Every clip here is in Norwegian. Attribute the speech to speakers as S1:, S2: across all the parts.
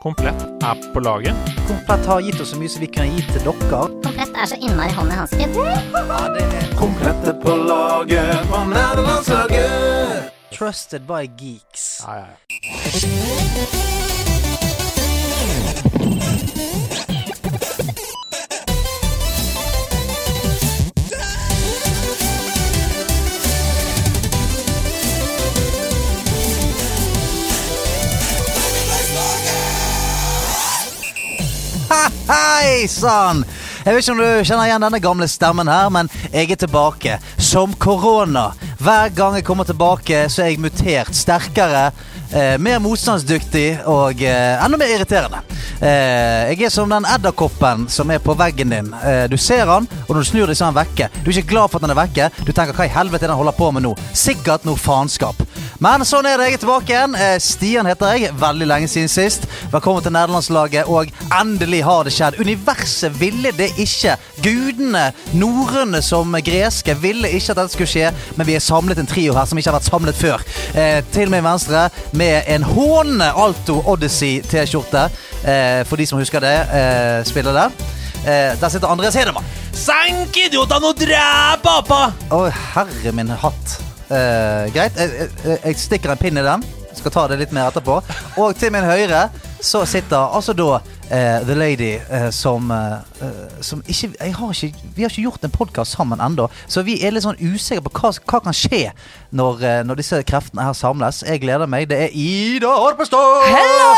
S1: Komplett er på laget.
S2: Komplett har gitt oss så mye som vi kan gi til dere.
S3: Komplett er så innmari hånd i hansken.
S4: Komplette på laget fra nederlandslaget.
S2: Trusted by geeks.
S1: Ja, ja, ja.
S2: Hei sann! Jeg vet ikke om du kjenner igjen denne gamle stemmen her, men jeg er tilbake. Som korona. Hver gang jeg kommer tilbake, så er jeg mutert. Sterkere, eh, mer motstandsdyktig og eh, enda mer irriterende. Eh, jeg er som den edderkoppen som er på veggen din. Eh, du ser han, og når du snur deg, så er han vekke. Du er ikke glad for at han er vekke. Du tenker 'hva i helvete er det han holder på med nå?' Sikkert noe faenskap. Men sånn er det. Jeg er tilbake igjen. Eh, Stian heter jeg. Veldig lenge siden sist. Velkommen til nederlandslaget. Og endelig har det skjedd. Universet ville det ikke. Gudene, norrøne som greske, ville ikke at dette skulle skje. Men vi er samlet en trio her som ikke har vært samlet før. Eh, til min venstre med en hånende Alto Odyssey-T-skjorte. Eh, for de som husker det, eh, spiller der. Eh, der sitter Andreas Hedemann.
S1: Sank idiota, nå drep apa!
S2: Å, herre min hatt. Eh, greit, jeg, jeg, jeg stikker en pinn i den. Skal ta det litt mer etterpå. Og til min høyre så sitter altså da eh, The Lady eh, som, eh, eh, som ikke, jeg har ikke Vi har ikke gjort en podkast sammen ennå, så vi er litt sånn usikre på hva, hva kan skje når, eh, når disse kreftene her samles. Jeg gleder meg. Det er Ida Horpestad!
S5: Hello!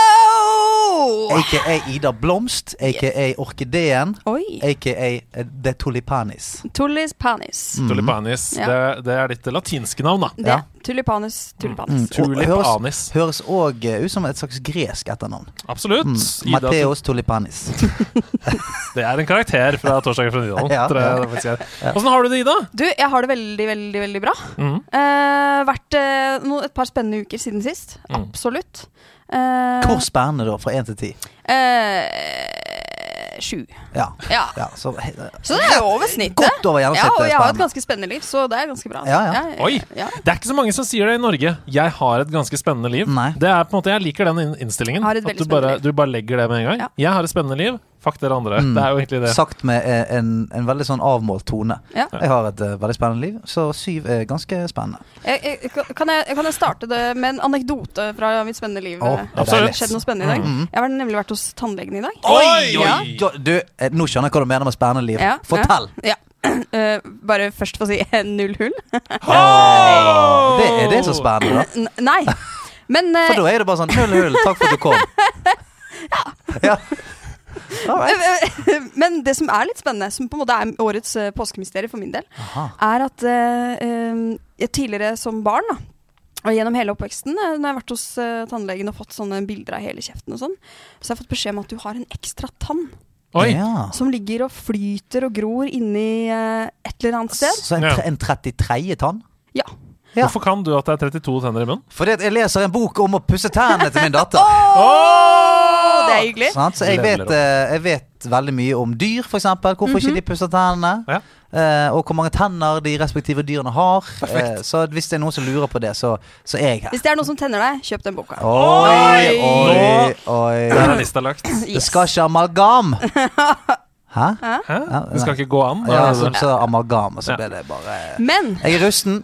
S2: AKA Ida Blomst, aka Orkideen,
S5: Oi.
S2: aka eh, The Tulipanis.
S5: Tullis panis.
S1: Tulipanis.
S5: Mm. Ja.
S1: Det, det er ditt latinske navn, da.
S5: Det.
S2: Mm. Ja. Mm.
S5: Tulipanus. Tulipanus.
S1: Mm. Tulipanis.
S2: Og Høres òg ut som et slags gresk etternavn.
S1: Absolutt.
S2: Mm.
S1: Ida,
S2: Mateos Tulipanis.
S1: det er en karakter fra Torsdagen fra Nydalen.
S2: Ja.
S1: tror jeg det faktisk er. Åssen har du det, Ida?
S5: Du, jeg har det veldig, veldig veldig bra.
S1: Mhm.
S5: Eh, vært eh, no, et par spennende uker siden sist.
S1: Mhm.
S5: Absolutt. Eh,
S2: Hvor spennende, da? Fra én til ti?
S5: eh, sju.
S2: Ja.
S5: Ja.
S2: ja så,
S5: Så det er jo over snittet.
S2: Godt over
S5: ja, og
S2: gjennomsnittet.
S5: jeg har et
S2: spennende.
S5: ganske spennende liv, så det er ganske bra.
S2: Ja, ja.
S1: Oi.
S5: ja.
S1: Det er ikke så mange som sier det i Norge. Jeg har et ganske spennende liv.
S2: Nei.
S1: Det er på en måte, Jeg liker den in- innstillingen.
S5: Har et
S1: at
S5: veldig
S1: du bare,
S5: spennende liv.
S1: du bare legger det med en gang.
S5: Ja.
S1: Jeg har et spennende liv. Fuck dere andre. Det er jo egentlig det.
S2: eh, mm. Sagt med eh, en, en veldig sånn avmålt tone.
S5: Ja.
S2: Jeg har et eh, veldig spennende liv, så syv er ganske spennende.
S5: Jeg, jeg, kan, jeg, kan jeg starte det med en anekdote fra mitt spennende liv?
S2: Å, Mm.
S5: Eh,
S1: absolutt.
S5: Det skjedde noe spennende i dag. Jeg har nemlig vært hos tannlegen i dag.
S1: Oi, oi.
S5: Ja.
S2: Du, du, eh, nå skjønner jeg hva du mener med spennende liv.
S5: Ja,
S2: Fortell!
S5: Ja. Eh, bare først få si null hull.
S1: Ho!
S2: Det er det som er spennende, da.
S5: N nei. Men eh,
S2: For da er det bare sånn null hull, takk for at du kom. Ja. All right.
S5: Men det som er litt spennende, som på en måte er årets eh, påskemysterium for min del,
S2: Aha.
S5: er at eh, eh, jeg tidligere som barn, da, og gjennom hele oppveksten, eh, når jeg har vært hos eh, tannlegen og fått sånne bilder av hele kjeften og sånn, så har jeg fått beskjed om at du har en ekstra tann
S1: Oi.
S2: Ja.
S5: som ligger og flyter og gror inni eh, et eller annet sted.
S2: Så en,
S1: Ja.
S2: tre- en 33. tann?
S5: Ja.
S2: Ja.
S1: Hvorfor kan du at det er 32 tenner i munnen?
S2: Fordi at jeg leser en bok om å pusse tennene til min datter.
S5: Og det er hyggelig.
S2: sant? Så jeg vet, eh, jeg vet veldig mye om dyr, f.eks. Hvorfor ikke de pusser tennene.
S1: Ja.
S2: eh, og hvor mange tenner de respektive dyrene har. Eh, så hvis det er noen som lurer på det, så, så er jeg her.
S5: Hvis det er noen som tenner deg, kjøp den boka.
S2: Oi, oi,
S1: Nå-
S2: oi.
S1: Der er lista lagt.
S2: Det skal ikke amalgam! Hæ?
S1: Hæ? Det skal ikke gå an. Da.
S2: eh, Ja,
S1: er
S2: så,
S1: det-
S2: så amalgam, og så
S1: Ja.
S2: ble det bare
S5: Men
S2: Jeg er rusten.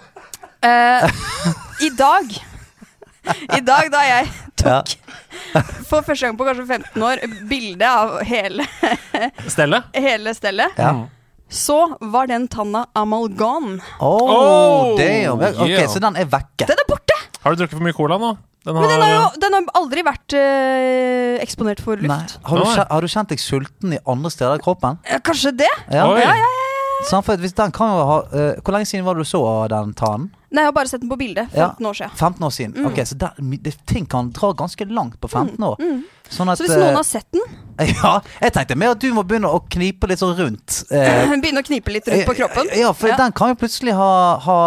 S5: Eh, I dag I dag da jeg tok for første gang på kanskje 15 år bilde av hele,
S1: Stelle?
S5: hele stellet,
S2: Ja.
S5: så var den tanna amalgam.
S2: Oh,
S1: Oh,
S2: damn. Ok,
S1: yeah.
S2: Så den er vekke.
S5: Den er borte!
S1: Har du drukket for mye cola nå? Den
S5: Men den har jo den har aldri vært eh, eksponert for
S2: eh, Nei.
S5: luft.
S2: Har, du,
S1: Nei.
S2: kjen- har du kjent deg sulten i andre steder i kroppen?
S5: Eh, Kanskje det?
S2: Ja.
S1: Oi.
S5: Ja, ja,
S2: Sant, for at hvis den kan jo ha, eh, hvor lenge siden var det du så den tanen?
S5: Nei, jeg har bare sett den på bildet.
S2: Ja.
S5: 15 år siden.
S2: 15 år
S5: Mm.
S2: siden. Ok, Så der, mi- det, ting kan dra ganske langt på 15 år. Sånn
S5: mm.
S2: at,
S5: Så hvis noen har
S2: eh,
S5: sett den,
S2: Ja, jeg tenkte mer at du må begynne å knipe litt sånn rundt. eh,
S5: begynne å knipe litt rundt på kroppen
S2: Ja, for
S5: Ja.
S2: den kan jo plutselig ha, ha,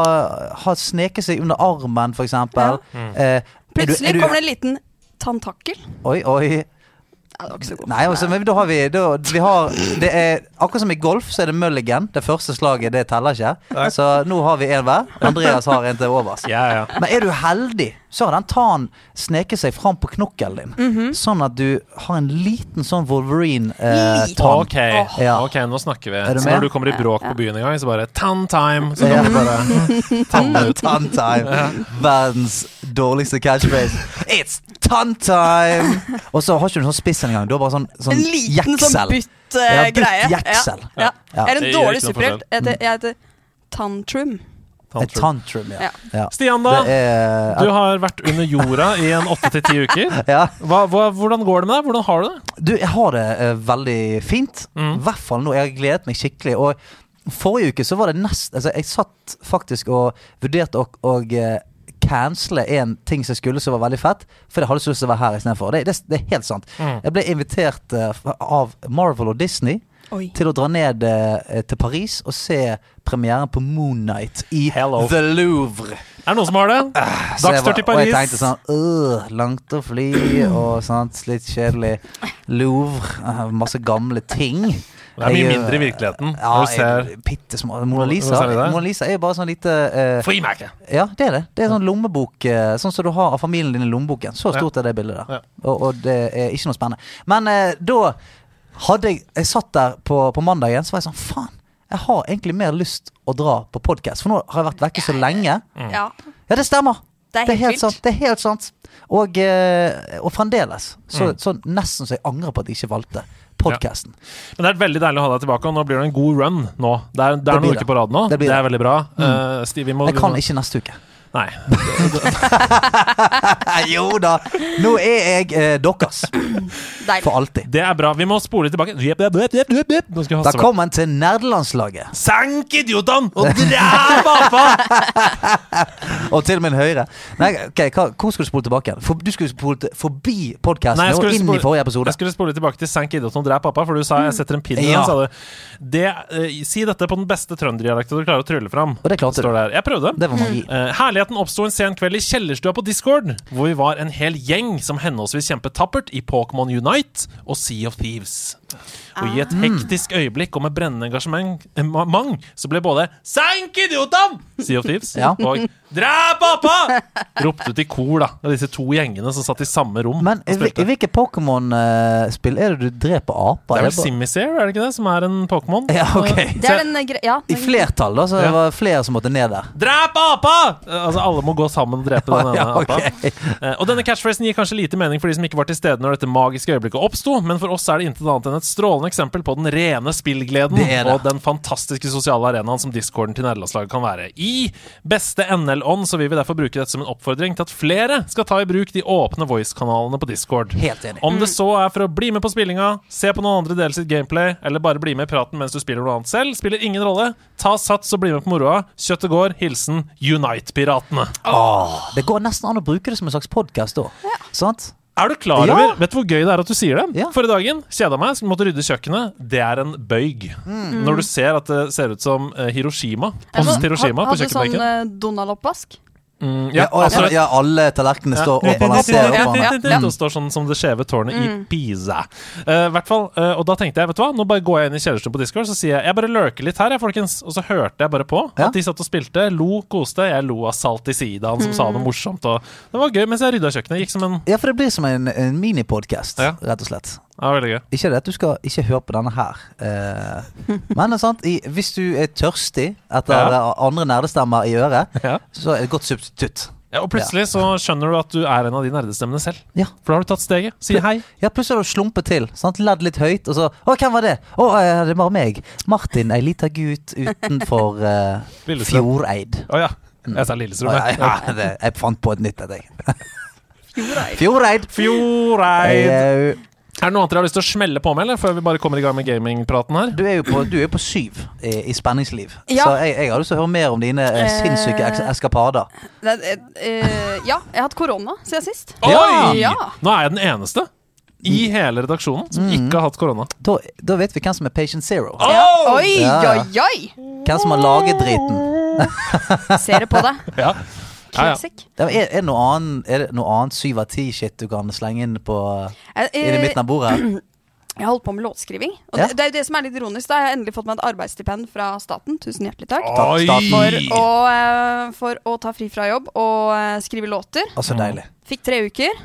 S2: ha sneket seg under armen, for eksempel. Eh, er du- er
S5: Plutselig
S2: du-
S5: kommer det en liten tantakkel.
S2: Oi, oi.
S5: Nei, det var ikke så god.
S2: Nei, altså, men da har vi, da, vi har, det er, Akkurat som i golf, så er det mulligan. Det første slaget, det teller ikke. Så nå har vi én hver. Andreas har en til overs.
S1: Ja, ja.
S2: Men er du heldig, så har den tannen sneket seg fram på knokkelen din.
S5: Mhm.
S2: Sånn at du har en liten sånn
S5: Liten.
S2: Wolverine-tann.
S1: Ok,
S2: Eh, Ja.
S1: ok, nå snakker vi.
S2: Er du
S1: Så
S2: med?
S1: når du kommer i bråk på byen en gang, så bare Tan time! Så
S2: Ja.
S1: kan du bare tanne ut.
S2: Tanntime. Verdens dårligste catchphrase. It's tanntime! Og så har ikke du sånn spiss engang. Du har bare sånn, sånn
S5: En liten sånn
S2: jeksel.
S5: butt eh,
S2: Ja, butt
S5: greie.
S2: jeksel.
S5: Ja. Ja.
S2: Ja. Mm.
S5: Jeg er
S1: Det liksom
S5: en
S1: gjør
S5: dårlig
S1: ikke noe
S5: superhelt. Jeg heter, jeg heter Tantrum.
S2: Et
S1: Tantrum.
S2: tantrum, ja.
S5: Ja.
S2: ja.
S1: Stian,
S2: Det
S1: da.
S2: er
S1: Du har vært under jorda i en åtte til ti uker.
S2: ja.
S1: Hva, hva, hvordan går det med deg? Hvordan har du det?
S2: Du, jeg har det eh, veldig fint. I
S1: Mm.
S2: hvert fall nå. Jeg har gledet meg skikkelig. Og forrige uke så var det nest Altså, jeg satt faktisk og vurderte å og, eh, cancele en ting som jeg skulle som var veldig fett, for jeg hadde så lyst til å være her istedenfor. Det, det, det er helt sant.
S1: Mm.
S2: Jeg ble invitert eh, av Marvel og Disney
S5: Oi.
S2: til å dra ned eh, til Paris og se premieren på Moon Knight i
S1: Hello.
S2: The Louvre.
S1: Er det noen som har det?
S2: Så jeg var-
S1: Dagstur til
S2: Og jeg tenkte
S1: Paris.
S2: sånn «Øh, Langt å fly og sånt. Litt kjedelig. Louvre. eh, Masse gamle ting.
S1: Det er mye
S2: Jeg,
S1: mindre i
S2: eh,
S1: virkeligheten
S2: Ja,
S1: når du ser
S2: bitte små Mona Lisa.
S1: Hva sa du der?
S2: Mona Lisa er jo bare sånn lite eh,
S1: frimerket.
S2: Ja, det er det. Det er sånn lommebok eh, Sånn som du har av familien din i lommeboken. Så
S1: Ja.
S2: stort er det bildet
S1: Ja.
S2: der. Og, og det er ikke noe spennende. Men eh, da hadde jeg Jeg satt der på, på mandagen, så var jeg sånn Faen, jeg har egentlig mer lyst å dra på podkast, for nå har jeg vært vekke så lenge.
S1: Mm.
S5: Ja.
S2: Ja, det stemmer.
S5: Det er
S2: Det er helt
S5: helt
S2: sant.
S5: vilt.
S2: det er helt sant Og, eh, og fremdeles. Så,
S1: Mm.
S2: så nesten så jeg angrer på at jeg ikke valgte podkasten.
S1: Men det er veldig deilig å ha deg tilbake, og nå blir det en god run nå. Det er, det
S2: Det blir
S1: er noen
S2: det.
S1: uker på rad nå.
S2: Det
S1: Det,
S2: blir
S1: er veldig bra. Eh, Stig, vi må
S2: Jeg kan
S1: vi må-
S2: ikke neste uke.
S1: Nei.
S2: jo da! Nå er jeg eh, deres.
S5: Deilig.
S2: For alltid.
S1: Det er bra. Vi må spole tilbake. Jep, jep, jep, jep, jep, jep. Nå skal vi haste meg.
S2: Velkommen til nerdelandslaget.
S1: Sank idiotene og dræv apa!
S2: Og til min høyre. Nei, ok, hva, Hvor skulle du spole tilbake? igjen? For, du skulle spole til- forbi podkasten
S1: Nei, jeg
S2: og
S1: skulle
S2: inn
S1: spole-
S2: i forrige episode. Mm.
S1: Jeg skulle spole tilbake til sank idiotene og dræv apa, for du sa jeg setter en pin i
S2: Ja.
S1: den, sa du. Det, eh, si dette på den beste trønderdialekten du klarer å trylle fram.
S2: Og det klarte
S1: Står
S2: du.
S1: det her. Jeg prøvde.
S2: Det var magi.
S1: Eh, herligheten oppsto en sen kveld i kjellerstua på Discord, hvor vi var en hel gjeng som henholdsvis kjempet tappert i Pokémon Unite og Sea of Thieves. Og
S2: Ah.
S1: i et hektisk øyeblikk og med brennende engasjement eh, ma- mang, så ble både 'Sank idiotan!' Sea of Thieves
S2: Ja.
S1: og 'Drep pappa!' ropt ut i kor, da. Av disse to gjengene som satt i samme rom.
S2: Men
S1: og
S2: i,
S1: spilte.
S2: i hvilke Pokémon-spill er det du dreper
S1: det
S2: aper?
S1: er
S2: Er bare-
S1: vel Simisair, er det ikke det, som er en Pokémon?
S2: Ja, ok.
S5: Det er den eh, gre... Ja.
S2: I flertall, da, så det
S1: Ja.
S2: var flere som måtte ned der.
S1: Drep apa! Eh, Altså, alle må gå sammen og drepe den ene
S2: Ja, ok.
S1: apa. Eh, Og denne catchphrasen gir kanskje lite mening for de som ikke var til stede når dette magiske øyeblikket oppsto, men for oss er det intet annet enn et strålende eksempel på den rene spillgleden
S2: Det er det.
S1: og den fantastiske sosiale arenaen som discorden til nederlandslaget kan være. I beste NL-ånd så vil vi derfor bruke dette som en oppfordring til at flere skal ta i bruk de åpne voice-kanalene på discord.
S2: Helt enig. Mm.
S1: Om det så er for å bli med på spillinga, se på noen andre dele sitt gameplay, eller bare bli med i praten mens du spiller noe annet selv, spiller ingen rolle. Ta sats og bli med på moroa. Kjøttet går. Hilsen Unite-piratene.
S2: Det går nesten an å bruke det som en slags podkast da. Sant?
S1: Er du klar
S2: Ja.
S1: over Vet du hvor gøy det er at du sier det?
S2: Ja.
S1: Forrige dagen kjeda meg, så måtte rydde kjøkkenet. Det er en bøyg.
S2: Mm.
S1: Når du ser at det ser ut som eh, Hiroshima. Post Hiroshima på
S5: Hadde sånn
S1: kjøkkenbenken.
S5: eh, Donald-oppvask?
S1: Mm,
S2: Ja,
S1: ja,
S2: og,
S1: altså,
S2: ja, alle tallerkenene står opp og Mm. han ser opp.
S5: Ja,
S2: Han.
S5: ja.
S1: Det står sånn som det skjeve tårnet
S5: Mm.
S1: i Pisa. Eh, hvert fall, eh, og da tenkte jeg, vet du hva, nå bare går jeg inn i kjellerstua på Discord så sier jeg jeg bare lurker litt her, jeg, folkens. Og så hørte jeg bare på
S2: Ja.
S1: at de satt og spilte, lo, koste. Jeg lo av Salt i sida,
S5: Mm.
S1: han som sa noe morsomt. Og det var gøy mens jeg rydda kjøkkenet. Gikk som en
S2: Ja, for det blir som en, en minipodkast,
S1: Ja.
S2: rett og slett.
S1: Ja, veldig gøy.
S2: Ikke det at du skal ikke høre på denne her, eh, men det er sant, i, hvis du er tørstig etter
S1: Ja.
S2: andre nerdestemmer i øret,
S1: Ja.
S2: så er det et godt substitutt.
S1: Ja, og plutselig så skjønner du at du er en av de nerdestemmene selv.
S2: Ja.
S1: For da har du tatt steget. Si hei.
S2: Ja, plutselig har du slumpet til. Sant? Ledd litt høyt, og så Å, hvem var det? Å, eh, det var meg. Martin, ei lita gut utenfor eh,
S1: Lillestrøm.
S2: Fjordeid.
S1: Å ja.
S2: Mm.
S1: Jeg sa Lillestrøm,
S2: Ja,
S1: jeg.
S2: ja, ja, det, jeg fant på et nytt, jeg. tenker. Fjordeid.
S1: Fjordeid.
S2: Au.
S1: Er det noe annet dere har lyst til å smelle på med, eller? Før vi bare kommer i gang med gamingpraten her.
S2: Du er jo på, du er jo på syv i, i spenningsliv,
S5: Ja.
S2: så jeg, jeg har lyst til å høre mer om dine eh, sinnssyke eks-
S5: Eh.
S2: eskapader.
S5: Det, er- eh, ja, jeg har hatt korona siden sist.
S1: Oi!
S5: Ja.
S1: Nå er jeg den eneste i hele redaksjonen som ikke har hatt korona.
S2: Mm. Da, da vet vi hvem som er patient zero.
S1: Oh!
S5: Oi,
S2: Ja.
S5: oi, oi!
S2: Hvem som har laget driten.
S5: Ser det på deg.
S1: Ja. Ja, ja.
S5: Classic.
S2: Ja, Er, er, det noe annet, er det noe annet syv av ti-shit du kan slenge inn på
S5: Eh,
S2: i det midten av bordet?
S5: Jeg har holdt på med låtskriving. Og
S2: Ja.
S5: det, det er jo det som er litt ironisk. Da jeg har endelig fått meg et arbeidsstipend fra staten. Tusen hjertelig takk.
S1: Oi!
S5: For å, eh, for å ta fri fra jobb og eh, skrive låter.
S2: Å, så deilig.
S5: Fikk tre uker.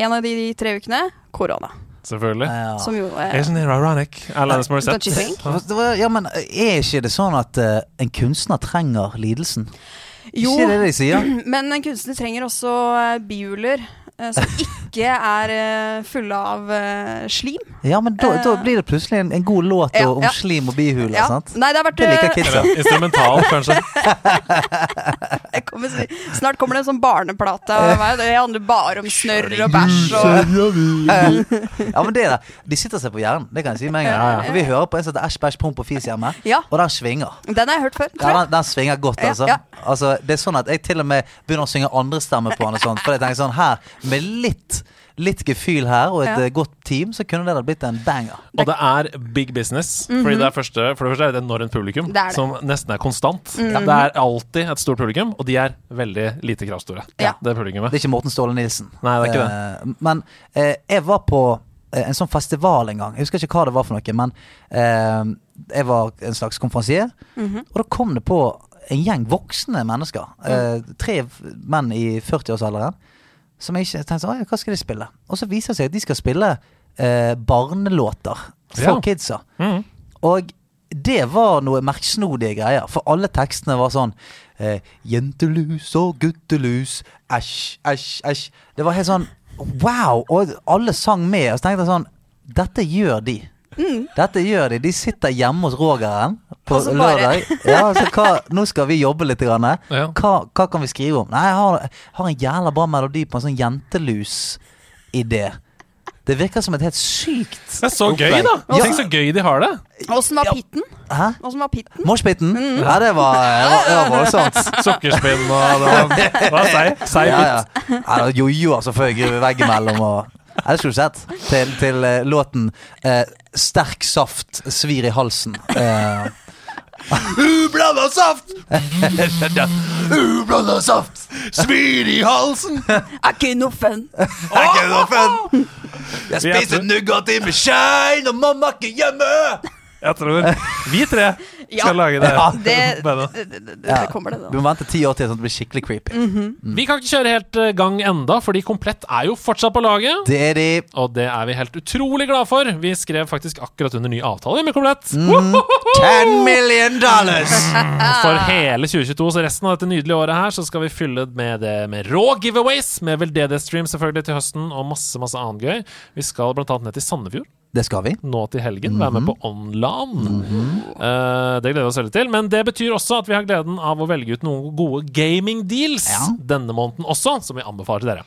S5: En av de tre ukene korona.
S1: Selvfølgelig.
S2: Ja.
S5: Som jo eh,
S1: Isn't it sånn ironic? Alanis Morissette.
S5: Don't you think?
S1: Ja.
S2: Det var- Ja, men eh, er ikke det sånn at eh, en kunstner trenger lidelsen?
S5: Jo,
S2: Ikke det de sier?
S5: men en kunstner trenger også eh, bihulere eh, som ikke er eh, fulle av eh, slim.
S2: Ja, men da, da blir det plutselig en, en god låt
S5: Eh. Ja,
S2: om
S5: ja.
S2: slim og bihuler,
S5: Ja.
S2: sant?
S5: Nei, det har vært
S2: Det liker
S5: eh,
S2: kidsa.
S1: Eller Instrumental, kanskje.
S5: jeg kommer, s- Snart kommer det en sånn barneplate av meg. Det handler bare om snørr og bæsj og
S2: Mm, Ja, men det der, De sitter seg på hjernen, det kan jeg si med en gang. For Vi hører på en som heter Æsj, bæsj, promp og fis hjemme,
S5: Ja.
S2: og den svinger.
S5: Den har jeg hørt før.
S2: Ja, den, den svinger godt,
S5: Ja,
S2: altså.
S5: ja.
S2: altså. Det er sånn at jeg til og med begynner å synge andre stemmer på den. og sånt, For jeg tenker sånn her, med litt, litt gefühl her og et
S5: Ja.
S2: eh, godt team, så kunne det da blitt en banger.
S1: Og det er big business. Fordi det er første, For det første er det et enormt publikum,
S5: Mhm. Det Mhm. er det.
S1: som nesten er konstant. Det er alltid et stort publikum, og de er veldig lite kravstore.
S5: Ja.
S1: Det publikummet.
S2: Det er ikke Morten Ståle Nilsen.
S1: Nei, det er ikke
S2: Eh, men eh, jeg var på eh, en sånn festival en gang. Jeg husker ikke hva det var for noe, men eh, jeg var en slags konferansier. Og da kom det på en gjeng voksne mennesker. eh,
S1: Mm.
S2: tre v- menn i 40-årsalderen. Som jeg ikke tenkte sånn, «Å ja, hva skal de spille? Og så viser det seg at de skal spille eh, barnelåter for
S1: Ja.
S2: kidsa.
S1: Mhm.
S2: Og det var noe merksnodige greier, for alle tekstene var sånn eh, Jentelus og guttelus, æsj, æsj, æsj. Det var helt sånn wow! Og alle sang med. Og så tenkte jeg sånn Dette gjør de. Dette gjør de. De sitter hjemme hos Rogeren på
S5: Og så bare-
S2: lørdag. Ja, så hva, nå skal vi jobbe litt. Grann.
S1: Ja.
S2: Hva, hva kan vi skrive om? Nei, jeg har, jeg har en jævla bra melodi på en sånn jentelus-idé. Det virker som et helt sykt
S1: Det er så gøy,
S2: opplegg.
S1: da!
S2: Ja.
S1: Tenk så gøy de har det.
S5: Åssen var pitten?
S2: Hæ?
S5: Åssen var pitten?
S2: Moshpiten? Ja, det var, det var, det var voldsomt.
S1: Sukkerspinn og det var- det var seig- Seig
S2: Ja, ja.
S1: bit.
S2: Ja, det var altså, jojoer som føk veggimellom. Og, ja, det skulle du sett. Til, til eh, låten eh, 'Sterk saft svir i halsen'. Eh,
S4: Ublanda saft! Ublanda saft! Svir i halsen!
S5: Er ikke noe fun!
S4: Er ikke noe fun! Jeg
S1: Vi er
S4: spiser
S1: for-
S4: Nugatti med skei når mamma ikke er hjemme!
S1: Jeg tror vi tre
S5: Ja.
S1: skal lage det.
S2: Ja.
S5: Det,
S1: Bare.
S5: det, det, det,
S2: Ja.
S5: det kommer det,
S2: du
S5: da. Mhm.
S2: må vente ti år til sånn at det blir skikkelig creepy. Mm.
S1: Vi kan ikke kjøre helt eh, gang enda, fordi Komplett er jo fortsatt på laget.
S2: Det er de.
S1: Og det er vi helt utrolig glad for. Vi skrev faktisk akkurat under ny avtale med Komplett.
S2: Mm. Ten million dollars!
S1: For hele 2022, så resten av dette nydelige året her, så skal vi fylle det med det med rå giveaways, med veldedighetsstream selvfølgelig til høsten, og masse, masse annet gøy. Vi skal blant annet ned til Sandefjord
S2: Det skal vi. Mhm.
S1: nå til helgen, være med på Online. Eh, det gleder vi oss veldig til. Men det betyr også at vi har gleden av å velge ut noen gode gaming deals
S2: Ja.
S1: denne måneden også, som vi anbefaler til dere.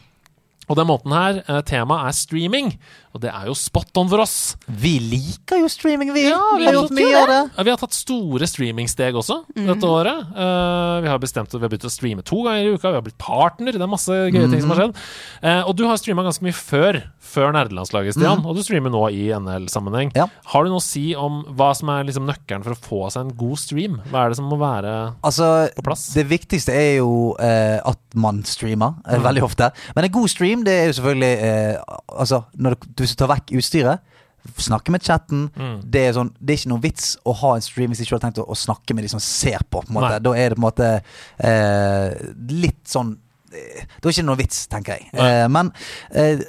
S1: Og den måneden her, eh, temaet er streaming, og det er jo spot on for oss.
S2: Vi liker jo streaming, vi.
S1: vi
S2: har
S1: liker
S2: gjort mye av det.
S1: Ja, Vi har tatt store streamingsteg også dette året. Eh, vi har bestemt at vi har begynt å streame to ganger i uka. Vi har blitt partner. Det er masse gøye ting som har skjedd. Eh, og du har streama ganske mye før, før nerdelandslaget, Stian. Og du streamer nå i NL-sammenheng.
S2: Ja.
S1: Har du noe å si om hva som er liksom nøkkelen for å få seg en god stream? Hva er det som må være
S2: Altså,
S1: plass.
S2: det viktigste er jo eh, at man streamer, eh,
S1: Mm.
S2: veldig ofte. Men en god stream, det er jo selvfølgelig eh, Altså, når du, du tar vekk utstyret, snakke med chatten.
S1: Mm.
S2: Det, er sånn, det er ikke noen vits å ha en stream hvis du ikke har tenkt å, å snakke med de som ser på. på en måte.
S1: Nei.
S2: Da er det på en måte eh, litt sånn eh, Det er ikke noen vits, tenker jeg.
S1: Nei.
S2: Eh, men eh,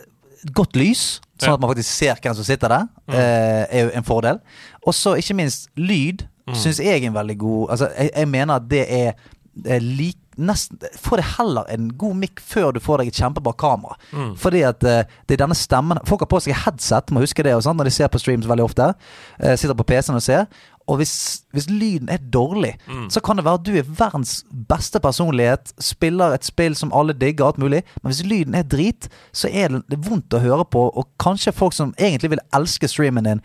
S2: godt lys, sånn
S1: Ja. Mm.
S2: at man faktisk ser hvem som sitter der, eh, er jo en fordel. Og så ikke minst lyd syns jeg er en veldig god Altså, jeg, jeg mener at det er, eh, lik Nesten, få deg heller en god mic før du får deg et kjempebra kamera. Fordi at eh, det er denne stemmen Folk har på seg headset, må huske det, og sånn, når de ser på streams veldig ofte. Eh, sitter på PC-en og ser. Og hvis, hvis lyden er dårlig, så kan det være at du er verdens beste personlighet, spiller et spill som alle digger, alt mulig, men hvis lyden er drit, så er det det er vondt å høre på, og kanskje folk som egentlig vil elske streamen din,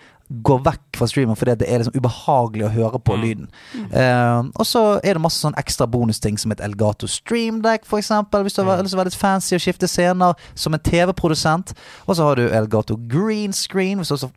S2: går vekk fra streamen fordi at det er liksom ubehagelig å høre
S1: Mm.
S2: på lyden. Eh, og så er det masse sånn ekstra bonusting som et Elgato Stream Deck, for eksempel, hvis du
S1: Mm.
S2: har lyst til å være litt fancy og skifte scener som en TV-produsent. Og så har du Elgato Green Screen, hvis du også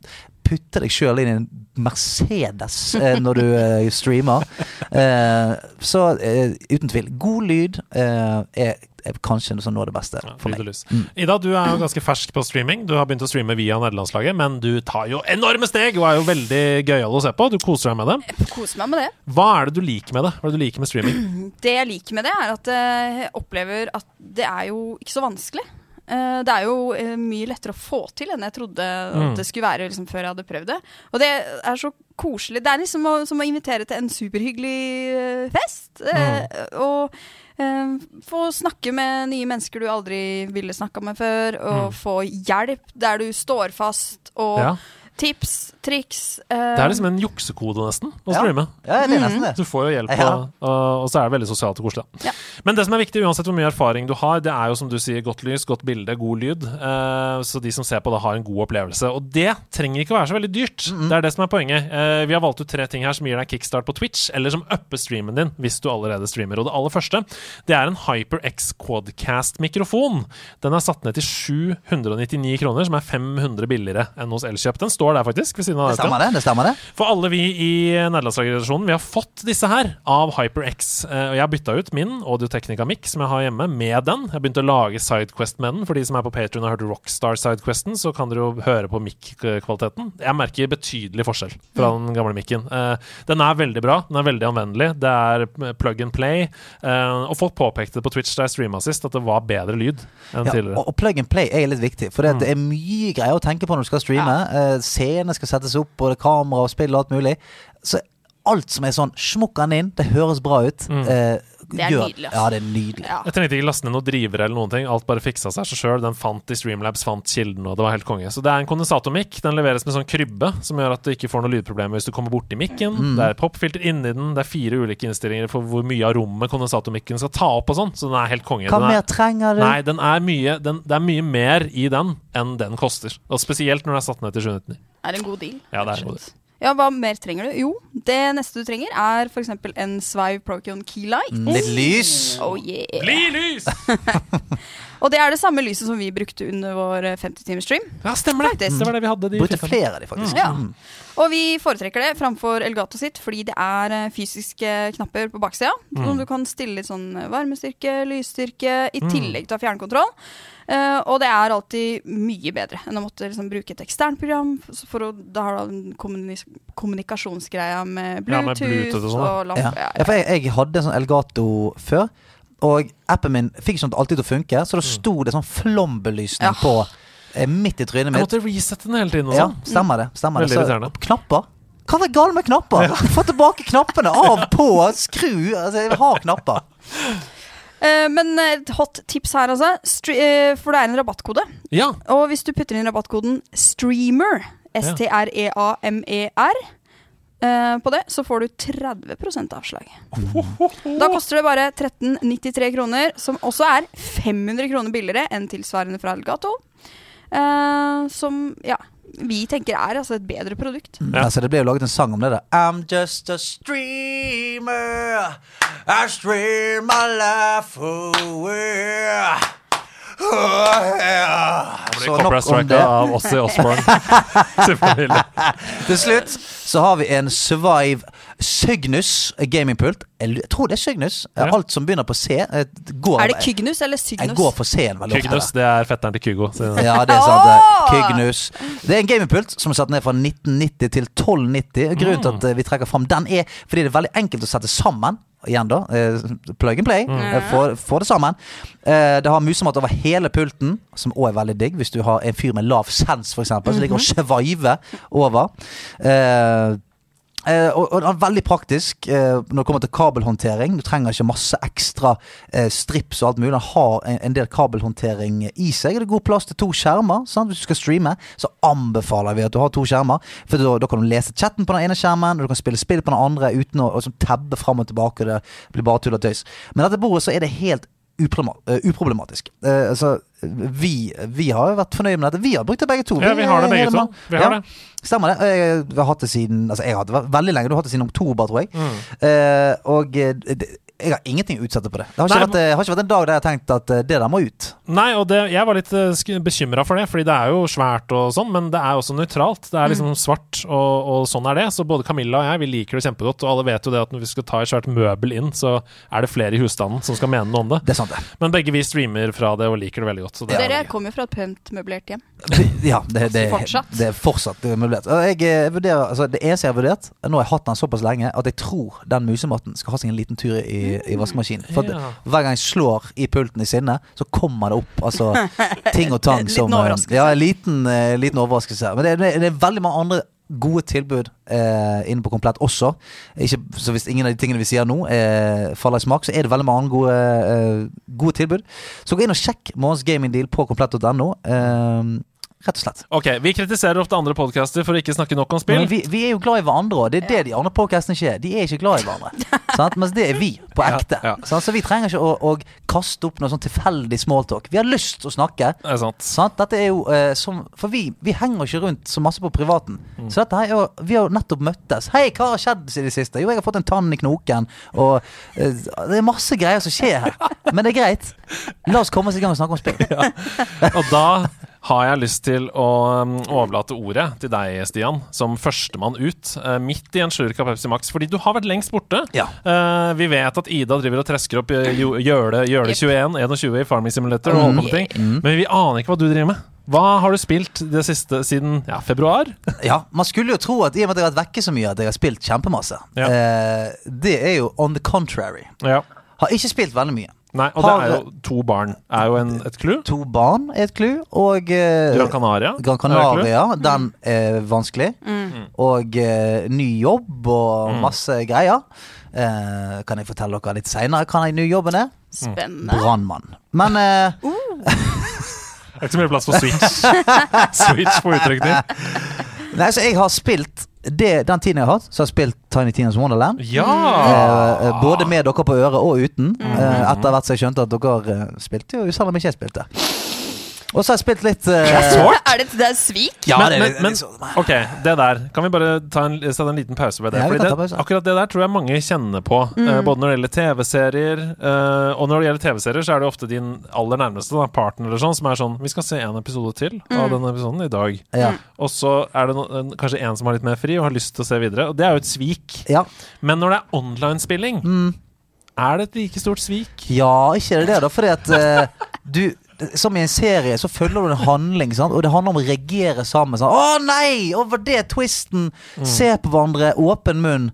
S2: putter deg sjøl inn i en Mercedes eh, når du eh, streamer. Eh, så eh, uten tvil, god lyd eh, er er kanskje noe sånn noe av det beste
S1: Ja,
S2: for
S1: lyd og
S2: meg. Mm.
S1: lys. Ida, du er jo ganske fersk på streaming. Du har begynt å streame via nederlandslaget, men du tar jo enorme steg og er jo veldig gøyal å se på. Du koser deg med det.
S5: Jeg koser meg med det.
S1: Hva er det du liker med det? Hva er det du liker med streaming?
S5: Det jeg liker med det, er at eh, jeg opplever at det er jo ikke så vanskelig. Eh, Det er jo eh, mye lettere å få til enn jeg trodde
S1: Mm.
S5: at det skulle være liksom, før jeg hadde prøvd det. Og det er så koselig. Det er liksom å, som å invitere til en superhyggelig eh, fest. eh,
S1: Mm.
S5: Og eh, få snakke med nye mennesker du aldri ville snakka med før. Og få hjelp der du står fast, og
S1: Mm. Ja.
S5: tips, triks. eh,
S1: Det er liksom en juksekode, nesten, å
S2: Ja.
S1: streame. Mm.
S2: Ja, det er nesten det.
S1: Du får jo hjelp,
S2: Ja.
S1: og, og, og så er det veldig sosialt og koselig. da.
S5: Ja.
S1: Men det som er viktig, uansett hvor mye erfaring du har, det er jo som du sier, godt lys, godt bilde, god lyd. Eh, så de som ser på det, har en god opplevelse. Og det trenger ikke å være så veldig dyrt. Det er det som er poenget. Eh, vi har valgt ut tre ting her som gir deg kickstart på Twitch, eller som upper streamen din hvis du allerede streamer. Og det aller første, det er en HyperX Quadcast-mikrofon. Den er satt ned til 799 kroner, som er 500 billigere enn hos Elkjøp. Den står der faktisk, ved siden av
S2: Det
S1: dette.
S2: stemmer det. det stemmer det.
S1: For alle vi i Nederlandslagsredaksjonen, vi har fått disse her av HyperX. Eh, Og jeg har bytta ut min audio mic som jeg har hjemme, med den. Jeg begynte å lage Sidequest med den. For de som er på Patreon og har hørt Rockstar Sidequesten, så kan dere jo høre på mic-kvaliteten. Jeg merker betydelig forskjell fra den gamle mic-en. Eh, Den er veldig bra, den er veldig anvendelig. Det er plug and play. Eh, Og folk påpekte det på Twitch da jeg streama sist, at det var bedre lyd enn
S2: Ja,
S1: tidligere. Mm.
S2: og, og plug and play er litt viktig, for det, at det er mye greier å tenke på når du skal streame. Eh, Scenene skal settes opp, både kamera og spill og alt mulig. Så alt som er sånn smukk den inn, det høres bra ut.
S1: Mm.
S2: eh,
S5: Det er
S2: gjør-
S5: nydelig, altså.
S2: Ja, det er nydelig.
S5: Ja.
S1: Jeg trengte ikke laste ned noen drivere eller noen ting. Alt bare fiksa seg sjøl. Den fant i Streamlabs, fant kilden, og det var helt konge. Så det er en kondensatormikk. Den leveres med sånn krybbe, som gjør at du ikke får noe lydproblemer hvis du kommer borti mikken.
S2: Mm.
S1: Det er popfilter inni den. Det er fire ulike innstillinger for hvor mye av rommet kondensatormikken skal ta opp og sånn. Så den er helt konge.
S2: Hva
S1: Den er-
S2: mer trenger du?
S1: Nei, den er mye, den, det er mye mer i den enn den koster. Og spesielt når den er satt ned til 799.
S5: er en god deal.
S1: Ja, det er
S5: rett og
S1: en god
S5: slett. Ja, Hva mer trenger du? Jo, det neste du trenger, er f.eks. en Svive Procon Keylight.
S2: Mm. Litt lys.
S5: Oh yeah.
S1: Bli lys!
S5: Og det er det samme lyset som vi brukte under vår eh, 50 timers stream.
S1: Ja, stemmer det!
S5: Faktisk.
S1: Det var det vi hadde. De
S2: Brukte
S1: filterne.
S2: flere av de, faktisk.
S5: Ja. Og vi foretrekker det framfor Elgato sitt fordi det er eh, fysiske knapper på baksida.
S1: Mm.
S5: Som du kan stille litt sånn varmestyrke, lysstyrke,
S1: Mm.
S5: i tillegg til å ha fjernkontroll. Eh, og det er alltid mye bedre enn å måtte liksom, bruke et eksternt program. For, for å, da har du den kommunis- kommunikasjonsgreia med
S1: Ja, med
S5: Bluetooth,
S1: Bluetooth og sånn, da.
S5: lampe.
S2: Ja.
S5: Ja, ja.
S2: Ja, for jeg, jeg hadde en sånn Elgato før, og appen min fikk ikke sånn alltid til å funke,
S1: Mm.
S2: så da sto det sånn flombelysning
S5: Ja.
S2: på eh, midt i trynet
S1: Jeg
S2: mitt.
S1: måtte resette den hele tiden og
S2: Ja,
S1: sånn.
S2: stemmer det. Stemmer
S1: Veldig
S2: det.
S1: irriterende.
S2: knapper? Hva er det galt med knapper? Få tilbake knappene! Av, på, skru! Altså, jeg har knapper.
S5: Eh, men eh, et hot tips her, altså. Stre eh, for det er en rabattkode.
S1: Ja.
S5: Og hvis du putter inn rabattkoden STREAMER, E S-T-R-E-A-M-E-R, eh, på det, så får du 30 avslag. Da koster det bare 1393 kroner, som også er 500 kroner billigere enn tilsvarende fra Elgato. Eh, som ja, vi tenker er altså et bedre produkt.
S1: Ja.
S2: Altså, det ble jo laget en sang om det. der I'm just a streamer. I stream my life away. Oh, yeah. Så nok om det.
S1: av Ossie Osborne. Selvfølgelig.
S2: Til slutt så har vi en Survive Cygnus gamingpult. Jeg lu- jeg tror det er Cygnus.
S1: Ja.
S2: Alt som begynner på C, eh, går
S5: Er det Kygnus eller
S2: Jeg går
S5: Cygnus?
S2: for C-en veldig ofte.
S1: Kygnus, det er fetteren til Kygo. Så
S2: Ja, det er sant.
S5: Åh!
S2: det. Kygnus. Det er en gamingpult som er satt ned fra 1990 til 1290. Grunnen til at eh, vi trekker fram den, er fordi det er veldig enkelt å sette sammen. Igjen, da. eh, Plug and play. eh, Få få det sammen. Eh, Det har musemat over hele pulten, som òg er veldig digg hvis du har en fyr med lav sens, f.eks., som ligger og sveiver over. Eh, Eh, og, og den er veldig praktisk eh, når det kommer til kabelhåndtering. Du trenger ikke masse ekstra eh, strips og alt mulig. Den har en, en del kabelhåndtering i seg. Og det er god plass til to skjermer. Sant? Hvis du skal streame, så anbefaler vi at du har to skjermer. For da, da kan du lese chatten på den ene skjermen, og du kan spille spill på den andre uten å å sånn tabbe fram og tilbake. Og det blir bare tull og tøys. Men dette bordet så er det helt uproblema- eh, uproblematisk. Eh, altså, vi, vi har jo vært fornøyd med dette. Vi har brukt det begge to.
S1: Ja, vi har det
S2: er
S1: begge
S2: hele
S1: to.
S2: mann.
S1: Vi har det.
S2: Stemmer det. Jeg
S1: Mm.
S2: har hatt det siden Altså, jeg har hatt det veldig lenge. Du har hatt det siden oktober, tror jeg. Eh, og eh, det- jeg har ingenting å utsette på det. Det har ikke,
S1: Nei,
S2: vært, det har ikke vært en dag der jeg har tenkt at eh, det der må ut.
S1: Nei, og det, jeg var litt uh, bekymra for det, fordi det er jo svært og sånn, men det er også nøytralt.
S2: Mm.
S1: Det er liksom svart, og, og sånn er det. Så både Camilla og jeg vi liker det kjempegodt, og alle vet jo det at når vi skal ta et svært møbel inn, så er det flere i husstanden som skal mene noe om det.
S2: Det er sant, det.
S1: Men begge vi streamer fra det og liker det veldig godt. Så det er
S5: Dere
S1: veldig gøy.
S5: kommer jo fra et pent møblert hjem.
S2: Ja, det, det,
S5: Fortsatt.
S2: det er fortsatt møblert. Og Jeg eh, vurderer, altså Det eneste jeg har vurdert, nå har jeg hatt den såpass lenge, at jeg tror den musematten skal ha seg en liten tur i,
S5: Mm.
S2: i vaskemaskinen. For at
S1: Ja.
S2: hver gang jeg slår i pulten i sinne, så kommer det opp altså, ting og tang
S5: Liten
S2: som eh,
S5: overraskelse.
S2: Ja, en liten, eh, liten overraskelse. Men det, er- det er veldig mange andre gode tilbud eh, inne på Komplett også. Ikke, så hvis ingen av de tingene vi sier nå, eh, faller i smak, så er det veldig mange gode, eh, gode tilbud. Så gå inn og sjekk morgens gamingdeal på komplett.no. Eh, rett og slett.
S1: Ok, Vi kritiserer ofte andre podcaster for å ikke snakke nok om
S2: Men
S1: spill.
S2: vi, vi er jo glad i hverandre òg. Det er det de andre podcastene ikke er. De er ikke glad i hverandre. sant? Mens det er vi, på ekte.
S1: ja.
S2: Sant? Så vi trenger ikke å, å kaste opp noe sånn tilfeldig smalltalk. Vi har lyst til å snakke.
S1: Det er sant.
S2: Sant? Dette er jo eh, som For vi, vi henger ikke rundt så masse på privaten.
S1: Mm.
S2: Så dette her er jo Vi har jo nettopp møttes. Hei, hva har skjedd i det siste? Jo, jeg har fått en tann i knoken, og eh, Det er masse greier som skjer her. Men det er greit. La oss komme oss i gang og snakke om spill.
S1: Og da har jeg lyst til å um, overlate ordet til deg, Stian, som førstemann ut. eh, Midt i en slurk av Pepsi Max, fordi du har vært lengst borte.
S2: Ja.
S1: Eh, vi vet at Ida driver og tresker opp eh, jo- Gjøle Gjøle 21, 21 i Farming Simulator,
S2: Mm.
S1: og holder på med ting. men vi aner ikke hva du driver med. Hva har du spilt det siste siden ja, februar?
S2: Ja, Man skulle jo tro at i og med at jeg har vært vekke så mye, at jeg har spilt kjempemasse.
S1: Ja.
S2: Eh, det er jo on the contrary.
S1: Ja.
S2: Har ikke spilt veldig mye.
S1: Nei, og det
S2: Har-
S1: er jo to barn. Er jo en, et clou.
S2: To barn er et clou, og eh,
S1: Gran Canaria.
S2: Gran
S1: er Mm. et
S2: Canaria, den er vanskelig. Og eh, ny jobb
S1: Mm.
S2: og masse greier. Eh, kan jeg fortelle dere litt seinere hva den nye jobben er?
S5: Spennende.
S2: Brannmann. Men eh,
S1: clou. Det er ikke så mye plass for switch. switch på utrykning.
S2: nei, så jeg har spilt det, den tiden jeg har hatt, så har jeg spilt Tiny Tinas Wonderland.
S1: Ja!
S2: Eh, eh, både med dere på øret og uten. Eh, etter hvert som jeg skjønte at dere eh, spilte jo, selv om ikke jeg spilte. Og så har jeg spilt litt eh,
S5: Er det, det er svik?
S2: Ja,
S1: men,
S2: det- liksom-
S1: men,
S2: det-
S1: men, ok, det der. Kan vi bare ta en, sette en liten pause ved det?
S2: Ja, vi
S1: Fordi
S2: kan ta
S1: det
S2: pause.
S1: akkurat det der tror jeg mange kjenner på. eh, både når det gjelder TV-serier, eh, og når det gjelder TV-serier, så er det ofte din aller nærmeste da, partner eller sånn, som er sånn Vi skal se en episode til av denne episoden i dag.
S2: Ja.
S1: Og så er det no, en- kanskje en som har litt mer fri og har lyst til å se videre. Og det er jo et svik.
S2: ja. Mm.
S1: Men når det er online-spilling, er det et like stort svik?
S2: Ja, ikke er det det, da. Fordi at eh, du som i en serie, så følger du en handling, sant? og det handler om å reagere sammen. Sant? 'Å nei! Over det twisten!' Se på hverandre, åpen munn.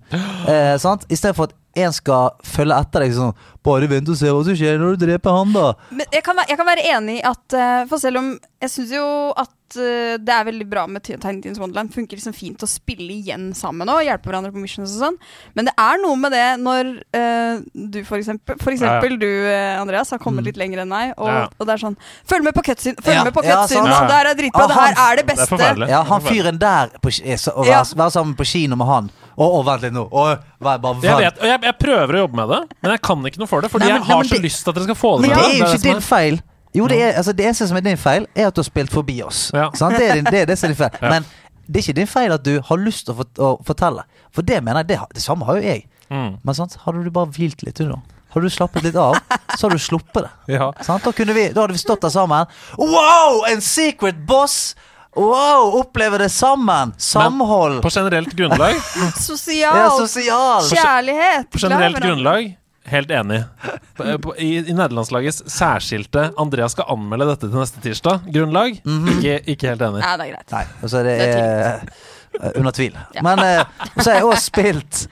S2: Eh, sant? I stedet for at én skal følge etter deg sånn 'Bare vent og se hva som skjer når du dreper han, da'.
S5: Men jeg kan, væ- jeg kan være enig i at eh, For selv om jeg syns jo at eh, det er veldig bra med Ti- Tiny Tins Wonderland, funker liksom fint å spille igjen sammen og hjelpe hverandre på missions og sånn, men det er noe med det når eh, du for eksempel, for eksempel du, eh, Andreas, har kommet litt lenger enn meg, og,
S1: Mm. Ja.
S5: og det er sånn Følg med på cutscene! Følg
S2: Ja,
S5: med på
S2: ja, sant.
S5: cutscene!
S1: Ja.
S5: Det her er dritbra!
S2: Ah,
S5: Det her
S2: han-
S5: er det
S1: Det er
S5: beste!
S1: forferdelig.
S2: Ja, han fyren der på, ki- er så, å
S5: Ja.
S2: være, være sammen på kino med han. Å, å vent litt nå. Å, vær- bare
S1: Jeg
S2: vent.
S1: vet, og jeg, jeg prøver å jobbe med det, men jeg kan ikke noe for det. Fordi
S2: Nei, men-
S1: jeg
S2: nei,
S1: har
S2: men
S1: så
S2: det-
S1: lyst til at dere skal få det
S2: Men det
S1: med.
S2: er jo
S1: det
S2: ikke
S1: som
S2: din feil. Jo, det, er, altså, det eneste som er din feil, er at du har spilt forbi oss.
S1: Ja.
S2: Sant? Det, er din, det, er det som er din feil. Men det er ikke din feil at du har lyst til å, fort- å fortelle. For det mener jeg, det, har- det samme har jo jeg.
S1: Mm.
S2: Men sant? hadde du bare hvilt litt under, hadde du slappet litt av, så hadde du sluppet det.
S1: Ja.
S2: Sant? Da, kunne vi, da hadde vi stått der sammen. Wow, en secret boss! Wow, oppleve det sammen! Samhold!
S1: På generelt grunnlag
S2: Ja,
S5: Sosial
S2: sosial!
S5: kjærlighet!
S1: På
S5: glad i
S1: generelt
S5: hverandre.
S1: grunnlag Helt enig. På- på- I, i nederlandslagets særskilte 'Andreas skal anmelde dette til neste tirsdag'-grunnlag, ikke, ikke helt enig.
S5: Ja, det er greit.
S2: Mhm. Nei, altså det
S5: Det
S2: er
S5: er
S2: eh, under tvil.
S5: Ja.
S2: Men eh, så har jeg også spilt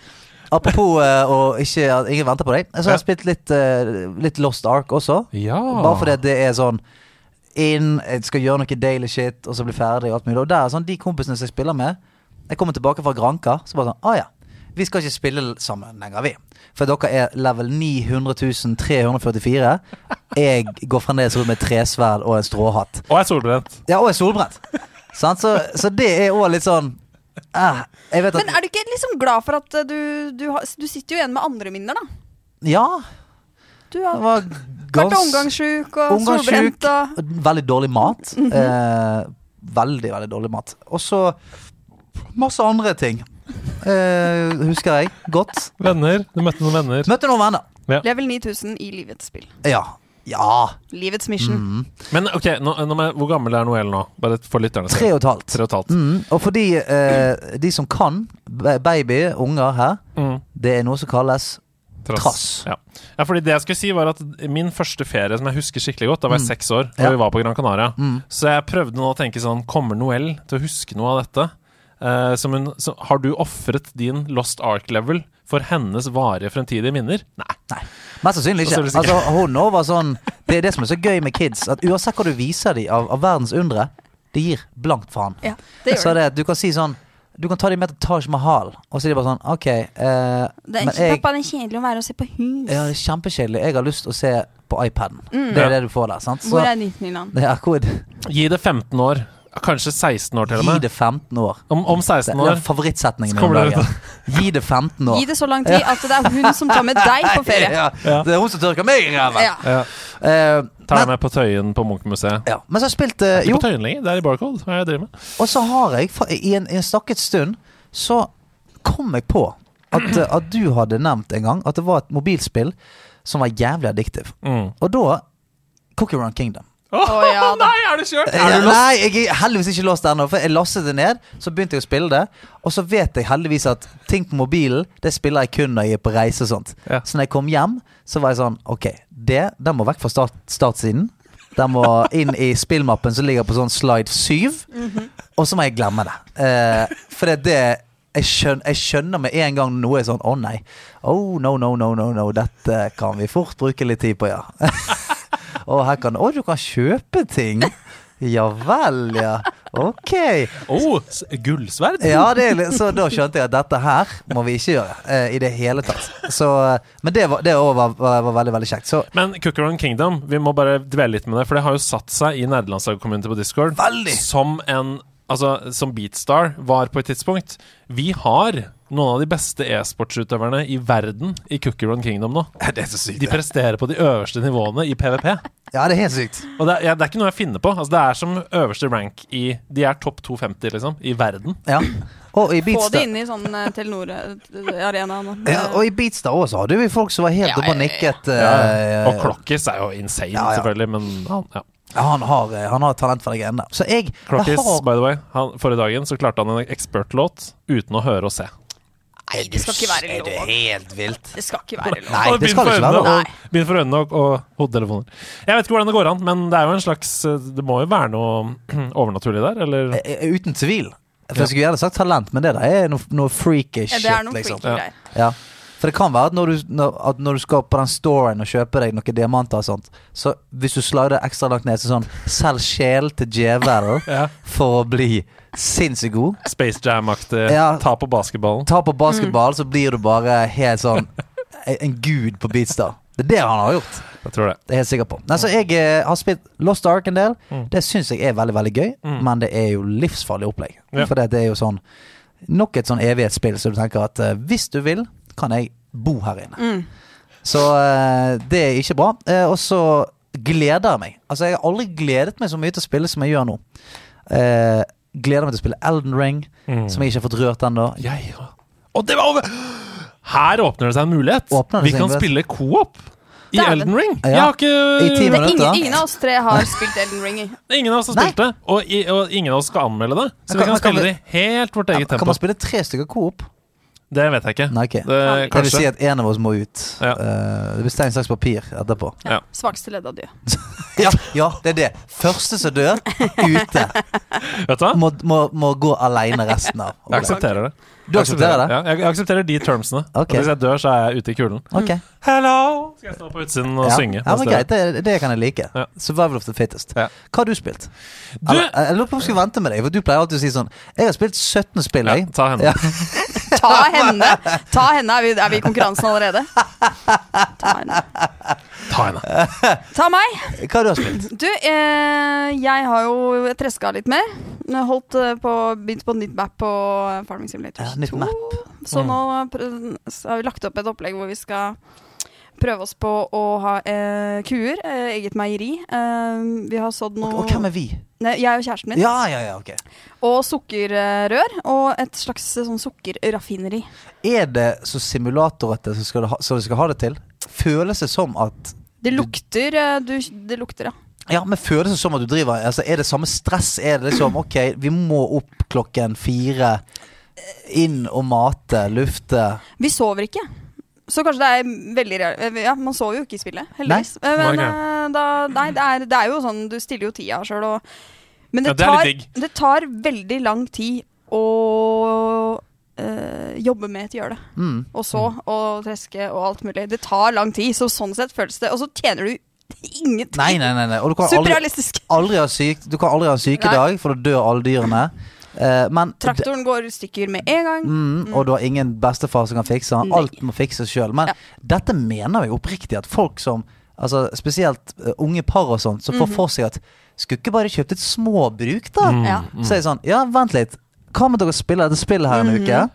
S2: Apropos eh, og ikke at ingen venter på deg, så har jeg
S1: Ja.
S2: spilt litt, eh, litt Lost Ark også.
S1: Ja.
S2: Bare fordi at det er sånn inn, jeg skal gjøre noe daily shit, og så bli ferdig og alt mulig. Og der er sånn, de kompisene som jeg spiller med Jeg kommer tilbake fra Granka, så bare sånn Å ah, ja, vi skal ikke spille sammen lenger, vi. For dere er level 900344. Jeg går fremdeles rundt med et tresverd og en stråhatt.
S1: Og jeg er solbrent.
S2: Ja, og er solbrent. Sant? Så, så det er òg litt sånn eh, Jeg vet at
S5: Men er du ikke liksom glad for at eh, du, du, har, du sitter jo igjen med andre minner, da?
S2: Ja,
S5: eh, Du har
S2: det var
S5: Vært
S2: gans-
S5: omgangssjuk og
S2: omgangssjuk,
S5: solbrent og Mhm.
S2: Veldig dårlig mat. eh, veldig, veldig dårlig mat. Og så masse andre ting. Eh, husker jeg godt.
S1: Venner. Du møtte noen venner.
S2: Møtte noen venner.
S1: Ja.
S5: Level 9000 i livets spill.
S2: Ja. Ja. Mhm.
S5: Livets mission.
S1: Men ok, nå, nå må jeg, hvor gammel er Noel nå? Bare for lytterne
S2: Tre og et halvt.
S1: Tre og et halvt.
S2: Mm, og for de, eh, de som kan, ba- baby, unger her,
S1: Mm.
S2: det er noe som kalles Trass.
S1: Ja. ja, fordi det jeg skulle si var at min første ferie som jeg husker skikkelig godt, da var jeg seks år, og
S2: Mm. Ja. Mm.
S1: vi var på Gran Canaria. Så jeg prøvde nå å tenke sånn, kommer Noel til å huske noe av dette? Eh, som hun, så, har du offret din Lost Ark-level for hennes varige fremtidige minner? Nei.
S2: Nei, mest sannsynlig ikke.
S1: Mest sannsynlig
S2: Altså, hun nå var sånn Det er det som er så gøy med kids, at uansett hva du viser dem av, av verdens undre, det gir blankt faen.
S5: Ja, det
S2: så
S5: gjør det.
S2: det at du kan si sånn Du kan ta dem med til Taj Mahal, og så er de bare sånn OK, eh,
S5: Det er
S2: men
S5: ikke,
S2: jeg
S5: Pappa, det er kjedelig å være og se på hus.
S2: Ja, det er kjempekjedelig. Jeg har lyst til å se på iPaden.
S5: Mm.
S2: Det er
S1: Ja.
S2: det du får der, sant? Så
S5: Hvor er Disneyland?
S2: det er hvor
S1: Gi det 15 år. Kanskje 16 år til og
S2: Gi
S1: med.
S2: det 15 år.
S1: Om, om
S2: Det
S1: 16
S2: det er
S1: år.
S2: favorittsetningen min om
S1: Så kommer det
S2: dagen. Gi det 15 år.
S5: Gi det så lang tid at det er hun som tar med deg på ferie.
S2: Ja, det er hun som tørker meg i ræva.
S5: Ja.
S1: Ja.
S2: Eh,
S1: Tar jeg
S2: men,
S1: med på Tøyen på Munchmuseet.
S2: ja. men så spilte
S1: Ikke
S2: Jo,
S1: på Tøyen lenger, det er i Barcode. Hva er det jeg driver med?
S2: og så har jeg fa- I en, i en stakket stund så kom jeg på at, eh, at du hadde nevnt en gang at det var et mobilspill som var jævlig addictive.
S1: Mm.
S2: Og da Cookie Run Kingdom.
S5: Å, ja da.
S1: Nei, er du kjørt?
S2: Ja, Nei, jeg er heldigvis ikke låst ennå. For jeg lastet det ned, så begynte jeg å spille det. Og så vet jeg heldigvis at ting på mobilen Det spiller jeg kun når jeg er på reise og sånt.
S1: Ja.
S2: Så når jeg kom hjem, så var jeg sånn Ok, det den må vekk fra start, startsiden. Den må inn i spillmappen som ligger på sånn slide 7.
S4: Mm.
S5: Mhm.
S2: Og så må jeg glemme det. Eh, for det er det jeg skjønner, jeg skjønner med en gang noe er sånn Å nei. Oh no, no, no, no, no. Dette kan vi fort bruke litt tid på, ja. Og her kan Å, du kan kjøpe ting! Ja vel, ja. Ok.
S1: Oh, s- gullsverd?
S2: Ja, det, er litt- så da skjønte jeg at dette her må vi ikke gjøre eh, i det hele tatt. Så, eh, men det, var, det også var, var, var veldig, veldig kjekt. Så
S1: Men Cooker on Kingdom, vi må bare dvele litt med det, for det har jo satt seg i nederlandslagkommunene på Discord
S2: Veldig.
S1: som en Altså, som Beatstar var på et tidspunkt. Vi har noen av de beste e-sportsutøverne i verden i Cooker on Kingdom nå.
S4: Det er så sykt.
S1: De presterer på de øverste nivåene i PVP.
S2: ja, det er helt sykt.
S1: Og det er, ja, det er ikke noe jeg finner på. Altså, det er som øverste rank i De er topp 250, liksom, i verden.
S2: Ja. Og
S5: Få
S2: i
S5: det
S2: Beatstar
S5: inn i sånn eh, Telenor-arenaen.
S2: ja, og i Beatstar også hadde vi folk som var helt
S5: Ja,
S2: oppe og
S5: ja, ja.
S2: nikket. eh,
S1: Og Clockis er jo insane,
S2: Ja, ja.
S1: selvfølgelig, men han, ja.
S2: ja, han, har, eh, han har talent for de greiene der. Så jeg, jeg
S1: Clockis,
S2: har
S1: by the way, han, forrige dagen så klarte han en expert-låt uten å høre og se.
S5: Nei, det skal ikke være
S2: Er det
S5: lov.
S2: helt vilt?
S5: Det skal ikke være lov.
S2: Nei,
S1: Og
S2: det skal
S1: bind
S2: ikke
S1: for
S2: være
S1: øynene
S2: lov.
S1: og- Bind for øynene og, og hodetelefoner. Jeg vet ikke hvordan det går an, men det er jo en slags eh, Det må jo være noe overnaturlig der, eller?
S2: Eh, eh, Uten tvil. For
S1: Ja.
S2: Jeg skulle gjerne sagt talent, men det der er noe, noe freaky
S5: Ja,
S2: shit.
S5: Det er noen
S2: liksom.
S5: freaky greier.
S2: Ja. For det kan være at når du, når, at når du skal på den storen og kjøpe deg noen diamanter og sånt, så hvis du slider ekstra langt ned, så sånn Selg sjel til djevelen
S1: Ja.
S2: for å bli sinnssykt god.
S1: Space Jam-aktig.
S2: Ja.
S1: Ta på basketballen.
S2: Ta på basketball,
S5: Mm.
S2: så blir du bare helt sånn en- en gud på Beatstar. Det er det han har gjort.
S1: Jeg tror det.
S2: Det er jeg helt sikker på. Nei, så jeg eh, har spilt Lost Ark en del.
S1: Mm.
S2: Det syns jeg er veldig veldig gøy, men det er jo livsfarlig opplegg.
S1: Ja.
S2: For det det er jo sånn nok et sånn evighetsspill så du tenker at eh, hvis du vil, kan jeg bo her inne.
S5: Mm.
S2: Så eh, det er ikke bra. Eh, og så gleder jeg meg. Altså, jeg har aldri gledet meg så mye til å spille som jeg gjør nå. Eh, gleder meg til å spille Elden Ring, som jeg ikke har fått rørt ennå.
S1: Mm. Jeg Og det var over! Her åpner det seg en mulighet.
S2: Åpner det
S1: Vi
S2: seg en
S1: kan
S2: mulighet.
S1: spille co-op i
S5: Dæven.
S1: Elden Ring.
S2: Ja.
S1: Jeg
S2: I
S1: har
S2: ti
S1: ikke
S5: Det er
S2: minutter.
S5: ingen, ingen av oss tre har spilt Elden Ring. i.
S1: Ingen av oss har
S2: Nei.
S1: spilt det, og, i, og ingen av oss skal anmelde det. Så
S2: Men kan-
S1: vi
S2: men
S1: kan
S2: kan
S1: spille
S2: vi-
S1: det i helt vårt eget
S2: Kan
S1: tempo.
S2: man spille tre stykker coop?
S1: Det vet jeg ikke.
S2: Nei, ok. Det
S1: Det,
S2: vil
S1: kanskje.
S2: si at en av oss må ut.
S1: Ja.
S2: Eh, det blir stein, saks, papir etterpå.
S1: Ja.
S5: Svakeste ledd av dyr.
S2: Ja, ja, det er det. Første som dør, ute.
S1: Vet du hva?
S2: Må, må, må gå aleine resten av.
S1: Jeg aksepterer det.
S2: Du aksepterer det?
S1: Ja, jeg, jeg aksepterer de termsene.
S2: Ok.
S1: At Hvis jeg dør, så er jeg ute i kulen.
S2: Ok.
S1: Hello! Skal jeg stå på utsiden og
S2: Ja.
S1: synge?
S2: Ja, men greit, det, det kan jeg like.
S1: Ja.
S2: Survival of the fittest.
S1: Ja.
S2: Hva har du spilt?
S1: Du-
S2: Eller, jeg lurer på om jeg skal vente med deg, for du pleier alltid å si sånn Jeg har spilt 17 spill,
S1: Ja,
S2: jeg.
S1: ta henne.
S2: Ja.
S5: Ta henne! Ta henne, Er vi, er vi i konkurransen allerede? Ta henne.
S1: Ta henne.
S5: Ta meg!
S2: Hva har du har spilt?
S5: Du, eh, jeg har jo treska litt mer. Jeg Holdt eh, på, begynt på nytt map på Farming Simulator
S2: Ja, Mm. nytt
S5: 2.
S2: map.
S5: Så nå prø- så har vi lagt opp et opplegg hvor vi skal prøve oss på å ha eh, kuer. Eh, eget meieri. Eh, vi har sådd
S2: Og,
S5: noe
S2: og hvem er vi?
S5: Nei, Jeg og kjæresten min.
S2: Ja, ja, ja, ok.
S5: Og sukkerrør. Og et slags eh, sånn sukkerraffineri.
S2: Er det så simulatorete som skal det ha- som vi skal ha det til? føles det som at
S5: Det lukter, eh, du, det lukter, ja.
S2: Ja, men føles det som at du driver altså, Er det samme stress? Er det liksom OK, vi må opp klokken fire. eh, Inn og mate, lufte.
S5: Vi sover ikke. Så kanskje det er veldig real- Ja, man sover jo ikke i spillet, heldigvis. Eh, Men
S1: Nei,
S5: eh, da, nei, det, er, det er jo sånn, du stiller jo tida sjøl og Men det,
S1: Ja,
S5: tar,
S1: det er litt
S5: det tar veldig lang tid å eh, jobbe med et gjøle.
S2: Mm.
S5: Og så og treske og alt mulig. Det tar lang tid, så sånn sett føles det Og så tjener du ingenting.
S2: Nei, nei, nei. nei. Og du kan aldri,
S5: Superrealistisk.
S2: aldri ha syk, du kan aldri ha en sykedag, for da dør alle dyrene. Eh, men
S5: Traktoren går i stykker med en gang.
S2: Mm, og du har ingen bestefar som kan fikse han.
S5: Nei.
S2: Alt må fikses sjøl. Men
S5: Ja.
S2: dette mener vi oppriktig at folk som altså Spesielt eh, unge par og sånt, som
S5: Mhm.
S2: får for seg at skulle ikke bare kjøpt et småbruk, da?
S1: Mm,
S5: Ja.
S2: Så er det sånn Ja, vent litt. Hva med dere spiller dette spillet her en uke?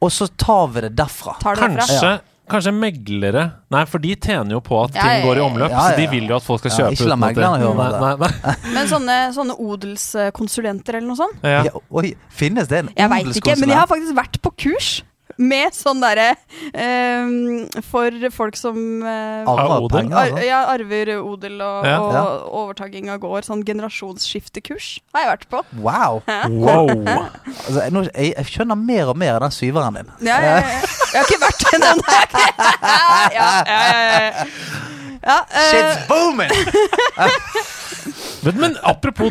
S2: Og så tar vi det derfra.
S5: Mhm. Tar det derfra.
S1: Kanskje, kanskje meglere Nei, for de tjener jo på at
S5: Ja,
S1: ting
S5: ja, ja.
S1: går i omløp.
S2: Ja, ja,
S1: Så de
S2: ja.
S1: vil jo at folk skal
S2: Ja,
S1: kjøpe.
S2: ikke la
S1: uten at det-
S2: meglerne høre om
S1: Nei,
S2: det.
S1: nei, nei.
S5: Men sånne, sånne odelskonsulenter eller noe sånt
S1: Ja.
S2: Ja, oi, finnes det en
S5: Jeg veit ikke, men jeg
S2: odelskonsulent?
S5: har faktisk vært på kurs med sånn derre ehm, For folk som eh,
S1: Har
S2: Arver
S1: odel?
S2: penger,
S5: ar
S2: altså.
S5: ja, arver odel og,
S1: Ja.
S5: og
S2: Ja.
S5: overtaking av gård. Sånn generasjonsskiftekurs har jeg vært på.
S2: Wow.
S1: Wow!
S2: Altså, jeg, nå, jeg, jeg skjønner mer og mer av den syveren din.
S5: Ja, ja, ja. Jeg har ikke vært i den der. ja, ja, ja, ja. Ja, eh,
S2: Shit's booming!
S1: Men, men apropos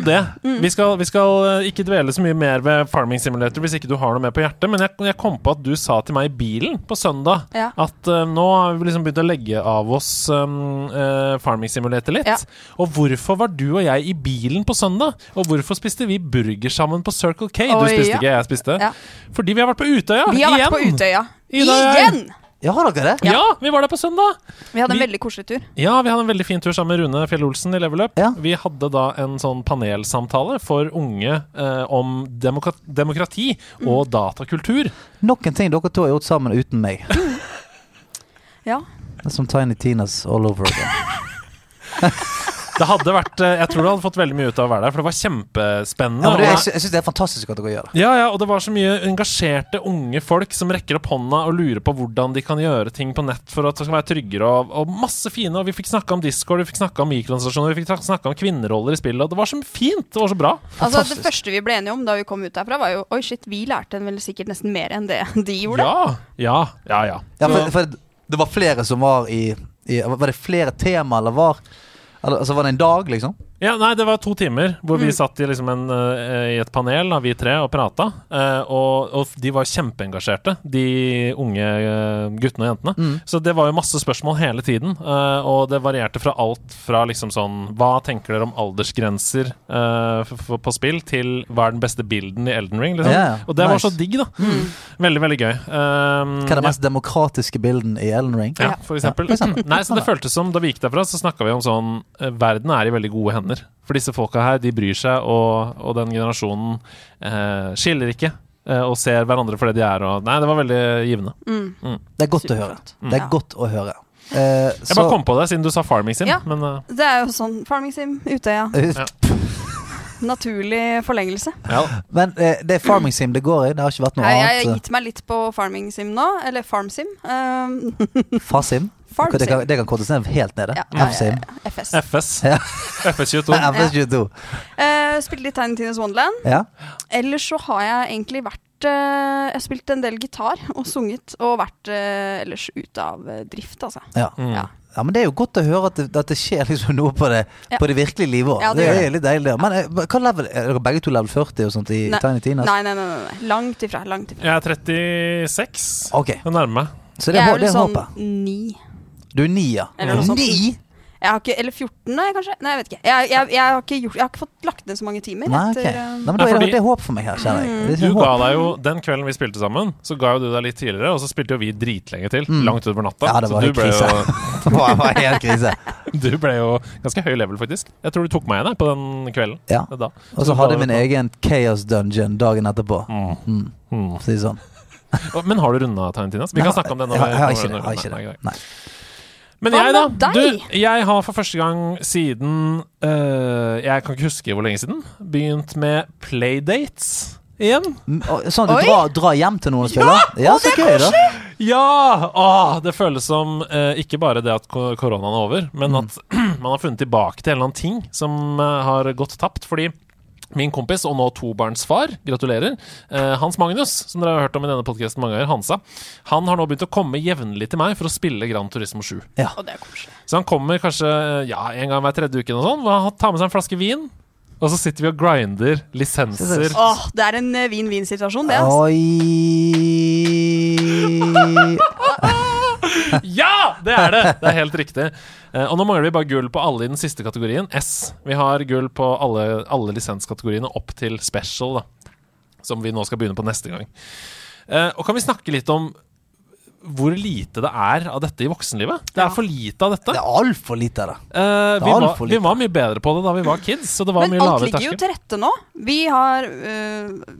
S1: det.
S5: Mm.
S1: Vi skal, vi skal eh, ikke dvele så mye mer ved Farming Simulator hvis ikke du har noe mer på hjertet, men jeg, jeg kom på at du sa til meg i bilen på søndag
S5: Ja.
S1: at eh, nå har vi liksom begynt å legge av oss um, eh, Farming Simulator litt.
S5: Ja.
S1: Og hvorfor var du og jeg i bilen på søndag? Og hvorfor spiste vi burger sammen på Circle K?
S5: Oi,
S1: du spiste
S5: ja.
S1: ikke, jeg spiste.
S5: Ja.
S1: Fordi vi har vært på Utøya
S5: vi har
S1: igjen!
S5: vært på Utøya.
S1: Ida og jeg.
S5: Igjen!
S2: Ja, har dere det?
S1: Ja. vi var der på søndag.
S5: Vi hadde en
S1: Vi-
S5: veldig koselig tur.
S1: Ja, vi hadde en veldig fin tur sammen med Rune Fjell Olsen i Level Up.
S2: Ja.
S1: Vi hadde da en sånn panelsamtale for unge eh, om demokra demokrati og
S5: Mm.
S1: datakultur.
S2: Nok en ting dere to har gjort sammen uten meg.
S5: Ja.
S2: Det er som Tiny Tinas all over again.
S1: Det hadde vært eh, Jeg tror du hadde fått veldig mye ut av å være der, for det var kjempespennende.
S2: Ja, men det,
S1: Og-
S2: jeg, sy jeg syns det er fantastisk at dere gjør det.
S1: Ja, ja, og det var så mye engasjerte unge folk som rekker opp hånda og lurer på hvordan de kan gjøre ting på nett for at det skal være tryggere, og, og masse fine. Og vi fikk snakka om Discord, vi fikk snakka om mikrotransaksjoner, vi fikk snakka om kvinneroller i spillet, og det var så fint! Det var så bra.
S5: Altså, det
S2: Fantastisk.
S5: første vi ble enige om da vi kom ut derfra, var jo Oi, shit, vi lærte vel sikkert nesten mer enn det de gjorde.
S1: Ja, ja, ja. ja.
S2: Ja, for, for det var flere som var i, i Var det flere tema, eller var eller, Altså, var det en dag, liksom?
S1: Ja, nei, det var to timer hvor
S2: Mm.
S1: vi satt i, liksom en, eh, i et panel, da, vi tre, og prata. Eh, og, og de var kjempeengasjerte, de unge eh, guttene og jentene.
S2: Mm.
S1: Så det var jo masse spørsmål hele tiden. eh, og det varierte fra alt fra liksom sånn Hva tenker dere om aldersgrenser eh, f f på spill, til hva er den beste bilden i Elden Ring? Liksom.
S2: Ja, ja.
S1: Og det var
S2: Nice. Mm.
S1: så digg, da.
S5: Mm.
S1: Veldig, veldig gøy. Um,
S2: Hva er
S1: ja.
S2: den mest demokratiske bilden i Ellen Ring?
S1: Ja, for eksempel.
S2: Ja, for eksempel.
S1: Nei, så det føltes som, da vi gikk derfra, så snakka vi om sånn eh, Verden er i veldig gode hender. For disse folka her, de bryr seg, og, og den generasjonen eh, skiller ikke. eh, Og ser hverandre for det de er. Og, nei, det var veldig givende.
S5: Mm.
S1: Mm.
S2: Det er godt å høre.
S5: Superflott.
S2: Det er
S5: Ja.
S2: godt å høre. Eh,
S1: Jeg bare kom på det siden du sa Farming Sim.
S5: Ja.
S1: Men eh,
S5: Det er jo sånn Farming Sim, Utøya.
S2: Eh,
S5: Naturlig forlengelse.
S1: ja.
S2: Men eh, det er farming sim det går i. Det har ikke vært noe
S5: Jeg jeg har
S2: annet. eh,
S5: gitt meg litt på Farming Sim nå. Eller Farm Sim. Um,
S2: Fasim.
S5: Farm
S2: Det kan,
S5: Sim.
S2: det kan kortes ned helt nede.
S5: Ja, ja, ja,
S2: F-sim.
S5: FS.
S1: FS.
S2: Ja.
S1: FS22.
S2: Nei, FS22.
S5: Eh, spilte litt Tiny Tines Wonderland.
S2: Ja.
S5: Ellers så har jeg egentlig vært eh, Jeg har spilt en del gitar og sunget, og vært eh, ellers ute av eh, drift, altså.
S2: Ja.
S1: Mm.
S5: Ja.
S2: ja, men det er jo godt å høre at det, at det skjer liksom noe på det,
S5: Ja.
S2: på det virkelige livet òg.
S5: Ja,
S2: det,
S5: det gjør
S2: er litt deilig. det. Men eh, hva level, er dere begge to level 40 og sånt i
S5: Nei.
S2: Tiny Tinas?
S5: Nei, nei, nei. nei, nei. Langt ifra. Langt ifra.
S1: Jeg er 36.
S2: Ok,
S1: Jeg nærmer meg.
S2: så det
S5: Jeg
S2: er,
S5: er
S2: hå- det
S5: vel
S2: er
S5: sånn
S2: håpet.
S5: ni.
S2: Du er ni, ja.
S5: Eller noe sånt.
S2: Ni?
S5: Jeg har ikke, eller 14, nei, kanskje? Nei, jeg vet ikke. Jeg, jeg, jeg, har, ikke gjort, jeg har ikke fått lagt ned så mange timer.
S2: Nei, ok.
S5: etter,
S2: Nei,
S5: um,
S2: men da
S1: Nei,
S2: er det,
S1: fordi-
S2: det er håp for meg her,
S5: Mm.
S2: kjenner jeg. Det er
S1: Du
S2: håp.
S1: ga deg jo, Den kvelden vi spilte sammen, så ga jo du deg litt tidligere, og så spilte jo vi dritlenge til. Langt utover natta.
S2: Mm. Ja, det var
S1: så
S2: helt
S1: du ble,
S2: krise.
S1: jo,
S2: Det var- var helt krise.
S1: du ble jo ganske høy level, faktisk. Jeg tror du tok meg igjen jeg, på den kvelden.
S2: Ja.
S1: Det da.
S2: Og så hadde jeg min e- egen chaos dungeon dagen etterpå. Mm.
S1: Mm.
S2: For å si det sånn.
S1: Og- Men har du runda Tarantinias? Vi kan snakke om den. når
S2: Jeg har,
S1: vi-
S2: jeg har
S1: når
S2: ikke
S1: vi-
S2: det. Jeg har ikke
S1: Nei,
S2: det.
S1: greit.
S2: Nei.
S1: Men
S5: Hva
S1: jeg,
S5: med
S1: da? Du,
S5: deg?
S1: jeg har for første gang siden øh, Jeg kan ikke huske hvor lenge siden. Begynt med playdates igjen.
S2: Mm, og- Sånn at
S5: Oi!
S2: du drar, drar hjem til noen og spiller? Ja, så gøy, da.
S1: Ja! Åh, det føles som eh, ikke bare det at ko- koronaen er over,
S2: Mm.
S1: men at man har funnet tilbake til en eller annen ting som eh, har gått tapt. Fordi min kompis, og nå tobarnsfar, gratulerer, eh, Hans Magnus, som dere har hørt om i denne podkasten mange ganger, Hansa, han har nå begynt å komme jevnlig til meg for å spille Gran Turismo 7.
S5: Og det er koselig.
S1: Så han kommer kanskje eh, ja, en gang hver tredje uke, og sånn, hvor han tar med seg en flaske vin. Og så sitter vi og grinder lisenser.
S5: Åh, det er en eh, vin-vin-situasjon, det. Altså.
S2: Oi
S1: Ja! Det er det! Det er helt riktig. Eh, og nå mangler vi bare gull på alle i den siste kategorien, S. Vi har gull på alle, alle lisenskategoriene opp til special, da. Som vi nå skal begynne på neste gang. Eh, og kan vi snakke litt om hvor lite det er av dette i voksenlivet? Det er for lite av dette.
S2: Det er altfor lite av det.
S1: Eh,
S2: det er
S1: vi, var,
S2: altfor lite.
S1: vi var mye bedre på det da vi var kids, så det var
S5: Men
S1: mye
S5: alt
S1: lavere
S5: ligger jo
S1: terskel.
S5: til rette nå. Vi har eh,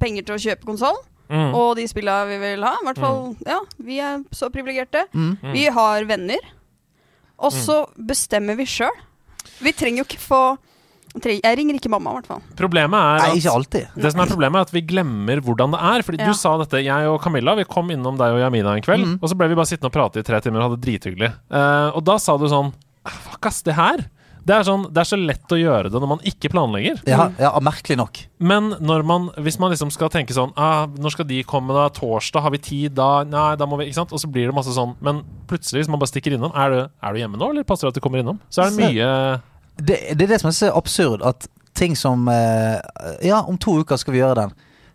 S5: penger til å kjøpe konsoll.
S1: Mm.
S5: Og de spilla vi vil ha. I hvert fall, ja, vi er så privilegerte.
S2: Mm.
S1: Mm.
S5: Vi har venner. Og så bestemmer vi sjøl. Vi trenger jo ikke få tre- Jeg ringer ikke mamma, i hvert fall.
S1: Problemet er
S2: Nei,
S1: at
S2: ikke alltid.
S1: Det som er problemet er at vi glemmer hvordan det er. Fordi
S5: Ja.
S1: du sa dette, jeg og Camilla Vi kom innom deg og Jamina en kveld,
S2: Mm.
S1: og så ble vi bare sittende og prate i tre timer og hadde det drithyggelig. Eh, og da sa du sånn Fuck, ass, det her. Det er, sånn, det er så lett å gjøre det når man ikke planlegger.
S2: Ja, ja, merkelig nok.
S1: Men når man, hvis man liksom skal tenke sånn ah, Når skal de komme? da? Torsdag? Har vi tid da? Nei, da må vi Ikke sant? Og så blir det masse sånn. Men plutselig, hvis man bare stikker innom Er du, er du hjemme nå, eller passer det at du kommer innom? Så er det mye
S2: Det, det er det som er så absurd, at ting som eh, Ja, om to uker skal vi gjøre den.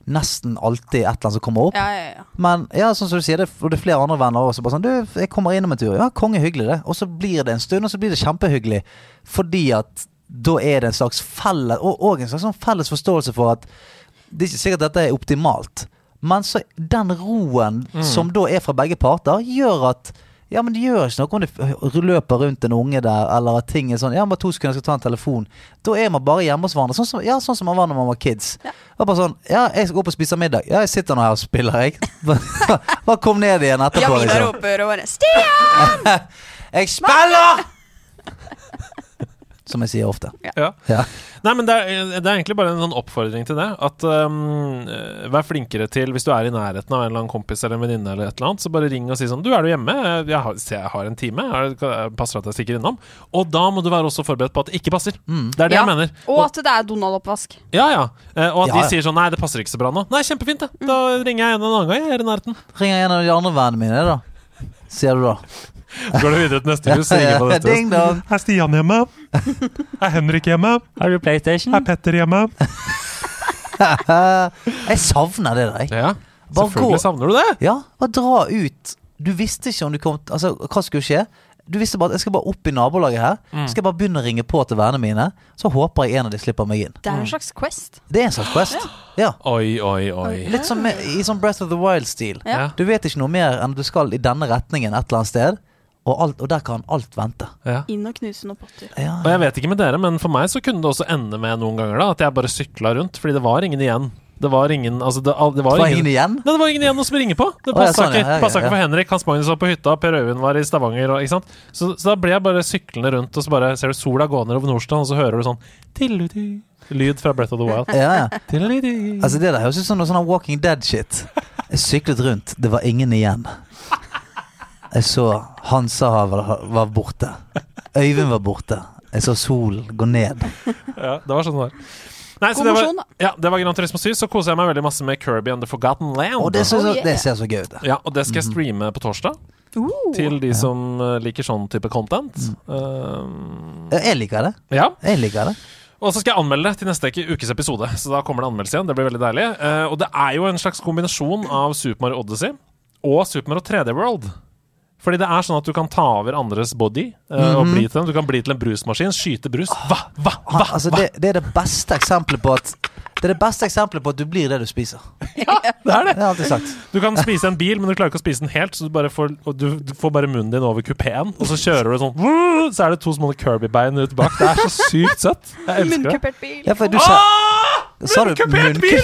S2: Nesten alltid et eller annet som kommer opp.
S5: Ja, ja, ja.
S2: Men ja, sånn som du sier, det, er- og det er flere andre venner også. Bare sånn, du, jeg kommer innom en tur. Ja, konge hyggelig det. Og så blir det en stund, og så blir det kjempehyggelig. Fordi at da er det en slags felles Og, og en slags sånn felles forståelse for at det er ikke sikkert dette er optimalt. Men så den roen som da er fra begge parter, gjør at ja, men det gjør ikke noe om det f- løper rundt en unge der, eller at ting er sånn Ja, om bare to sekunder jeg skal ta en telefon. Da er man bare hjemme hos hverandre. Sånn som, ja, sånn som man var når man var kids.
S5: Ja.
S2: Det var bare sånn Ja, jeg skal opp og spise middag. Ja, jeg sitter nå her og spiller, jeg. Bare kom ned igjen etterpå.
S5: Jamina
S2: liksom.
S5: roper og bare Stian!
S2: Jeg spiller! Som jeg sier ofte.
S1: ja.
S2: Ja.
S1: Nei, men det er, det er egentlig bare en sånn oppfordring til det. At um, eh, Vær flinkere til, hvis du er i nærheten av en eller annen kompis eller en venninne, eller et eller annet, så bare ring og si sånn Du, er du hjemme? Jeg har, se, jeg har en time. Er det- kan- passer det at jeg stikker innom? Og da må du være også forberedt på at det ikke passer.
S2: Mm.
S1: Det er det
S5: Ja.
S1: jeg mener.
S5: Og at det er Donald-oppvask.
S1: ja, ja. Eh, Og at
S2: Ja,
S1: de
S2: ja.
S1: sier sånn Nei, det passer ikke så bra nå. Nei, kjempefint, det.
S5: Mm.
S1: Da ringer jeg igjen en annen gang. Jeg er i nærheten.
S2: Ringer en av de andre vennene mine, da. Sier du da.
S1: Så Går du videre til neste hus, så ringer jeg på dette
S2: Ding
S1: huset.
S2: dong.
S1: Er Stian hjemme? Er Henrik hjemme? Er du PlayStation? Er Petter hjemme?
S2: Jeg savner det der. jeg.
S1: Ja,
S2: Bare gå.
S1: selvfølgelig savner du det.
S2: Ja, bare dra ut. Du visste ikke om du kom Altså, hva skulle skje? Du visste bare at jeg skal bare opp i nabolaget her.
S1: Mm.
S2: Så Skal jeg bare begynne å ringe på til vennene mine. Så håper jeg en av de slipper meg inn.
S5: Det
S1: Mm.
S5: er en slags quest.
S2: Det er en slags quest. Ja.
S1: Oi, oi, oi.
S2: Litt som med, i sånn Breath of the Wild-stil.
S5: Ja.
S1: Ja.
S2: Du vet ikke noe mer enn at du skal i denne retningen et eller annet sted, og, alt, og der kan alt vente.
S1: Ja.
S5: Inn og knuse noen potter.
S2: Ja.
S1: Og jeg vet ikke med dere, men for meg så kunne det også ende med noen ganger da at jeg bare sykla rundt, fordi det var ingen igjen. Det var ingen altså det, al- det var,
S2: Det var
S1: ingen,
S2: ingen igjen?
S1: Nei, det var ingen igjen som ringer på! Det
S2: Å, ja,
S1: passa
S2: sånn, ja,
S1: ikke,
S2: ja, ja,
S1: passet ikke
S2: ja.
S1: for Henrik. Hans Magnus var på hytta, Per Øyvind var i Stavanger. Og, ikke sant? Så, så da ble jeg bare syklende rundt, og så bare ser du sola gå ned over Nordstrand, og så hører du sånn tilluti, lyd fra Breath of the Wild.
S2: Ja, ja.
S1: Tilluti.
S2: Altså Det der høres ut som noe sånn Walking Dead-shit. Jeg syklet rundt, det var ingen igjen. Jeg så Hansahavet var borte. Øyvind var borte. Jeg så solen gå ned.
S1: Ja, det var sånn det var. Nei, så
S5: God
S1: det var,
S5: mosjon, da.
S1: ja, det var Gran Turismo 7. Så koser jeg meg veldig masse med Kirby and The Forgotten Land.
S2: Og det, ser så,
S5: Oh, yeah. Uh.
S2: det ser så gøy ut. det. Mhm.
S1: ja, og det skal jeg streame på torsdag. Til de som eh, liker sånn type content. Um,
S2: Mm. Ja, Jeg liker det.
S1: ja.
S2: Jeg liker det.
S1: Og så skal jeg anmelde det til neste uke- ukes episode. Så da kommer det anmeldelse igjen. Det blir veldig deilig. Eh, og det er jo en slags kombinasjon av Super Mario Odyssey og Super Mario 3D World. Fordi det er sånn at du kan ta over andres body eh,
S2: Mhm.
S1: og bli til dem. Du kan bli til en brusmaskin, skyte brus.
S2: Ah.
S1: Hva, hva,
S2: Han,
S1: hva?
S2: altså, det, det er det beste eksempelet på at Det er det beste eksempelet på at du blir det du spiser. Det
S1: Det er det.
S2: har jeg alltid sagt.
S1: Du kan spise en bil, men du klarer ikke å spise den helt, så du bare får, og du, du får bare munnen din over kupeen, og så kjører du sånn "Woo!" Så er det to små Kirby-bein ut bak. Det er så sykt søtt. Jeg elsker det.
S5: Munnkupert bil.
S2: Ja, for du sa,
S1: Ah!
S2: sa du
S1: Kupert
S2: munn-
S1: bil!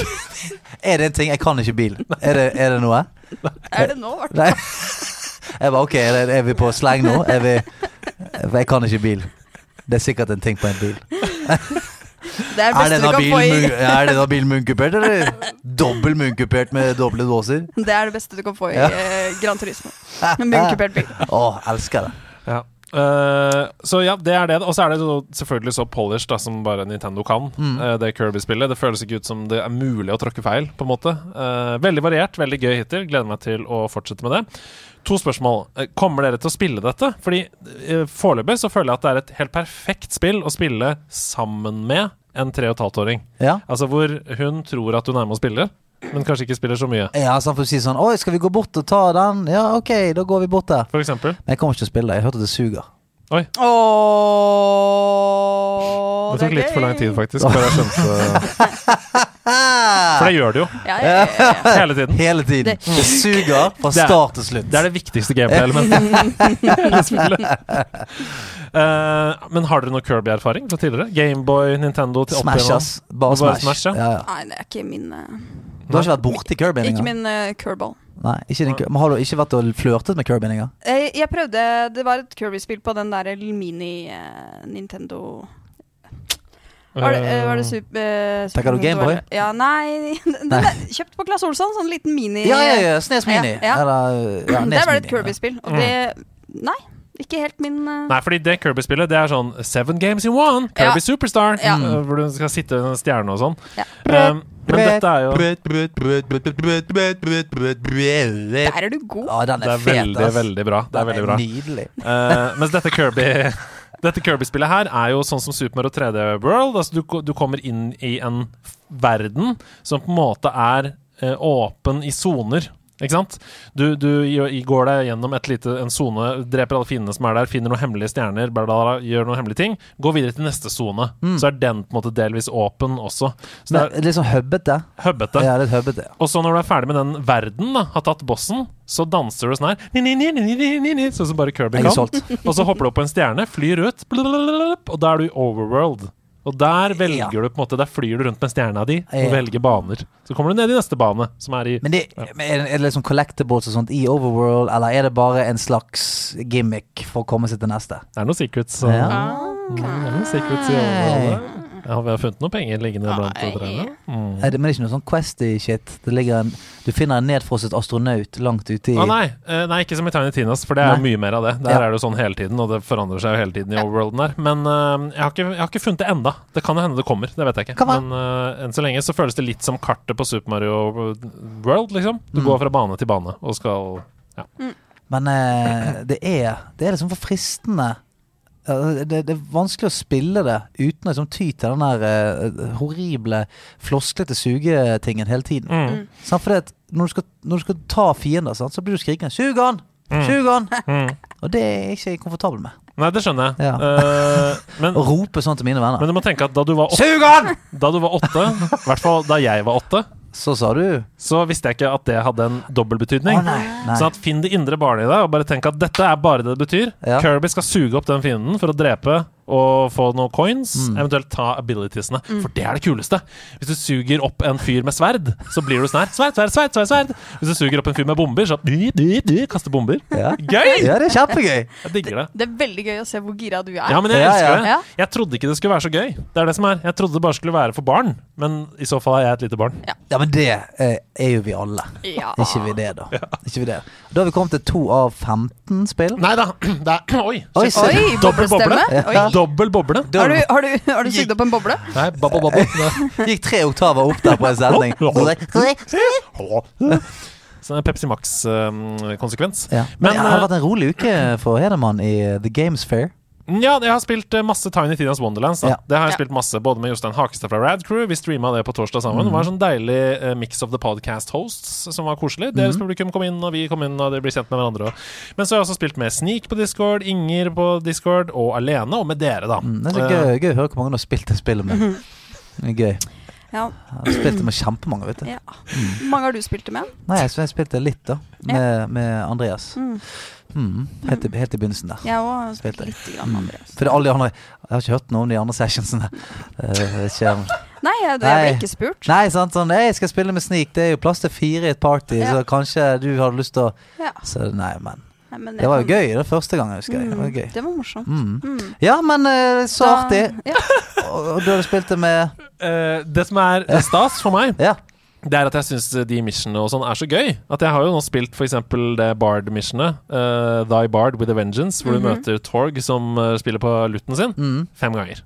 S2: Er det en ting? Jeg kan ikke bil. Er det, er det noe?
S5: Er det nå? Vart?
S2: Nei. Jeg bare OK, er, det, er vi på slang nå? Er vi For jeg kan ikke bil. Det er sikkert en ting på en bil.
S5: Det er det
S2: Er
S5: beste du
S2: denne
S5: kan få
S2: bilen, mu-
S5: i
S2: er denne bilen munnkupert, eller dobbel munnkupert med doble dåser?
S5: Det er det beste du kan få i
S2: Ja.
S5: eh, Gran Turismo. En munnkupert bil.
S2: Å, elsker det.
S1: Ja. Eh, så ja, det er det. Og så er det jo selvfølgelig så polished da, som bare Nintendo kan.
S2: Mm.
S1: eh, det Kirby-spillet. Det føles ikke ut som det er mulig å tråkke feil, på en måte. Eh, veldig variert, veldig gøy hittil. Gleder meg til å fortsette med det. To spørsmål. Eh, Kommer dere til å spille dette? Fordi eh, foreløpig så føler jeg at det er et helt perfekt spill å spille sammen med en tre og et halvt åring.
S2: Ja.
S1: Altså hvor hun tror at hun er med og spiller, men kanskje ikke spiller så mye.
S2: Ja, så han får si sånn Oi, skal vi gå bort og ta den? Ja, ok, da går vi bort der.
S1: For eksempel.
S2: Men jeg kommer ikke til å spille det. Jeg hørte at det suger.
S1: Oi,
S5: Ååå
S1: det tok litt for lang tid, faktisk, før jeg skjønte For det gjør det jo.
S5: Ja, ja, ja, ja, ja.
S1: Hele tiden.
S2: Hele tiden.
S5: Det-
S2: Det suger fra
S1: Det er-
S2: start til slutt.
S1: Det er det viktigste gameplay-elementet i hele spillet. Eh, men har dere noe Kirby-erfaring fra tidligere? Gameboy, Nintendo til opp
S2: Smash,
S1: igjennom?
S2: ass. Bare
S1: Bare
S2: smash.
S1: Smash, ja.
S2: ja, ja.
S5: Nei, det er ikke min eh,
S2: Du har ikke vært borti Kirby
S5: Ikke
S2: engang?
S5: min eh, curveball.
S2: Nei, ikke din, men har du ikke vært og flørtet med Kirby engang?
S5: Jeg, jeg prøvde Det var et Kirby-spill på den der mini-Nintendo Var det, eh, var det super, eh, Super
S2: Tenker du
S5: Nintendo,
S2: Gameboy?
S5: eller? Ja, nei, den
S2: Nei.
S5: er kjøpt på Claes Olsson. Sånn liten mini
S2: Ja, ja, ja. Snes Mini.
S5: Ja, ja.
S2: Eller ja,
S5: Der
S2: Nes
S5: var det et
S2: Mini, ja.
S5: Kirby-spill, og det Nei, ikke helt min eh,
S1: Mm. Nei, fordi det Kirby-spillet Det er sånn Seven games in one! Kirby
S5: Ja.
S1: Superstar!
S5: Ja.
S1: eh, Hvor du skal sitte ved en stjerne og sånn.
S5: Ja.
S1: Eh, men dette er jo
S2: jo
S5: Der er du god.
S2: Ja, den
S1: Det
S2: er
S1: er
S2: fet,
S1: veldig,
S2: ass.
S1: veldig bra. Det er veldig bra.
S2: Nydelig.
S1: Eh, mens dette Kirby Dette Kirby-spillet her er jo sånn som Super Mario 3D World. Altså du, ko- du kommer inn i en f- verden som på en måte er eh, åpen i soner. Ikke sant? Du, du gjør- går deg gjennom et lite, en sone, dreper alle fiendene som er der, finner noen hemmelige stjerner, bla, bla, bla, gjør noen hemmelige ting, går videre til neste sone. Så er den på en måte delvis åpen også. Så det
S2: Men
S1: er
S2: Mm. Litt sånn hubbete.
S1: hubbete.
S2: Ja, litt hubbete. ja.
S1: Og så når du er ferdig med den verden, da, har tatt bossen, så danser du sånn her. Ni, ni, ni, ni, ni, ni, ni, Sånn som bare Kirby
S2: Jeg er
S1: kan.
S2: solgt.
S1: Og så hopper du opp på en stjerne, flyr ut, blablabla, og da er du i overworld. Og der velger
S2: Ja.
S1: du på en måte, der flyr du rundt med stjerna di og
S2: Ja.
S1: velger baner. Så kommer du ned i neste bane, som er i
S2: Men, det, men er det- er det liksom collectibles og sånt i Overworld, eller er det bare en slags gimmick for å komme seg til neste?
S1: Det er noen secrets. Så,
S2: Ja.
S1: Mm, det er noen secrets i overworld. Ja, vi har funnet noen penger liggende blant trærne. Mm.
S2: Er det, men det er ikke noe sånn questy shit? Det ligger en, du finner en nedfrosset astronaut langt ute i
S1: Å nei, eh, nei, ikke som i Tiny Tinas, for det er jo
S2: Nei.
S1: mye mer av det. Der
S2: Ja.
S1: er det jo sånn hele tiden, og det forandrer seg jo hele tiden i overworlden her. Men eh, jeg, har ikke, jeg har ikke funnet det enda. Det kan jo hende det kommer, det vet jeg ikke.
S2: Kan være.
S1: Men eh, enn så lenge så føles det litt som kartet på Super Mario World, liksom.
S2: Mm.
S1: Du går fra bane til bane og skal
S2: Men eh, det er Det er liksom for fristende. Eh, Det, det er vanskelig å spille det uten å liksom ty til den der eh, horrible, flosklete sugetingen hele tiden.
S1: Mm.
S2: Sant, fordi at når du skal, når du skal ta fiender, sant, så blir du skrikende 'Sug han! Sug han!'
S1: Mm.
S2: Og det er jeg ikke komfortabel med.
S1: Nei, det skjønner jeg.
S2: Ja.
S1: Eh, men,
S2: Å rope sånn til mine venner.
S1: men du må tenke at da du var åtte,
S2: Sug han!
S1: da du var åtte i hvert fall da jeg var åtte,
S2: Så sa du
S1: så visste jeg ikke at det hadde en
S2: Å
S1: dobbeltbetydning.
S2: nei. nei.
S1: Sånn at Finn det indre barnet i deg, og bare tenk at dette er bare det det betyr.
S2: Ja.
S1: Kirby skal suge opp den fienden for å drepe og få noen coins,
S2: Mm.
S1: eventuelt ta abilitiesene, for det er det kuleste. Hvis du suger opp en fyr med sverd, så blir du sånn her sverd, sverd, sverd, sverd, sverd. Hvis du suger opp en fyr med bomber, så du, du, du, kaster bomber.
S2: Ja.
S1: Gøy!
S2: ja, det er kjempegøy.
S1: Jeg digger det.
S5: Det er veldig gøy å se hvor gira du er.
S1: Ja, men jeg
S2: Ja,
S1: elsker det.
S5: ja.
S1: Jeg trodde ikke det skulle være så gøy. Det er det som er. Jeg trodde det bare skulle være for barn, men i så fall er jeg et lite barn.
S2: Ja, men det eh, er jo vi alle.
S5: Ja.
S2: Er ikke vi det, da? Ikke vi det. Da har vi kommet til to av 15 spill.
S1: Nei da, det er Oi!
S2: Oi,
S1: shit.
S2: se.
S5: Oi,
S1: Dobbel boble.
S5: boblestemme. Oi.
S1: Dobbel boble.
S5: Har du, har du, har du sugd opp en boble?
S1: Nei, babble, babble. Det-
S2: Gikk tre oktaver opp der på en setning. Så det-
S1: Så det er Pepsi eh, Max-konsekvens.
S2: Ja. Men
S1: Men, eh,
S2: det har vært en rolig uke for Hedemann i The Games Fair.
S1: ja, jeg har spilt eh, masse Tiny Tinas Wonderlands. Da.
S2: Ja.
S1: Det har jeg
S5: Ja.
S1: spilt masse, Både med Jostein Hakestad fra Rad Crew. Vi streama det på torsdag sammen. Det var
S2: Mhm.
S1: en sånn deilig eh, mix of the podcast hosts som var koselig.
S2: Mhm.
S1: Deres publikum kom inn, og vi kom inn, og dere blir kjent med hverandre. også. Men så har jeg også spilt med Sneak på Discord, Inger på Discord, og alene, og med dere, da. Eh,
S2: Mm, Det er så gøy, gøy å høre hvor mange du har spilt det spillet med. Det er gøy.
S5: Mhm. Ja.
S2: Jeg har spilt det med kjempemange, vet du. Mm.
S5: ja. Hvor mange har du spilt det med?
S2: Nei, jeg, jeg spilte litt, da. Med, med Andreas.
S5: Mm.
S2: Mm. Helt, i, helt i begynnelsen der.
S5: Jeg òg har spilt
S2: Spilt det.
S5: lite grann, Andreas.
S2: For det er alle de andre Jeg har ikke hørt noe om de andre sessionsene. Eh, jeg vet ikke om-
S5: Nei, jeg, jeg
S2: Nei.
S5: ble ikke spurt.
S2: Nei, sant. Sånn, «Ei, jeg skal spille med Sneak. Det er jo plass til fire i et party,
S5: Ja.
S2: så kanskje du hadde lyst til å
S5: Ja.
S2: Så nei, men
S5: Nei, men
S2: Det var jo
S5: kan-
S2: gøy det første gangen, husker jeg. Det var gøy.
S5: Mm, det var morsomt.
S2: Mm.
S5: Mm.
S2: Ja, men eh, så
S5: Da-
S2: artig.
S5: Ja.
S2: Og og du hadde spilt det med
S1: Eh, det som er stas for meg,
S2: Ja.
S1: det er at jeg syns de missionene og sånn er så gøy. At jeg har jo nå spilt f.eks. det Bard-missionet, eh, Thy Bard with a Vengeance, hvor du møter Torg som eh, spiller på lutten sin,
S2: Mm.
S1: fem ganger.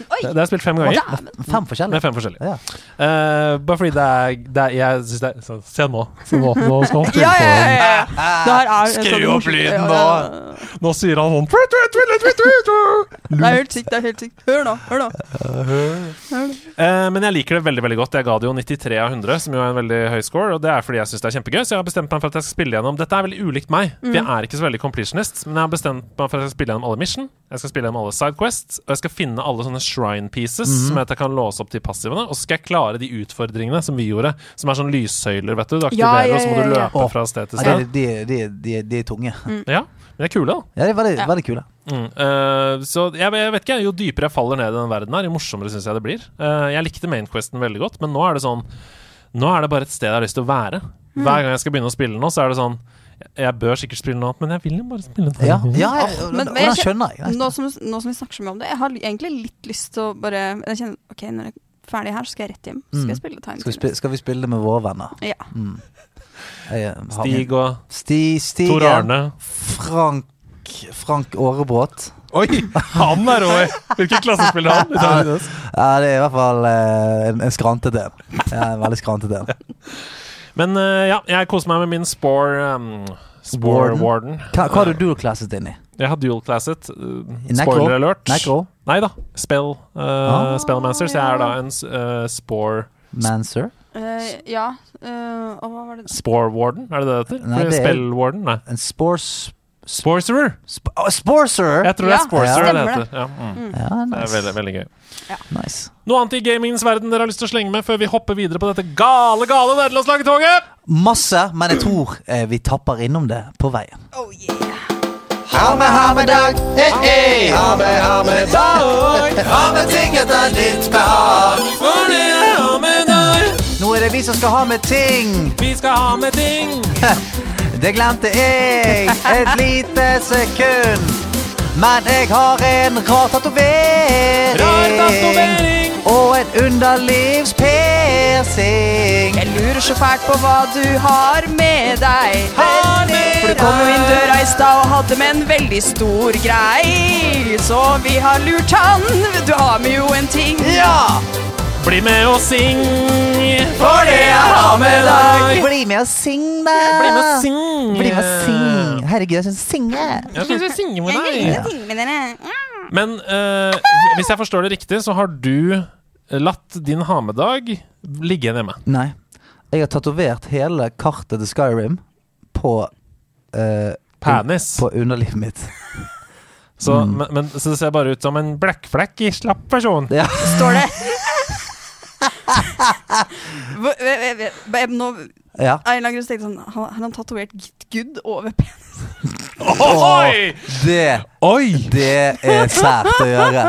S5: Oi!
S1: Det, det har jeg spilt fem ganger.
S2: Fem forskjellige.
S1: Med fem forskjellige.
S2: Ja.
S1: Eh, bare fordi det er, det er Jeg syns det er så, Se nå. Se nå. Nå skal han
S5: Ja,
S1: spille
S5: ja, ja, ja. Det her er sånn-
S4: Skru opp lyden
S5: nå!
S1: på Nå sier han sånn «Twi, twi, twi, twi, twi, twi».
S5: Det er helt sykt. det er helt sykt. Hør nå, hør nå.
S1: Eh, Men jeg liker det veldig veldig godt. Jeg ga det jo 93 av 100, som jo er en veldig høy score. Og det er fordi jeg syns det er kjempegøy, så jeg har bestemt meg for at jeg skal spille gjennom Dette er veldig ulikt meg, for
S5: Mm.
S1: jeg er ikke så veldig completionist. Men jeg har bestemt meg for at jeg skal spille gjennom alle Mission, jeg skal spille gjennom alle Sidequests, og jeg skal finne alle sånne shrine pieces
S5: Mhm.
S1: som jeg kan låse opp til passivene, og så skal jeg klare de utfordringene som vi gjorde, som er sånn lyssøyler, vet du. Du aktiverer,
S5: Ja, ja,
S1: og så må du
S5: ja, ja.
S1: løpe fra sted til
S2: Ja, de,
S1: sted.
S2: de, de, de, de er tunge.
S1: Ja, men de er kule, da.
S2: Ja, de er
S5: Mm.
S2: veldig,
S5: Ja.
S2: veldig kule.
S1: Mm, eh, så jeg, jeg vet ikke, jo dypere jeg faller ned i den verden her, jo morsommere syns jeg det blir. Eh, jeg likte Mainquesten veldig godt, men nå er det sånn Nå er det bare et sted jeg har lyst til å være.
S2: Mm.
S1: Hver gang jeg skal begynne å spille nå, så er det sånn jeg- Jeg bør sikkert spille noe annet, men jeg vil jo bare spille noe
S2: Ja,
S1: annet. Ah,
S2: ja, ja og
S5: men-
S2: og
S5: men jeg
S2: den skjønner jeg.
S5: Nå som, nå som vi snakker så mye om det, jeg har egentlig litt lyst til å bare Jeg kjenner, ok, når jeg er ferdig her, så skal jeg rett hjem. Så skal jeg spille Time
S2: Mm. Skal
S5: Crimes.
S2: vi, spille, skal vi spille det med våre venner? Mm.
S5: Ja.
S2: Jeg, eh, har min-
S1: Stig og
S2: Sti, Stigen.
S1: Tor Arne.
S2: Frank Frank Aarebrot.
S1: Oi! Han er rå! Hvilken klasse spiller han?
S2: Ja, det er i hvert fall eh, en, en skrantete en. Ja, en veldig skrantete en.
S1: Men eh, ja, jeg koser meg med min Spore um, Spore
S2: Warden.
S1: Warden.
S2: Hva, hva har du dual classet inn i?
S1: Jeg har dual classet.
S2: I Necro?
S1: eh, Spoiler alert.
S2: Necro?
S1: Nei da. Spell, eh,
S2: Ah,
S1: Spellmancer. Så jeg er da
S5: ja.
S1: en uh, Spore
S2: Mancer?
S5: Eh, ja. eh, og hva var det
S1: Spore Warden, er det det det heter?
S2: Nei,
S1: Eller
S2: det er-
S1: Spell Warden? Nei.
S2: En spores...
S1: Sporcerer!
S2: Sp oh, sporcer?
S1: Jeg tror det
S5: Ja,
S1: er Sporcerer
S5: stemmer
S1: det
S5: det.
S1: heter. Ja, mm.
S2: Ja,
S1: Det er
S2: nice.
S1: veldig, veldig gøy.
S2: nice.
S1: Noe annet i gamingens verden dere har lyst til å slenge med før vi hopper videre på dette gale, gale nederlandslagetoget?
S2: Masse, men jeg tror eh, vi tapper innom det på veien.
S5: Oh yeah!
S2: Ha med, ha med dag, eh, eh. Ha med, ha med dag. Ha med ting etter ditt behag. Nå er det vi som skal ha med ting.
S1: Vi skal ha med ting!
S2: Det glemte jeg et lite sekund. Men jeg har en rar tatovering.
S1: Rar tatovering.
S2: Og et underlivspersing.
S5: Jeg lurer så fælt på hva du har med deg.
S2: Har med
S5: For du kom jo inn døra i stad og hadde med en veldig stor grei. Så vi har lurt han. Du har med jo en ting.
S2: Ja!
S1: Bli med og syng!
S2: For det jeg har med
S1: deg.
S2: Bli med og syng, da.
S1: Bli med og syng!
S2: Bli med og syng. Herregud, jeg skal synge.
S1: Jeg skal ikke synge med deg.
S5: ting med dere.
S1: Men eh, hvis jeg forstår det riktig, så har du latt din ha med-dag ligge igjen hjemme.
S2: Nei. Jeg har tatovert hele kartet til Skyrim på eh,
S1: Penis.
S2: På underlivet mitt. Mm.
S1: Så, men, men, så det ser bare ut som en blekkflekk i slapp person.
S2: Ja.
S5: Står det Hvor- v- v- v- b- Nå
S2: ja.
S5: av en eller annen grunn så tenkte jeg sånn Har har han tatovert Git Good over penis?
S1: Oi!
S2: Det,
S1: Oi!
S2: det er sært å gjøre.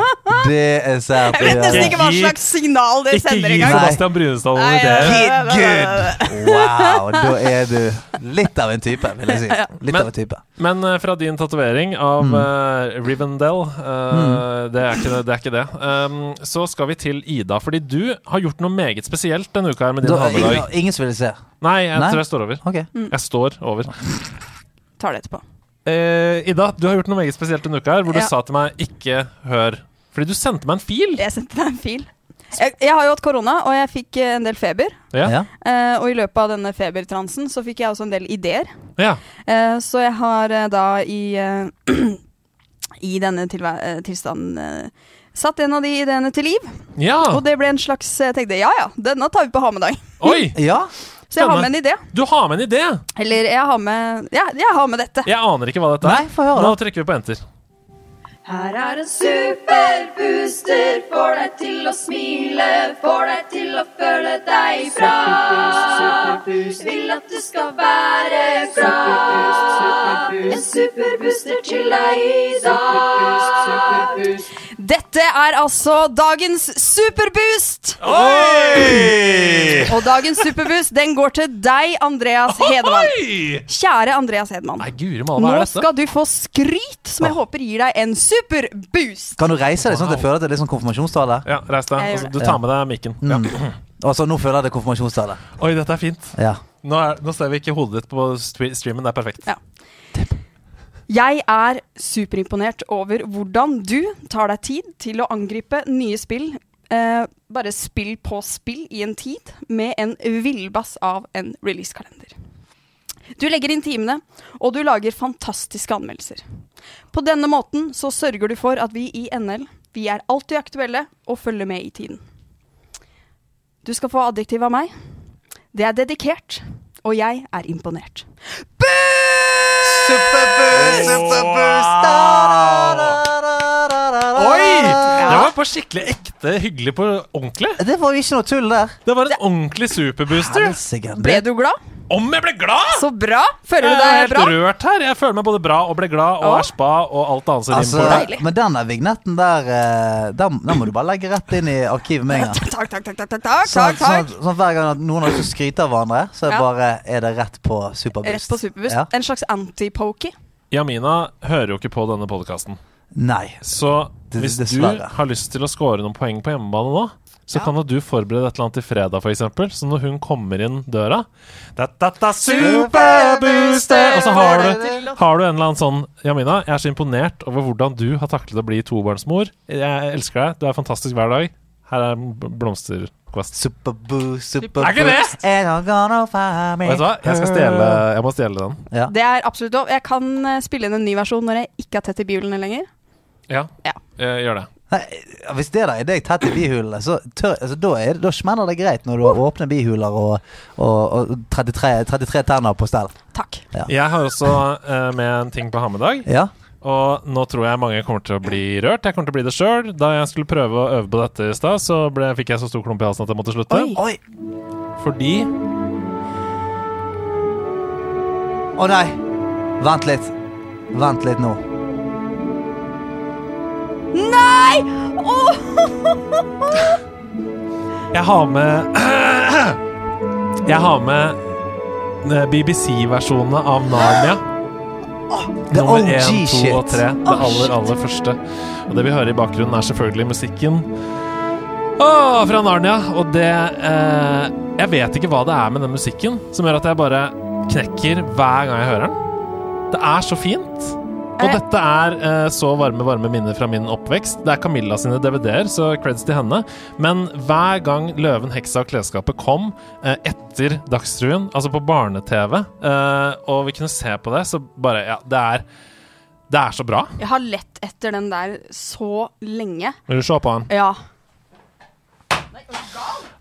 S2: Det er sært
S5: Jeg
S2: å
S5: vet nesten
S2: gjøre.
S5: ikke hva
S1: Ikke gi-
S5: slags signal det
S1: Ikke
S5: sender
S1: gi
S5: engang.
S2: Nei.
S1: Sebastian Brunestad noen
S5: Nei,
S1: ideer.
S5: Nei, nei, nei, nei.
S2: Wow, da er du litt av en type, vil jeg si. Litt
S1: Men-
S2: av en type.
S1: Men eh, fra din tatovering av
S2: Mm.
S1: eh, Rivendell eh, det, er ikke det, det er ikke det. Um, så skal vi til Ida, fordi du har gjort noe meget spesielt denne uka her med din
S2: Da,
S1: hamedag.
S2: ingen, ingen som vil se.
S1: Nei, jeg
S2: Nei?
S1: tror jeg står over.
S2: Ok.
S1: Jeg står over.
S5: Tar det etterpå.
S1: Eh, Ida, du har gjort noe meget spesielt denne uka her, hvor
S5: Ja.
S1: du sa til meg 'ikke hør'. Fordi du sendte meg en fil!
S5: Jeg sendte deg en fil. Jeg, jeg har jo hatt korona, og jeg fikk eh, en del feber.
S1: Ja.
S2: Ja.
S5: Eh, og i løpet av denne febertransen så fikk jeg også en del ideer.
S1: ja.
S5: Eh, så jeg har eh, da i, eh, i denne tilvæ eh, tilstanden eh, satt en av de ideene til liv.
S1: ja.
S5: Og det ble en slags Jeg tenkte ja ja, denne tar vi på hamedag.
S1: Oi!
S2: ja.
S5: Så jeg har
S1: Spennende.
S5: med en idé.
S1: Du har med en idé!
S5: Eller jeg har med Ja, jeg har med dette.
S1: Jeg aner ikke hva dette
S2: Nei,
S1: er.
S2: få høre,
S1: Nå
S2: da.
S1: trykker vi på enter.
S6: Her er en superbooster, får deg til å smile, får deg til å føle deg bra. Vil at du skal være bra. En superbooster til deg i dag.
S5: Dette er altså dagens superboost!
S1: Oi!
S5: Og dagens superboost den går til deg, Andreas Hedemann.
S1: Oi!
S5: Kjære Andreas Hedemann.
S1: Nei, guri malla,
S5: Nå
S1: hva er dette? Ah.
S5: skal du få skryt som jeg håper gir deg en superboost.
S2: Kan du reise deg sånn at jeg
S1: Wow.
S2: føler at det er litt sånn konfirmasjonstale?
S1: Ja, reis deg.
S5: Jeg gjør det.
S1: Altså, du tar med deg mikken. Ja.
S2: Altså, nå føler jeg det er konfirmasjonstale.
S1: Oi, dette er fint.
S2: Ja.
S1: Nå, er, nå ser vi ikke hodet ditt på stre- streamen. Det er perfekt.
S5: Jeg er superimponert over hvordan du tar deg tid til å angripe nye spill. Eh, bare spill på spill i en tid, med en villbass av en releasekalender. Du legger inn timene, og du lager fantastiske anmeldelser. På denne måten så sørger du for at vi i NL vi er alltid aktuelle og følger med i tiden. Du skal få adjektiv av meg. Det er dedikert, og jeg er imponert.
S2: Superboost, superboost da, da, da, da, da, da.
S1: Oi! Det var på skikkelig ekte hyggelig på ordentlig.
S2: Det var jo ikke noe tull der.
S1: Det var en ordentlig superbooster.
S2: Helsike.
S5: Ble du glad?
S1: Om jeg ble glad!
S5: Så bra! Føler
S1: Jeg
S5: du
S1: er
S5: deg
S1: helt
S5: bra?
S1: rørt her. Jeg føler meg både bra og ble glad og
S5: Ja.
S1: er spa og alt annet som
S2: Altså,
S1: rimer på det.
S5: Deilig.
S2: men den der vignetten der, eh, den, den må du bare legge rett inn i arkivet med en gang.
S5: Takk, takk, takk, takk, takk, takk,
S2: Sånn,
S5: takk,
S2: at- sånn,
S5: takk.
S2: at- sånn at hver gang at noen har lyst til å skryte av hverandre, så er,
S5: Ja.
S2: bare, er det rett på superboost.
S5: Rett på superboost.
S2: Ja.
S5: En slags anti-pokey.
S1: Jamina hører jo ikke på denne podkasten.
S2: Nei.
S1: Så
S2: Det-
S1: hvis du
S2: dessverre.
S1: har lyst til å score noen poeng på hjemmebane nå, så
S5: Ja.
S1: kan jo du forberede et eller annet til fredag, f.eks. Så når hun kommer inn døra Dette er superbooster! Og så har du, har du en eller annen sånn Jamina, jeg er så imponert over hvordan du har taklet å bli tobarnsmor. Jeg elsker deg. Du er fantastisk hver dag. Her er bl- blomsterkvast.
S2: Superboost, superboost.
S1: Er ikke det?
S2: And I'm gonna find me.
S1: Vet du hva? Jeg skal stjele Jeg må stjele den.
S2: Ja.
S5: Det er absolutt lov. Jeg kan eh, spille inn en ny versjon når jeg ikke har tett i bihulene lenger.
S1: Ja.
S5: Ja.
S1: Eh, Gjør det.
S2: Nei, hvis det der er deg tett i bihulene, så tør, altså, da, er, det- da smeller det greit når du har åpne bihuler og, og, og 33, 33 tenner på stell.
S5: Takk.
S1: Jeg har også eh, med en ting på hammedag.
S2: Ja.
S1: Og nå tror jeg mange kommer til å bli rørt. Jeg kommer til å bli det sjøl. Da jeg skulle prøve å øve på dette i stad, så ble, fikk jeg så stor klump i halsen at jeg måtte slutte.
S5: Oi.
S2: Oi!
S1: Fordi
S2: Å nei! Vent litt. Vent litt nå.
S5: Nei! Åh!
S1: jeg har med Jeg har med eh, BBC-versjonene av Narnia.
S2: The
S1: Nummer
S2: OG
S1: 1, 2 og
S2: shit.
S1: 3. Det
S4: Ah,
S5: Oh, shit.
S1: aller, aller første. Og det vi hører i bakgrunnen, er selvfølgelig musikken Åh, fra Narnia. Og det eh, Jeg vet ikke hva det er med den musikken som gjør at jeg bare knekker hver gang jeg hører den. Det er så fint. Og
S5: Eh.
S1: dette er eh, så varme, varme minner fra min oppvekst. Det er Camilla sine DVD-er, så creds til henne. Men hver gang Løven, heksa og klesskapet kom eh, etter Dagsrevyen, altså på barne-TV, eh, og vi kunne se på det, så bare Ja, det er Det er så bra.
S5: Jeg har lett etter den der så lenge.
S1: Vil du se på han?
S5: Ja.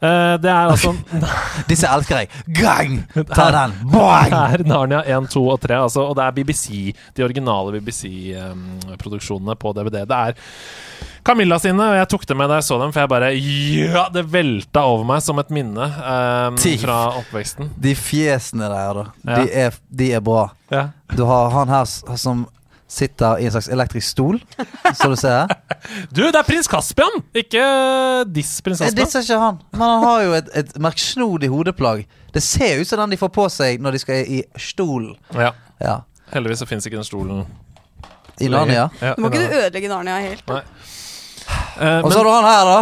S1: Eh, det er altså
S2: Disse elsker jeg. Gang! Ta den. Boing!
S1: Det er Narnia 1, 2 og 3, altså, og det er BBC, de originale BBC-produksjonene på DVD. Det er Camilla sine, og jeg tok det med da jeg så dem, for jeg bare Ja! Det velta over meg som et minne eh,
S2: Thief.
S1: fra oppveksten.
S2: De fjesene der, da. De
S1: Ja.
S2: er, de er bra.
S1: Ja.
S2: Du har han her s- som sitter i en slags elektrisk stol, som du ser her.
S1: Du, det er prins Caspian! Ikke diss prins
S2: Jeg
S1: Caspian.
S2: disser ikke han, men han har jo et, et merksnodig hodeplagg. Det ser ut som den de får på seg når de skal i stolen.
S1: Ja.
S2: Ja.
S1: Heldigvis så fins ikke den stolen.
S2: I Narnia.
S1: Ja,
S5: Nå må ikke du
S1: i Narnia.
S5: ødelegge Narnia helt.
S1: Eh,
S2: Og så har du han her, da.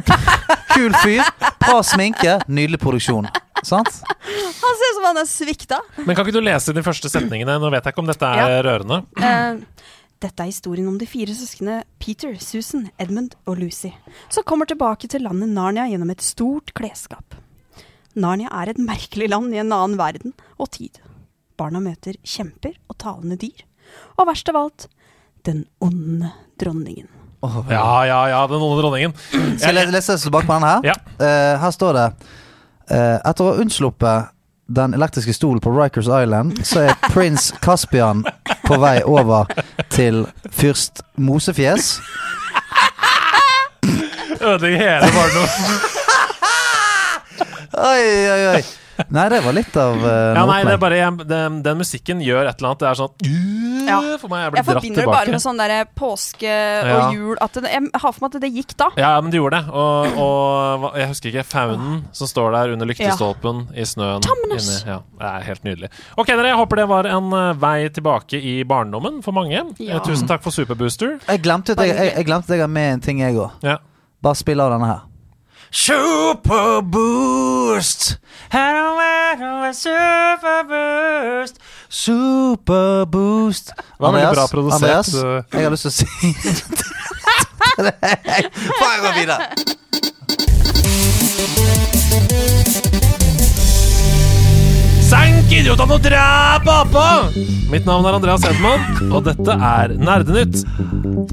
S2: Kul fyr. Bra sminke. Nydelig produksjon. Sant?
S5: Han ser ut som han er svikta.
S1: men, men kan ikke du lese de første setningene? Nå vet jeg ikke om dette er rørende.
S5: Eh, Dette er historien om de fire søskene Peter, Susan, Edmund og Lucy, som kommer tilbake til landet Narnia gjennom et stort klesskap. Narnia er et merkelig land i en annen verden og tid. Barna møter kjemper og talende dyr, og verst av alt den onde dronningen.
S2: Oh,
S1: Ja, ja, ja, den onde dronningen.
S2: Skal jeg lese tilbake på den her?
S1: Ja.
S2: Eh, her står det eh, Etter å ha unnsluppet den elektriske stolen på Rikers Island, så er prins Caspian på vei over til fyrst Mosefjes.
S1: Ødelegger hele barndommen.
S2: Oi, oi, oi. Nei, det var litt av uh,
S1: Ja, nei, det er bare jeg, den, den musikken gjør et eller annet. Det er sånn
S5: Ja.
S1: For meg, jeg
S5: Jeg
S1: blir dratt
S5: forbinder det bare
S1: tilbake.
S5: med sånn der påske
S1: Ja.
S5: og jul at det, Jeg har for meg at det gikk da.
S1: Ja, men du gjorde det. Og, og hva- jeg husker ikke faunen som står der under lyktestolpen i snøen.
S5: Tamnes!
S1: Inni- Ja, det er helt nydelig. Ok, dere, jeg håper det var en eh, vei tilbake i barndommen for mange.
S5: Ja.
S1: Eh, Tusen takk for Superbooster.
S2: Jeg glemte at jeg, jeg, jeg, glemte at jeg har med en ting, jeg òg.
S1: Ja.
S2: Bare spill av denne her. Superboost! Superboost! Superboost!
S1: var veldig bra produsert,
S2: Andreas,
S1: så-
S2: jeg har lyst til å si Får jeg gå videre?
S1: Sank idiotene og drep apa! Mitt navn er Andreas Hedman, og dette er Nerdenytt.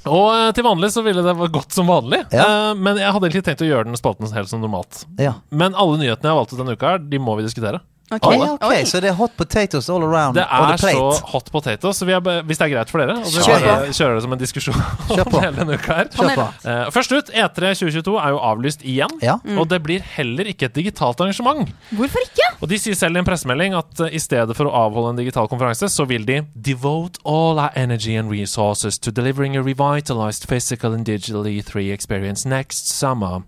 S1: Og eh, til vanlig så ville det gått som vanlig,
S2: Ja.
S1: eh, men jeg hadde egentlig tenkt å gjøre den spalten helt som normalt.
S2: Ja.
S1: Men alle nyhetene jeg har valgt ut denne uka, her, de må vi diskutere.
S2: Oi,
S5: Oi.
S2: ok, Så det er hot potatoes all around
S1: Det
S2: on
S1: er
S2: the
S1: så
S2: plate.
S1: hot potato, så vi er, be- hvis det er greit for dere, og vi
S5: Kjør
S1: bare kjører det som en diskusjon
S2: Kjør på.
S1: hele denne uka her.
S2: Kjør på.
S1: Eh, først ut, E3 2022 er jo avlyst igjen,
S2: Ja.
S1: og det blir heller ikke et digitalt arrangement.
S5: Mm. Hvorfor ikke?
S1: Og de sier selv i en pressemelding at eh, i stedet for å avholde en digital konferanse, så vil de devote all our energy and resources to delivering a revitalized physical and digital E3 experience next summer.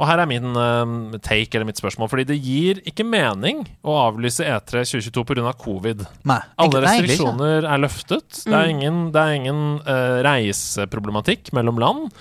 S1: Og her er min eh, take, eller mitt spørsmål, fordi det gir ikke mening å avlyse E E3 2022 pga. covid.
S2: Nei,
S1: Alle
S2: egentlig- nei, egentlig ikke. Mm.
S1: restriksjoner er løftet. Det er ingen, det er ingen eh, reiseproblematikk mellom land.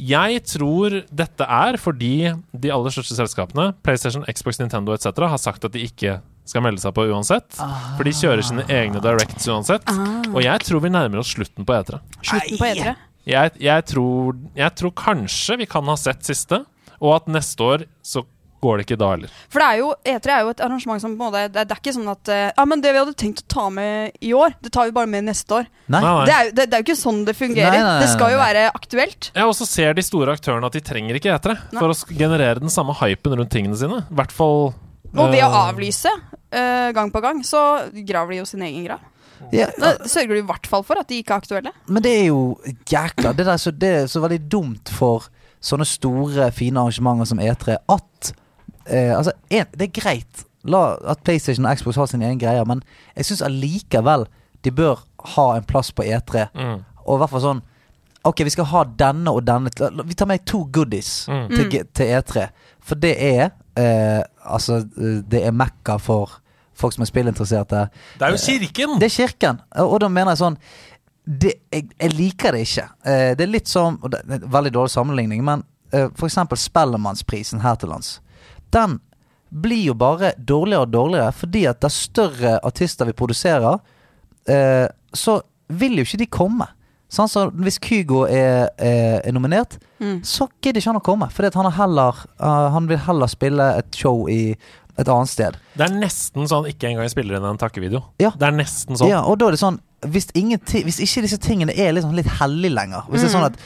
S1: Jeg tror dette er fordi de aller største selskapene, PlayStation, Xbox, Nintendo etc., har sagt at de ikke skal melde seg på uansett. For de kjører sine egne directs uansett.
S2: Ah.
S1: Og jeg tror vi nærmer oss slutten på E3.
S5: Slutten på E E3.
S1: Jeg, jeg, tror, jeg tror kanskje vi kan ha sett siste, og at neste år så går det ikke da heller.
S5: For det er jo, E3 er jo et arrangement som på en måte Det, det er ikke sånn at eh, Ja, men det vi hadde tenkt å ta med i år, det tar vi bare med neste år.
S2: Nei.
S1: Nei, nei.
S5: Det er, jo, det, det er jo ikke sånn det fungerer.
S2: Nei, nei, nei,
S5: det skal jo
S2: nei.
S5: være aktuelt.
S1: Ja, og så ser de store aktørene at de trenger ikke etere for å sk- generere den samme hypen rundt tingene sine. I hvert fall
S5: Og ved å
S1: eh,
S5: avlyse eh, gang på gang, så graver de jo sin egen grav.
S2: Ja,
S5: Da sørger de i hvert fall for at de ikke er aktuelle.
S2: Men det er jo jækla Det, der, så det er så veldig dumt for sånne store, fine arrangementer som E3 at eh, Altså, en, det er greit la, at PlayStation og Xbox har sine egne greier, men jeg syns allikevel de bør ha en plass på E3.
S1: Mm.
S2: Og i hvert fall sånn Ok, vi skal ha denne og denne. La- la- Vi tar med to goodies
S1: Mm.
S2: til, G- til E3. For det er eh, Altså, eh, det er mekka for folk som er spillinteresserte.
S1: Det er jo kirken!
S2: Det er kirken. Og da mener jeg sånn det, jeg, jeg liker det ikke. Eh, Det er litt som og det er en Veldig dårlig sammenligning, men eh, for eksempel Spellemannsprisen her til lands. Den blir jo bare dårligere og dårligere fordi at det er større artister vi produserer, eh, så vil jo ikke de komme. Sånn som Hvis Kygo er, eh, er, er nominert, så gidder ikke han å komme. Fordi at han, er heller, eh, han vil heller spille et show i et annet sted.
S1: Det er nesten sånn ikke engang spiller inn en takkevideo.
S2: Ja.
S1: Det er nesten sånn.
S2: Ja, og da er det sånn Hvis, ingenting- hvis ikke disse tingene er liksom litt hellig lenger Hvis det
S5: Mm.
S2: er sånn at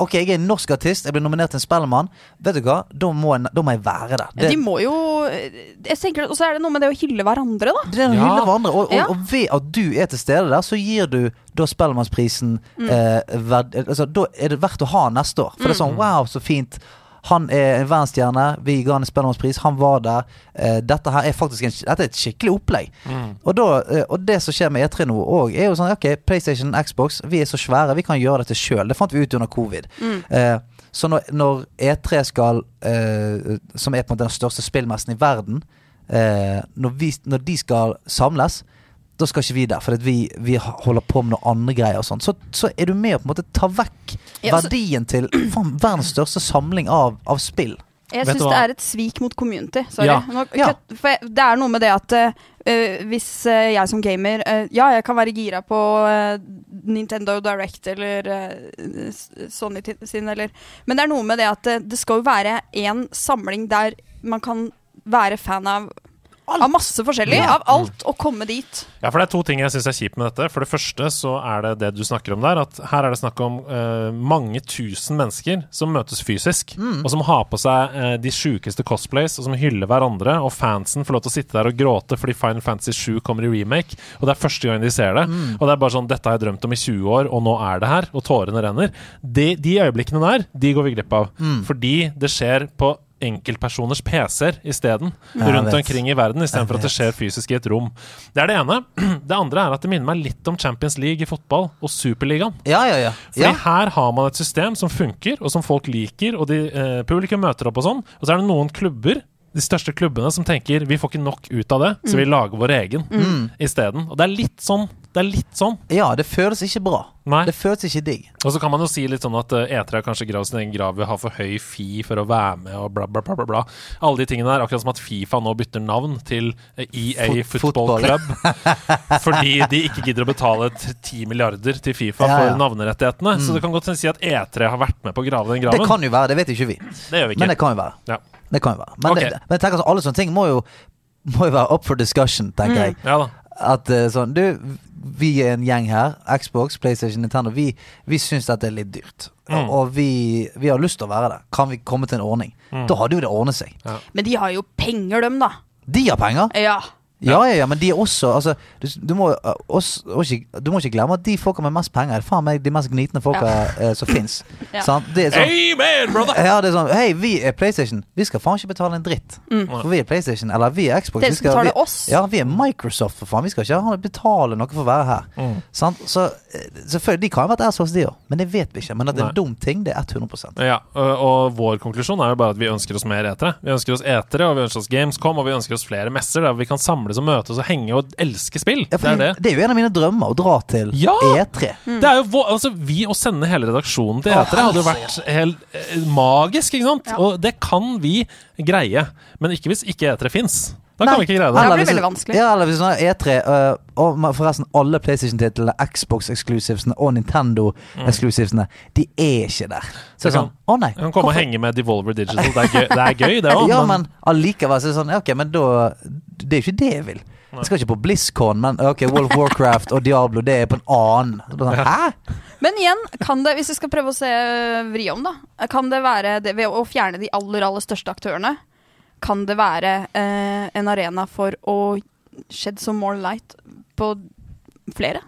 S2: Ok, jeg er en norsk artist, jeg blir nominert til en Spellemann Vet du hva? Da må jeg, da må jeg være der
S5: Ja,
S2: Det,
S5: de må jo eh, jeg tenker, Og så er det noe med det å hylle hverandre, da.
S2: det er å
S1: Ja.
S2: hylle hverandre og, og,
S5: Ja.
S2: og ved at du er til stede der Så gir du da Spellemannsprisen
S5: Mm.
S2: eh, verd, altså, Da er det verdt å ha neste år For det er sånn, wow, så fint han er en verdensstjerne, vi ga han en Spellemannspris Han var der eh, Dette her er faktisk en, dette er et skikkelig opplegg og, da, eh, og det som skjer med E3 nå òg, er jo sånn Ok, PlayStation, Xbox, vi er så svære, vi kan gjøre dette sjøl. Det fant vi ut under covid.
S5: Mm.
S2: Eh, så når, når E3 skal eh, Som er på en måte den største spillmessen i verden, eh, når, vi, når de skal samles, da skal ikke vi der, for vi, vi holder på med noen andre greier. og sånt. Så, så er du med å på en måte ta vekk
S5: Ja, altså- så-
S2: verdien til faen, verdens største samling av, av spill.
S5: Jeg
S1: Vet
S5: syns
S1: du
S5: det
S1: hva?
S5: er et svik mot community. Sorry.
S1: Ja.
S5: Nå,
S2: Ja.
S5: kødd- For jeg, det er noe med det at eh, hvis eh, jeg som gamer eh, Ja, jeg kan være gira på eh, Nintendo Direct eller eh, s- Sony ti- sin, eller Men det er noe med det at eh, det skal jo være én samling der man kan være fan av Av masse forskjellig. Av alt. Og komme dit.
S1: Ja, for det er to ting jeg syns er kjipt med dette. For det første så er det det du snakker om der, at her er det snakk om eh, mange tusen mennesker som møtes fysisk,
S2: Mm.
S1: og som har på seg eh, de sjukeste cosplays, og som hyller hverandre, og fansen får lov til å sitte der og gråte fordi Final Fantasy 7 kommer i remake, og det er første gang de ser det.
S2: Mm.
S1: Og det er bare sånn 'Dette har jeg drømt om i 20 år, og nå er det her',
S2: Mm.
S1: og tårene renner. De, de øyeblikkene der, de går vi glipp av. Fordi det skjer på enkeltpersoners PC-er isteden.
S2: Ja, jeg
S1: rundt
S2: vet.
S1: omkring i verden, istedenfor at
S2: Jeg
S1: det skjer fysisk i et rom. Det er det ene. Det andre er at det minner meg litt om Champions League i fotball og Superligaen.
S2: Ja, ja, ja.
S1: Fordi
S2: ja.
S1: her har man et system som funker, og som folk liker, og de, eh, publikum møter opp og sånn. Og så er det noen klubber, de største klubbene, som tenker vi får ikke nok ut av det, så
S2: Mm.
S1: vi lager vår egen isteden. Og det er litt sånn. Det er litt sånn.
S2: ja, det føles ikke bra.
S1: Nei.
S2: Det føles ikke digg.
S1: Og så kan man jo si litt sånn at eh, etere har kanskje gravd sin egen grav ved å ha for høy fi for å være med og bla, bla, bla. bla, bla. Alle de tingene der. Akkurat som at Fifa nå bytter navn til eh, EA
S2: Fot-
S1: Football
S2: fotball.
S1: Club. fordi de ikke gidder å betale t- 10 milliarder til Fifa
S2: Ja, ja.
S1: for navnerettighetene. Så det kan godt si at E3 har vært med på å grave den
S2: Mm. Det
S1: graven. Det,
S2: kan jo være, det vet ikke vi.
S1: gjør vi
S2: Men
S1: ikke.
S2: det kan jo være.
S1: Ja.
S2: Det kan jo være. Men,
S1: Ok.
S2: det, men tenk altså, alle sånne ting må jo, må jo være up for discussion, tenker jeg.
S1: ja da.
S2: At eh, sånn Du, vi er en gjeng her. Xbox, PlayStation, Nintendo. Vi, vi syns dette er litt dyrt.
S1: Mm.
S2: Og vi, vi har lyst til å være det. Kan vi komme til en ordning?
S1: Mm.
S2: Da hadde jo det ordnet seg.
S5: Men de har jo penger, dem, da.
S2: De har penger!
S5: Ja.
S2: Ja, ja, ja, men de er også altså, du, du, må, eh, også, også, ikke- du må ikke glemme at de folka med mest penger er faen meg de mest gnitne folka eh, som fins.
S5: Ja.
S2: Sant? Det er sånn
S1: Amen, brother!
S2: Ja, det er sånn Hei, vi er PlayStation. Vi skal faen ikke betale en dritt.
S5: Mm.
S2: For vi er PlayStation, eller vi er Xbox.
S5: Dere
S2: Vi
S5: skal betale
S2: vi,
S5: oss.
S2: Ja, vi er Microsoft, for faen. Vi skal ikke ha- betale noe for å være her.
S1: Mm.
S2: Sant? Så eh, selvfølgelig, de kan ha vært assholes, de òg. Men det vet vi ikke. Men at det er
S1: Nei.
S2: en dum ting, det er 100
S1: Ja, og, og vår konklusjon er jo bare at vi ønsker oss mer etere. Vi ønsker oss etere, og vi ønsker oss Gamescom, og vi ønsker oss flere messer der vi kan samles og møtes og henge og elske spill.
S2: Ja,
S1: Det
S2: for
S1: er det.
S2: det er jo en av mine drømmer, å dra til E
S1: Ja!
S2: E3.
S5: Mm.
S1: Det er jo vår, altså Vi å sende hele redaksjonen til etere hadde jo vært helt eh, magisk, ikke sant? Og det kan vi greie, men ikke hvis ikke etere fins. Da kan
S2: Nei.
S1: vi ikke greie det.
S5: Nei. blir
S2: hvis-
S5: veldig vanskelig.
S2: Ja, eller hvis sånn E3 øh, Og men forresten, alle PlayStation-titlene, Xbox-exclusivesene og Nintendo-exclusivesene, de er ikke der. Så det er
S1: Mm. kan-
S2: sånn Å, nei.
S1: Vi kan komme og henge med Devolver Digital. Det er gøy, det, er gøy, det òg.
S2: Ja, men allikevel så er det sånn ja, Ok, men da Det er jo ikke det jeg vil. Jeg skal ikke på BlizzCon, men ok, World of Warcraft og Diablo, det er på en annen. Så bare Sånn, Hæ?
S5: Men igjen, kan det, hvis vi skal prøve å se eh, vri om, da. Kan det være det, ved å fjerne de aller, aller største aktørene? Kan det være eh, en arena for å shed some more light på flere?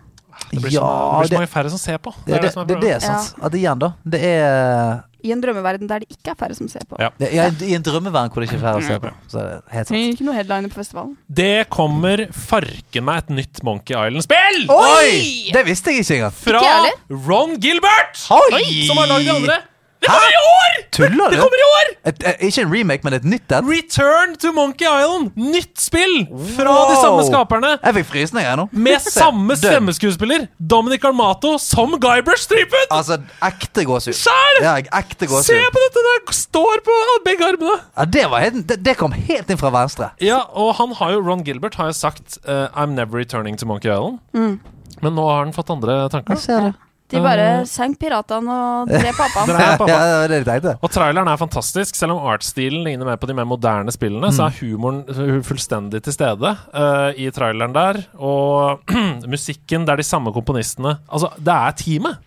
S1: Det blir så,
S2: Ja,
S1: det blir så
S2: det,
S1: mange færre som ser på.
S2: det, det,
S1: som
S2: det,
S1: er
S2: det
S1: problemet.
S2: er sant. At igjen, da. Det er
S5: I en drømmeverden der det ikke er færre som ser på.
S1: Ja.
S2: det, ja, I en drømmeverden hvor det ikke er færre å se på. Så det er helt sant.
S5: Trenger ikke noe headliner på festivalen.
S1: Det kommer farken meg et nytt Monkey Island-spill!
S5: Oi!
S2: Det visste jeg ikke engang.
S1: Fra
S5: Ikke jeg heller.
S1: Ron Gilbert!
S2: Oi!
S1: Som har lagd de andre. Det kommer i år!
S2: Tuller du?
S1: Det kommer i år!
S2: Et, eh, ikke en remake, men et nytt et.
S1: Return to Monkey Island! Nytt spill fra de
S2: Wow.
S1: samme skaperne.
S2: Jeg fikk frysninger jeg nå.
S1: Med
S2: Se,
S1: samme
S2: dønn.
S1: stemmeskuespiller, Dominic Armato, som Guy Brush Stripen!
S2: Altså, ekte gåsehud.
S1: Sjæl!
S2: Ja, ekte
S1: Se
S2: gåsehud.
S1: på dette! Det står på begge armene.
S2: Ja, det, var helt, det, det kom helt inn fra venstre.
S1: Ja, og han har jo, Ron Gilbert har jo sagt eh, I'm never returning to Monkey Island.
S2: Mm.
S1: Men nå har han fått andre tanker.
S2: ser du.
S5: De bare sank piratene og drev
S1: Dere
S5: pappaen.
S1: er pappa.
S2: Eh. Ja, det var det de tenkte.
S1: Og traileren er fantastisk. Selv om artstilen ligner mer på de mer moderne spillene, så
S2: Mm.
S1: er humoren eh, fullstendig til stede eh, i traileren der. Og musikken, det er de samme komponistene. Altså, det er teamet!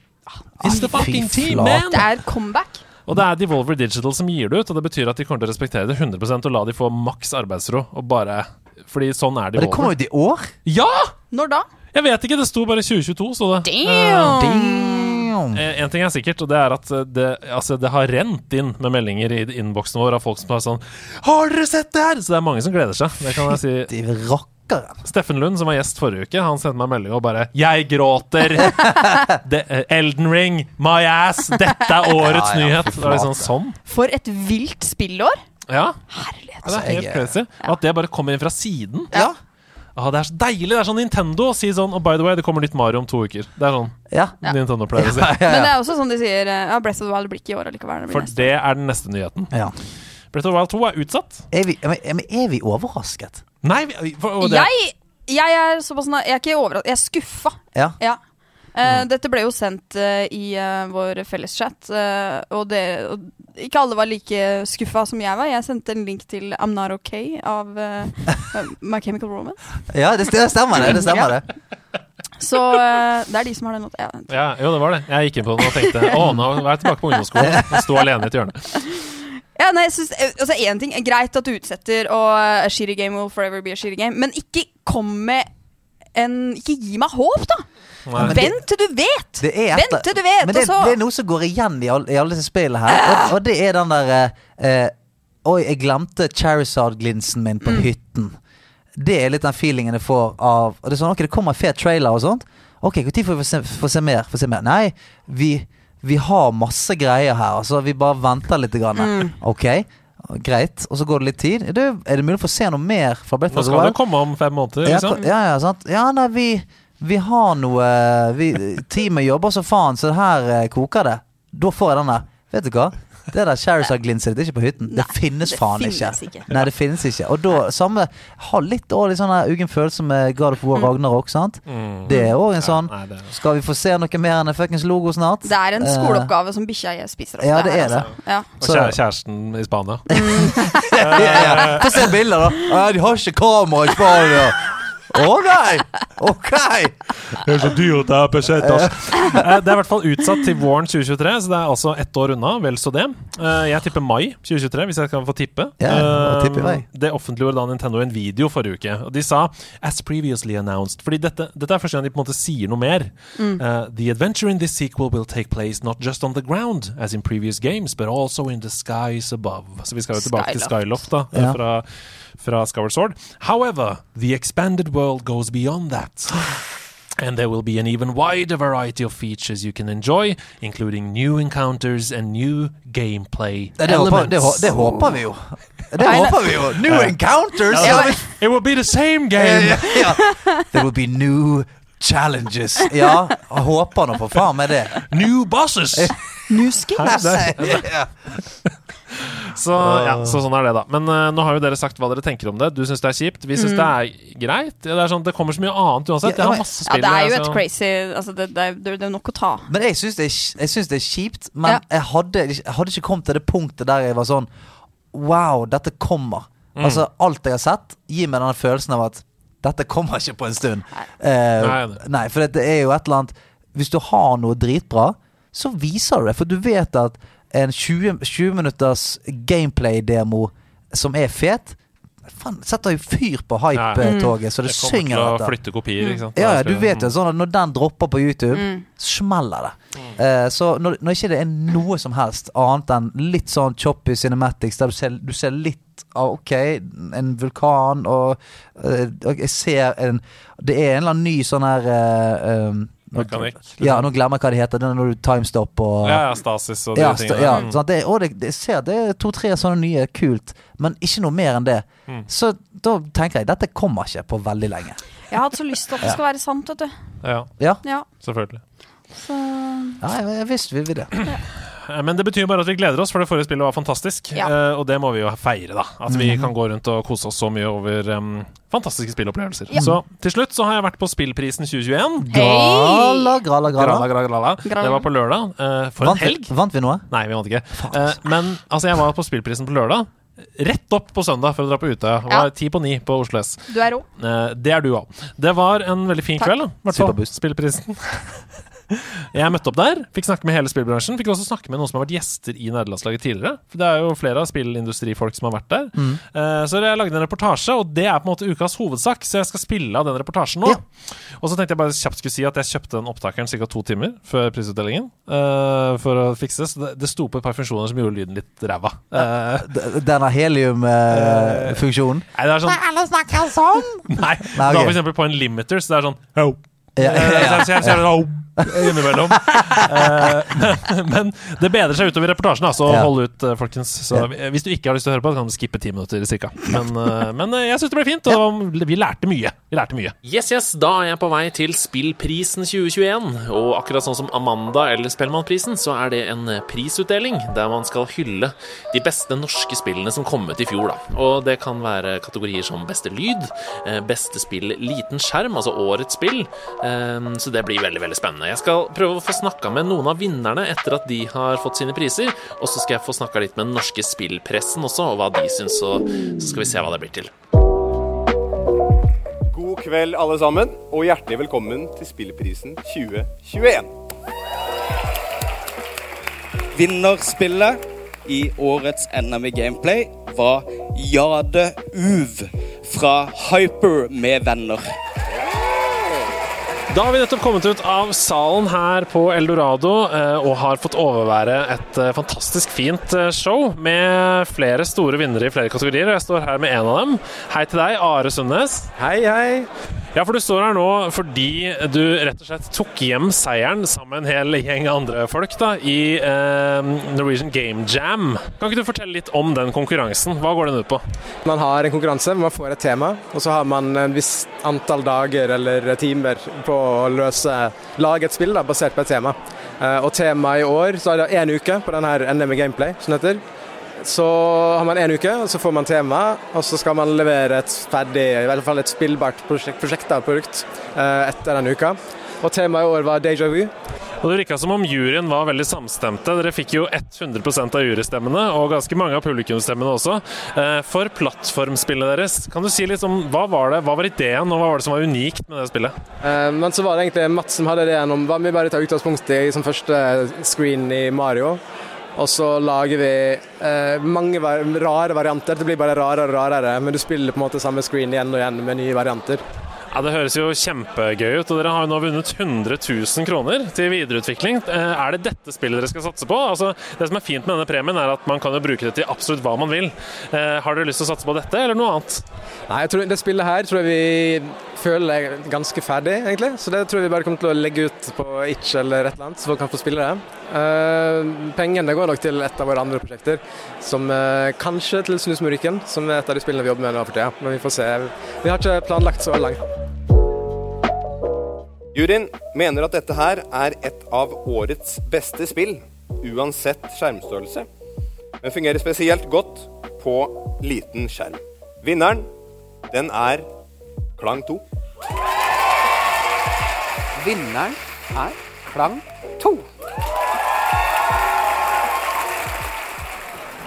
S1: It's the
S2: Ah, Fy
S1: fucking team,
S2: flate.
S1: man!
S5: Det er comeback.
S1: Og det er Devolver Digital som gir det ut, og det betyr at de kommer til å respektere det 100 og la de få maks arbeidsro. Og bare Fordi sånn er
S2: Og det kommer
S1: Devolver.
S2: ut i år.
S1: Ja!
S5: Når da?
S1: Jeg vet ikke, det sto bare 2022, så det.
S5: Damn!
S2: Damn.
S1: Eh, En ting er sikkert, og det er at eh, det, altså, det har rent inn med meldinger i innboksen vår av folk som har sånn Har dere sett det her?! Så det er mange som gleder seg. Det kan jeg si.
S2: De rakkeren.
S1: Steffen Lund, som var gjest forrige uke, han sendte meg en melding og bare 'Jeg gråter!' det, eh, 'Elden Ring! My ass! Dette er
S2: Ja, ja,
S1: årets
S2: fy
S1: nyhet!' Det var liksom
S2: flate.
S1: sånn.
S5: For et vilt spillår.
S1: Ja,
S5: Herlighet.
S1: det er helt
S2: jeg-
S1: crazy. Og At det bare kommer inn fra siden.
S2: Ja.
S1: Ah, det er så deilig! Det er sånn Nintendo å si sånn Og by the way, det kommer nytt Mario om to uker. Det er sånn
S2: Ja.
S1: Nintendo pleier å si.
S5: Men det er også sånn de sier eh, ja, Breath of the Wild blir ikke i år allikevel. Det blir
S1: For
S5: neste.
S1: det er den neste nyheten.
S2: ja.
S1: Breath of the Wild 2 er utsatt.
S2: Er, vi, men- men er vi overrasket?
S1: Nei, vi- for, og det,
S5: Jeg, jeg er såpass na- Jeg er ikke overrasket. Jeg er skuffa.
S2: Ja.
S5: Ja. Eh,
S1: Mm.
S5: Dette ble jo sendt eh, i eh, vår felles chat, eh, og, det, og ikke alle var like skuffa som jeg var. Jeg sendte en link til I'm Not OK av eh, eh, My Chemical Romance.
S2: ja det, det stemmer, det. det, stemmer det.
S5: Så eh, det er de som har den låta. Ja.
S1: Ja, jo, det var det. Jeg gikk inn på den og tenkte å, nå er jeg tilbake på ungdomsskolen. Jeg Sto alene i et hjørne.
S5: Ja, nei, jeg synes, eh, altså en ting er Greit at du utsetter, og eh, a shitty game will forever be a shitty game, men ikke kom med en Ikke gi meg håp, da!
S1: Nei.
S5: Vent til du vet!
S2: det er
S5: Vent til du vet,
S2: Men det,
S5: og så-
S2: det er noe som går igjen i, all, i alle disse spillene her, og, og det er den der eh, eh, Oi, jeg glemte Charizard-glinsen
S5: Mm.
S2: min på hytten. Det er litt den feelingen jeg får av Og det er sånn, ok, det kommer en fet trailer og sånt. Ok, når får vi se, få se mer? Få se mer? Nei, vi, vi har masse greier her. Altså, vi bare venter litt. Grann.
S5: Mm.
S2: Ok, greit. Og så går det litt tid. Er det, er det mulig å få se noe mer fra Breath
S1: Nå
S2: of the
S1: skal det
S2: Wild?
S1: komme om fem måneder,
S2: Ja,
S1: liksom.
S2: ja, ja, sant. Ja, nei, vi, vi har noe vi, Teamet jobber så faen, så her eh, koker det. Da får jeg den der. Vet du hva? Det der Charizard-glinset ditt er ikke på hytten. Det
S7: Nei,
S2: finnes
S7: det
S2: faen
S7: finnes
S2: ikke.
S7: ikke.
S2: Nei, det finnes ikke. Og da samme Ha litt også litt sånn der uggen følelse med God of War Ragnarok, sant?
S1: Mm.
S2: Det er òg en sånn
S1: Nei, det er-
S2: Skal vi få se noe mer enn en fuckings logo snart?
S5: Det er en
S2: Eh,
S5: skoleoppgave som bikkja jeg spiser opp.
S2: Ja, det
S5: her,
S2: er det.
S5: altså. Ja.
S1: Og
S2: Så-
S1: kjære- kjæresten i Spania.
S2: ja, ja. Få se bilder, da. Nei, de har ikke kamera i Spania. Å nei! Ok!
S1: Det er Eh, i hvert fall utsatt til våren 2023, så det er altså ett år unna. Vel så det. Eh, Jeg tipper mai 2023, hvis jeg kan få tippe.
S2: Ja,
S1: Eh,
S2: tipp i vei.
S1: Det offentliggjorde da Nintendo en video forrige uke, og de sa 'as previously announced'. Fordi dette, dette er første gang de på en måte sier noe mer. Eh, 'The adventure in this sequel will take place not just on the ground, as in previous games, but also in the skies above'. Så vi skal jo tilbake til Skyloft, da, eh,
S2: Ja.
S1: fra, fra Skyward Sword. However, the expanded world goes beyond that. And there will be an even wider variety of features you can enjoy, including new encounters and new gameplay
S2: Ja, Det håper, det, hå-
S1: elements.
S2: det håper vi jo. Det håper vi jo. New encounters!
S1: Ja, men It will be the same game!
S2: Ja. There will be new challenges. Ja, jeg håper nå for faen med det.
S1: New bosses! Hæ? Det- Så, ja, så sånn er det, da. Men eh, nå har jo dere sagt hva dere tenker om det. Du syns det er kjipt, vi syns det er greit. Ja, Det, er sånn, det kommer så mye annet uansett. Jeg
S2: Mm. Ja,
S1: har
S2: men-
S1: masse
S5: ja,
S1: spill.
S5: det er jo
S1: jeg,
S5: et
S1: så-
S5: crazy altså, det, det, er- det er nok å ta.
S2: Men jeg syns det, er kj- jeg syns det er kjipt, men
S5: Ja.
S2: jeg, hadde, jeg hadde ikke kommet til det punktet der jeg var sånn Wow, dette kommer.
S1: Mm.
S2: Altså, alt jeg har sett, gir meg denne følelsen av at dette kommer ikke på en stund. Eh,
S1: Nei, det-
S2: nei, for det er jo et eller annet Hvis du har noe dritbra, så viser du det. For du vet at en 20, 20 minutters gameplay-demo som er fet, faen, setter jo fyr på hype-toget, så det,
S1: Det kommer til
S2: synger
S1: å
S2: etter.
S1: flytte kopier, ikke sant.
S2: Ja, ja,
S1: Det er
S2: du
S1: ikke-
S2: vet jo sånn at når den dropper på YouTube, smeller det. Eh, så når, når ikke det er noe som helst annet enn litt sånn choppy cinematics, der du ser, du ser litt av OK, en vulkan og eh, og Jeg ser en Det er en eller annen ny sånn her eh, um, nå-
S1: Mekanikk, liksom.
S2: Ja, nå glemmer jeg hva det heter. Det er når du timestop og
S1: Ja, ja, Stasis og de
S2: ja, sta-
S1: tingene.
S2: ja,
S1: Mm.
S2: sånn at det, og det, det, jeg ser, det er to-tre sånne nye, kult, men ikke noe mer enn det.
S1: Mm.
S2: Så da tenker jeg dette kommer ikke på veldig lenge.
S5: Jeg har hatt så lyst til at det skal være sant, vet du.
S1: ja,
S2: Ja,
S5: Ja,
S1: selvfølgelig.
S5: så
S2: ja jeg, jeg visste vi vil det.
S1: Eh, Men det betyr bare at vi gleder oss, for det forrige spillet var fantastisk.
S5: Ja.
S1: eh, Og det må vi jo feire, da. At vi
S2: Mhm.
S1: kan gå rundt og kose oss så mye over em, fantastiske spillopplevelser. Så til slutt så har jeg vært på Spillprisen 2021.
S2: Gralla, gralla,
S1: Grala,
S2: gralla.
S1: grala, grala.
S5: Grala.
S1: Det var på lørdag. eh, For en
S2: Vant vi,
S1: helg!
S2: vant vi noe?
S1: Nei, vi vant ikke. Eh, Men altså, jeg var på Spillprisen på lørdag. Rett opp på søndag for å dra på Utøya. Det
S5: Ja.
S1: Var ti på ni på Oslo S.
S5: du er rå.
S1: Eh, Det er du òg. Det var en veldig fin
S5: Takk.
S1: kveld. da, i hvert fall.
S2: Superboost.
S1: Spillprisen. Jeg møtte opp der, fikk snakke med hele spillbransjen. Fikk også snakke med noen som har vært gjester i nederlandslaget tidligere. For Det er jo flere av spillindustrifolk som har vært der.
S2: Mm.
S1: Eh, Så jeg lagde en reportasje, og det er på en måte ukas hovedsak. Så jeg skal spille av den reportasjen nå.
S2: Ja.
S1: Og så tenkte jeg bare kjapt skulle si at jeg kjøpte den opptakeren ca. to timer før prisutdelingen. eh, For å fikse Så det- det sto på et par funksjoner som gjorde lyden litt ræva. Eh,
S2: D- Denne heliumfunksjonen?
S1: Nei, det er sånn Alle snakker sånn! Nei,
S2: Nei,
S1: da
S2: ok.
S1: for eksempel på en limiter, så det er sånn Help.
S2: Ja,
S1: Eh,
S2: ja, ja.
S1: så jeg- så jeg- «Au» innimellom. Eh, Men det bedrer seg utover reportasjen, da, så
S2: Ja.
S1: hold ut, eh, folkens. Så eh, hvis du ikke har lyst til å høre på, så kan du skippe ti minutter cirka. Men, eh, men eh, jeg syns det ble fint, og det var- vi lærte mye. Vi lærte mye. Yes, yes, da er jeg på vei til Spillprisen 2021. Og akkurat sånn som Amanda eller Spellemannprisen, så er det en eh, prisutdeling der man skal hylle de beste norske spillene som kom ut i fjor, da. Og det kan være kategorier som beste lyd, eh, beste spill liten skjerm, altså årets spill. Eh, Så det blir veldig, veldig spennende. Jeg skal prøve å få snakka med noen av vinnerne etter at de har fått sine priser, og så skal jeg få snakka litt med den norske spillpressen også, og hva de syns, og så skal vi se hva det blir til.
S8: God kveld, alle sammen, og hjertelig velkommen til Spillprisen 2021.
S9: Vinnerspillet i årets NM i gameplay var Jade Uv fra Hyper med venner.
S1: Da har vi nettopp kommet ut av salen her på Eldorado eh, og har fått overvære et eh, fantastisk fint eh, show med flere store vinnere i flere kategorier. og Jeg står her med en av dem. Hei til deg, Are Sundnes.
S7: Hei, hei.
S1: Ja, for du står her nå fordi du rett og slett tok hjem seieren sammen med en hel gjeng andre folk da, i eh, Norwegian Game Jam. Kan ikke du fortelle litt om den konkurransen? Hva går den ut på?
S7: Man har en konkurranse hvor man får et tema, og så har man en viss antall dager eller timer på å løse lage et spill da, basert på et tema. Eh, Og temaet i år, så er det én uke på den her NM Gameplay, som det heter. Så har man én uke, og så får man tema, og så skal man levere et ferdig, i hvert fall et spillbart prosjekt, prosjekt da, produkt eh, etter den uka. Og temaet i år var déjà vu.
S1: Og Det virka som om juryen var veldig samstemte. Dere fikk jo 100 av jurystemmene, og ganske mange av publikumsstemmene også. Eh, For plattformspillet deres, kan du si litt om hva var det, hva var ideen, og hva var det som var unikt med det spillet?
S7: Eh, Men så var det egentlig Mats som hadde ideen om hva om vi bare tar utgangspunkt i som første screen i Mario. Og så lager vi eh, mange var rare varianter. Det blir bare rarere og rarere, men du spiller på en måte samme screen igjen og igjen med nye varianter.
S1: Ja, Det høres jo kjempegøy ut, og dere har jo nå vunnet 100 000 kroner til videreutvikling. Eh, Er det dette spillet dere skal satse på? Altså, Det som er fint med denne premien, er at man kan jo bruke det til absolutt hva man vil. Eh, Har dere lyst til å satse på dette, eller noe annet?
S7: Nei, jeg tror Det spillet her tror jeg vi føler er ganske ferdig, egentlig. Så det tror jeg vi bare kommer til å legge ut på Itch eller et eller annet, så folk kan få spille det. Eh, pengene går nok til et av våre andre prosjekter, som eh, kanskje til Snusmurriken, som er et av de spillene vi jobber med nå for tida. Men vi får se. Vi har ikke planlagt så langt.
S8: Juryen mener at dette her er et av årets beste spill, uansett skjermstørrelse, men fungerer spesielt godt på liten skjerm. Vinneren, den er Klang 2.
S10: Vinneren er Klang 2.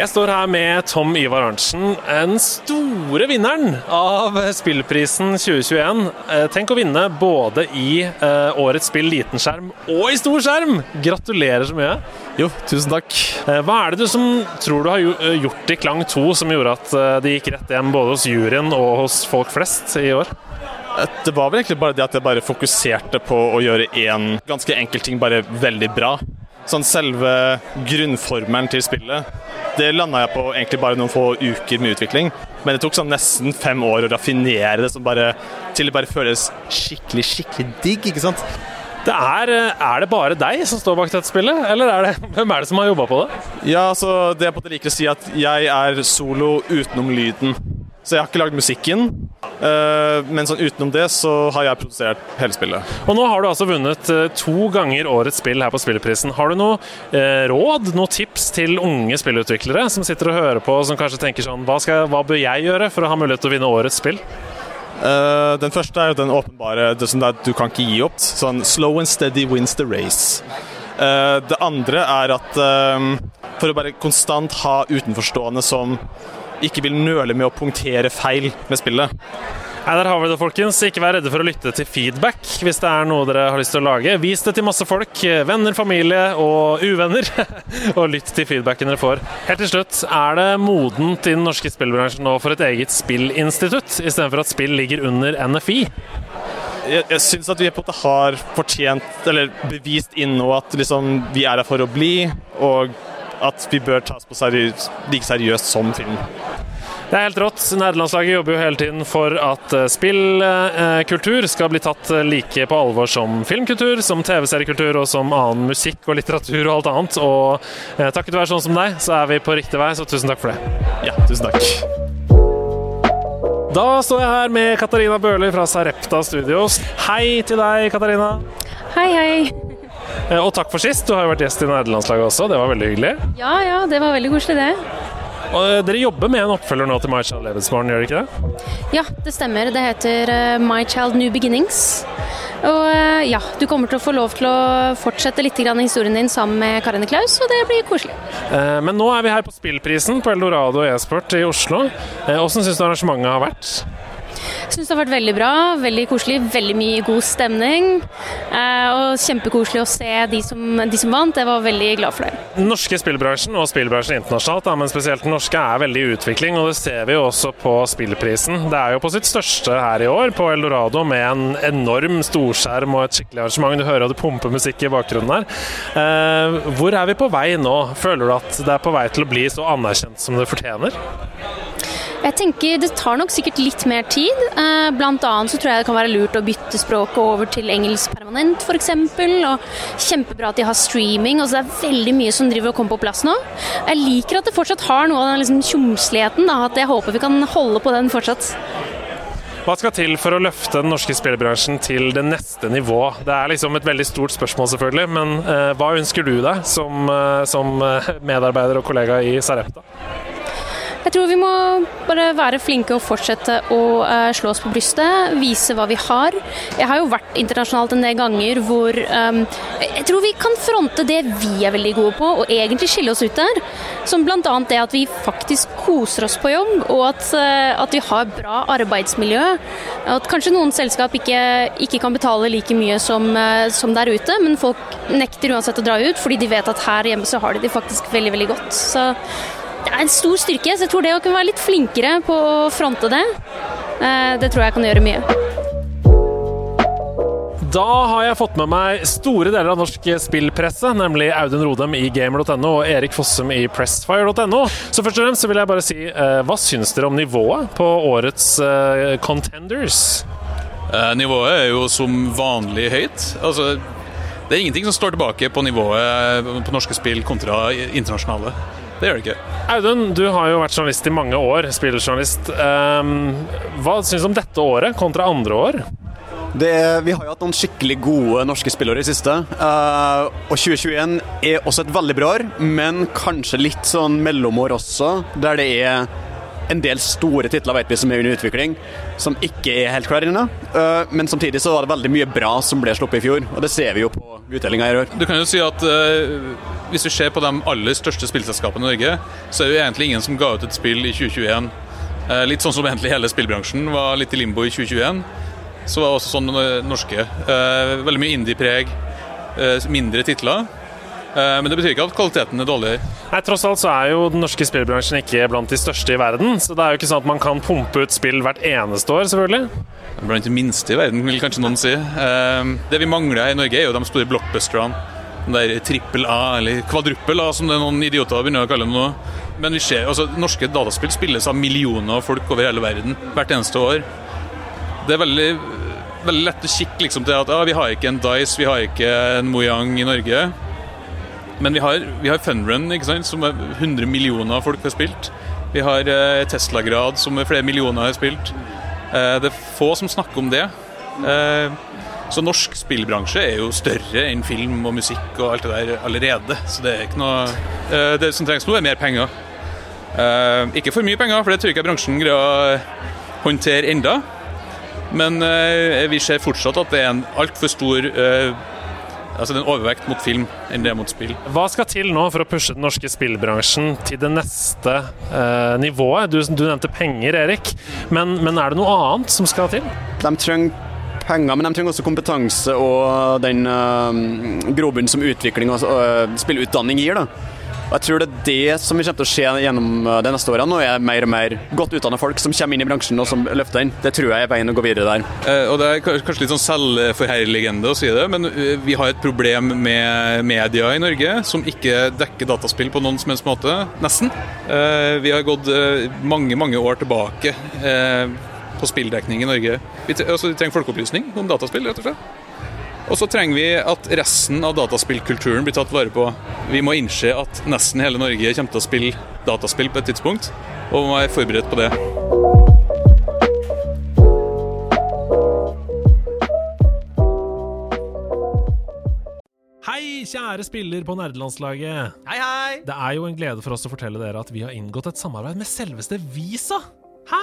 S1: Jeg står her med Tom Ivar Arntzen, den store vinneren av Spillprisen 2021. Eh, Tenk å vinne både i eh, årets spill liten skjerm og i stor skjerm! Gratulerer så mye.
S11: Jo, tusen takk.
S1: Eh, Hva er det du som tror du har gjo- eh, gjort i Klang 2 som gjorde at eh, det gikk rett hjem både hos juryen og hos folk flest i år?
S11: Eh, Det var vel egentlig bare det at jeg bare fokuserte på å gjøre én ganske enkel ting bare veldig bra. Sånn selve grunnformelen til spillet, det landa jeg på egentlig bare noen få uker med utvikling. Men det tok sånn nesten fem år å raffinere det som bare, til det bare føles skikkelig, skikkelig digg, ikke sant?
S1: Det er, eh, er det bare deg som står bak dette spillet, eller er det, hvem er det som har jobba på det?
S11: Ja, altså, det jeg på en måte liker å si at jeg er solo utenom lyden. Så jeg har ikke lagd musikken, eh, men sånn utenom det så har jeg produsert hele spillet.
S1: Og nå har du altså vunnet eh, to ganger årets spill her på Spillprisen. Har du noe eh, råd, noe tips til unge spillutviklere som sitter og hører på, og som kanskje tenker sånn hva, skal, hva bør jeg gjøre for å ha mulighet til å vinne årets spill?
S11: Eh, den første er jo den åpenbare, det som det er at du kan ikke gi opp. Sånn slow and steady wins the race. Eh, det andre er at eh, for å bare konstant ha utenforstående som ikke vil nøle med å punktere feil med spillet.
S1: Nei, Der har vi det, folkens. Ikke vær redde for å lytte til feedback hvis det er noe dere har lyst til å lage. Vis det til masse folk. eh, Venner, familie og uvenner. og lytt til feedbacken dere får. Helt til slutt, er det modent i den norske spillbransjen nå for et eget spillinstitutt, istedenfor at spill ligger under NFI?
S11: jeg, jeg syns at vi på en måte har fortjent, eller bevist inn nå, at liksom, vi er her for å bli, og at vi bør tas på seriøst, like seriøst som film.
S1: Det er helt rått. Nederlandslaget jobber jo hele tiden for at eh, spillkultur skal bli tatt eh, like på alvor som filmkultur, som TV-seriekultur og som annen musikk og litteratur og alt annet. Og eh, takket være sånn som deg, så er vi på riktig vei, så tusen takk for det.
S11: Ja, tusen takk.
S1: Da står jeg her med Katarina Bøhler fra Sarepta Studios. Hei til deg, Katarina.
S12: Hei, hei.
S1: Eh, Og takk for sist. Du har jo vært gjest i Nederlandslaget også, det var veldig hyggelig.
S12: Ja, ja, det var veldig koselig, det.
S1: Og eh, dere jobber med en oppfølger nå til My Child Levensmorgen, gjør dere ikke det?
S12: Ja, det stemmer. Det heter eh, My Child New Beginnings. Og eh, ja, du kommer til å få lov til å fortsette litt grann historien din sammen med Karin og Klaus, og det blir koselig.
S1: Eh, Men nå er vi her på spillprisen på Eldorado e-sport i Oslo. Eh, Hvordan syns du arrangementet har vært?
S12: Syns det har vært veldig bra, veldig koselig, veldig mye god stemning. Eh, og kjempekoselig å se de som, de som vant. Jeg var veldig glad for det.
S1: Den norske spillbransjen og spillbransjen internasjonalt, da, men spesielt den norske, er veldig i utvikling. Og det ser vi jo også på spillprisen. Det er jo på sitt største her i år, på Eldorado, med en enorm storskjerm og et skikkelig arrangement. Du hører at det pumper musikk i bakgrunnen her. Eh, hvor er vi på vei nå? Føler du at det er på vei til å bli så anerkjent som det fortjener?
S12: Jeg tenker Det tar nok sikkert litt mer tid. Eh, Blant annet så tror jeg det kan være lurt å bytte språket over til engelsk permanent, f.eks. Og kjempebra at de har streaming. Altså det er veldig mye som driver og kommer på plass nå. Jeg liker at det fortsatt har noe av den liksom tjomsligheten. da, At jeg håper vi kan holde på den fortsatt.
S1: Hva skal til for å løfte den norske spillbransjen til det neste nivå? Det er liksom et veldig stort spørsmål, selvfølgelig, men eh, hva ønsker du deg som, eh, som eh, medarbeider og kollega i Sarepta?
S12: Jeg tror vi må bare være flinke og fortsette å eh, slå oss på brystet, vise hva vi har. Jeg har jo vært internasjonalt en del ganger hvor eh, Jeg tror vi kan fronte det vi er veldig gode på, og egentlig skille oss ut der. Som bl.a. det at vi faktisk koser oss på jobb, og at, eh, at vi har bra arbeidsmiljø. Og At kanskje noen selskap ikke, ikke kan betale like mye som, eh, som der ute, men folk nekter uansett å dra ut fordi de vet at her hjemme så har de det faktisk veldig, veldig godt. Så det er en stor styrke, så jeg tror det å kunne være litt flinkere på å fronte det, eh, det tror jeg kan gjøre mye.
S1: Da har jeg fått med meg store deler av norsk spillpresse, nemlig Audun Rodem i gamer.no og Erik Fossum i pressfire.no. Så først og fremst så vil jeg bare si, eh, hva syns dere om nivået på årets eh, contenders?
S13: Eh, Nivået er jo som vanlig høyt. Altså, det er ingenting som står tilbake på nivået eh, på norske spill kontra internasjonale. Det gjør det ikke.
S1: Audun, du har jo vært journalist i mange år, spillerjournalist. Ehm, hva syns du om dette året kontra andre år?
S14: Det, vi har jo hatt noen skikkelig gode norske spillere i det siste. Eh, og 2021 er også et veldig bra år, men kanskje litt sånn mellomår også, der det er en del store titler vet vi, som er under utvikling, som ikke er helt klare ennå. Eh, men samtidig så var det veldig mye bra som ble sluppet i fjor, og det ser vi jo på utdelinga i år.
S13: Du kan jo si at eh, hvis du ser på de aller største spillselskapene i Norge, så er det jo egentlig ingen som ga ut et spill i 2021. Eh, litt sånn som egentlig hele spillbransjen var litt i limbo i 2021. Så var det også sånn eh, norske. Eh, veldig mye indie-preg, eh, mindre titler. Eh, men det betyr ikke at kvaliteten er dårligere.
S1: Nei, Tross alt så er jo den norske spillbransjen ikke blant de største i verden, så det er jo ikke sånn at man kan pumpe ut spill hvert eneste år, selvfølgelig.
S13: Blant de minste i verden, vil kanskje noen si. Eh, Det vi mangler her i Norge, er jo de store blockbusterne. Den der trippel A, eller kvadruppel A, som det er noen idioter begynner å kalle dem nå. Men vi ser, altså, norske dataspill spilles av millioner av folk over hele verden hvert eneste år. Det er veldig, veldig lett å kikke liksom, til at ah, vi har ikke en Dice, vi har ikke en Mojang i Norge. Men vi har, vi har Funrun, ikke sant, som er 100 millioner av folk har spilt. Vi har eh, Tesla-grad, som er flere millioner har spilt. Eh, det er få som snakker om det. Eh, så norsk spillbransje er jo større enn film og musikk og alt det der allerede. Så det er ikke noe eh, Det som trengs nå, er mer penger. Eh, ikke for mye penger, for det tror jeg ikke bransjen greier å håndtere enda. Men eh, vi ser fortsatt at det er en altfor stor eh, Altså det er en overvekt mot film enn det er mot spill.
S1: Hva skal til nå for å pushe den norske spillbransjen til det neste eh, nivået? Du, du nevnte penger, Erik, men, men er det noe annet som skal til?
S14: De trenger penger, men de trenger også kompetanse og den uh, grobunnen som utvikling og øh, spillutdanning gir. da. Og Jeg tror det er det som vi kommer til å se gjennom øh, de neste årene. Nå er mer og mer godt utdanna folk som kommer inn i bransjen og som løfter den. Det tror jeg er veien å gå videre der.
S13: Eh, og Det er kans- kanskje litt sånn selvforherligende å si det, men eh, vi har et problem med media i Norge som ikke dekker dataspill på noen som helst måte. Nesten. Eh, Vi har gått eh, mange, mange år tilbake eh, på spilldekning i Norge. Vi tre- altså, vi trenger folkeopplysning om dataspill, rett og slett. Og så trenger vi at resten av dataspillkulturen blir tatt vare på. Vi må innse at nesten hele Norge kommer til å spille dataspill på et tidspunkt, og må være forberedt på det.
S1: Hei, kjære spiller på nerdelandslaget.
S15: Hei, hei!
S1: Det er jo en glede for oss å fortelle dere at vi har inngått et samarbeid med selveste Visa. Hæ?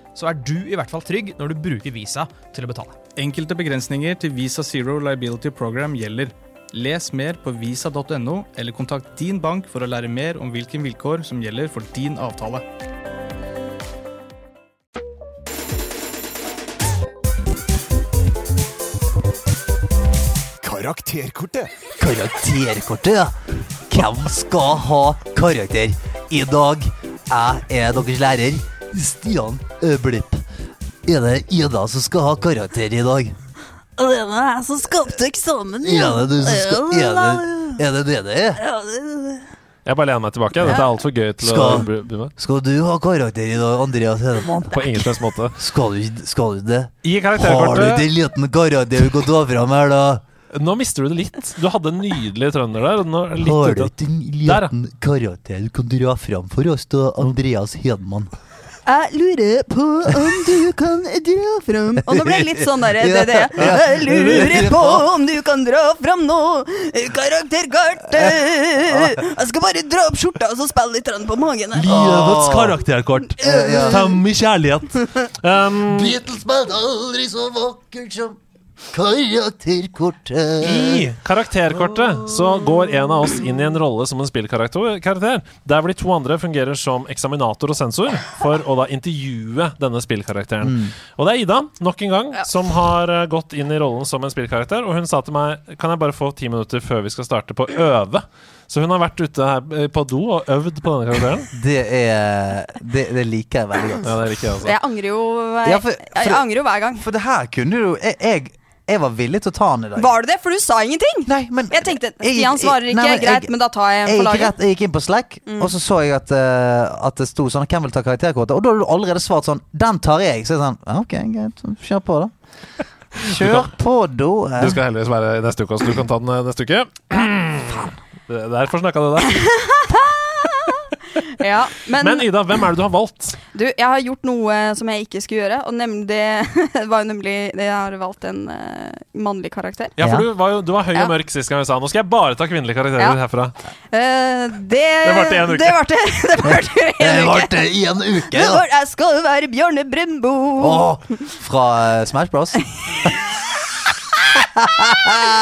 S15: så er du i hvert fall trygg når du bruker Visa til å betale.
S16: Enkelte begrensninger til Visa Zero Liability Program gjelder. Les mer på visa.no, eller kontakt din bank for å lære mer om hvilke vilkår som gjelder for din avtale.
S2: Karakterkortet. eh, Karakterkortet, ja. Hvem skal ha karakter i dag? Jeg er deres lærer, Stian Blipp. Er det Ida som skal ha karakter i dag?
S17: Og det var jeg som skapte eksamen,
S2: Er det du som skal Er det er det, det, det er?
S17: Ja, det, det.
S1: Jeg bare lener meg tilbake. Dette er altfor gøy til
S2: Skal-
S1: å bli bli med.
S2: Skal du ha karakter i dag, Andreas Hedemann?
S1: På ingen slags måte.
S2: Skal du, skal du det?
S1: I
S2: Har du
S1: karakterkortet-
S2: den liten karakter du kan ta fram her, da?
S1: Nå mister du det litt. Du hadde en nydelig trønder der. Og nå er det litt
S2: Har du
S1: ute.
S2: ikke en liten karakter du kan dra fram for oss, da, Andreas Hedman?
S17: Jeg lurer på om du kan dra fram Og nå ble jeg litt sånn der det, det.
S2: Ja.
S17: Jeg lurer på om du kan dra fram nå
S5: eh,
S17: Karakterkartet Jeg skal bare dra opp skjorta og så spille litt grann på magen her.
S1: Livets karakterkort. Fem i kjærlighet. Um,
S2: Beatles var aldri så vakkert som karakterkortet.
S1: I karakterkortet så går en av oss inn i en rolle som en spillkarakter, karakter, der hvor de to andre fungerer som eksaminator og sensor for å da intervjue denne spillkarakteren.
S18: Mm.
S1: Og det er Ida, nok en gang, som har eh, gått inn i rollen som en spillkarakter. Og hun sa til meg Kan jeg bare få ti minutter før vi skal starte på å øve? Så hun har vært ute her eh, på do og øvd på denne karakteren.
S2: Det, er, det, det liker jeg veldig godt.
S1: Ja, det liker jeg altså. også.
S5: Jeg angrer jo hver,
S2: Ja, for-
S5: jeg, jeg
S2: for-
S5: angrer jo hver gang.
S2: For det her kunne du jeg, jeg, jeg var villig til å ta han i dag.
S5: Var det det? For du sa ingenting! jeg tenkte Stian svarer
S2: jeg-
S5: ikke,
S2: nei, men jeg-
S5: greit, men da tar jeg en
S2: Jeg
S5: på
S2: gikk,
S5: laget.
S2: rett, jeg gikk inn på Slack,
S5: Mm.
S2: og så så jeg at, eh, at det sto sånn Hvem vil ta karakterkortet? Og da hadde du allerede svart sånn Den tar jeg. Så jeg sånn «Ja, Ok, greit. Kjør på, da. Kjør på, do. eh.
S1: Du skal heldigvis være i neste uke også. Du kan ta den eh, neste uke. Det- Derfor snakka du der.
S5: Ja, men,
S1: Men Ida, hvem er det du har valgt?
S5: du, jeg har gjort noe eh, som jeg ikke skulle gjøre, og nemlig det var jo nemlig Jeg har valgt en eh, mannlig karakter.
S1: Ja, for du var, jo, du var høy
S5: Ja.
S1: og mørk sist gang jeg sa Nå skal jeg bare ta kvinnelige karakterer
S5: Ja.
S1: herfra.
S5: Eh, det
S1: Det varte en uke.
S5: Det varte det varte en uke.
S2: Det varte i en uke,
S5: Det
S2: ja.
S5: var, jeg skal jo være Bjarne Brøndbo.
S2: Åh, fra eh, Smash Bros.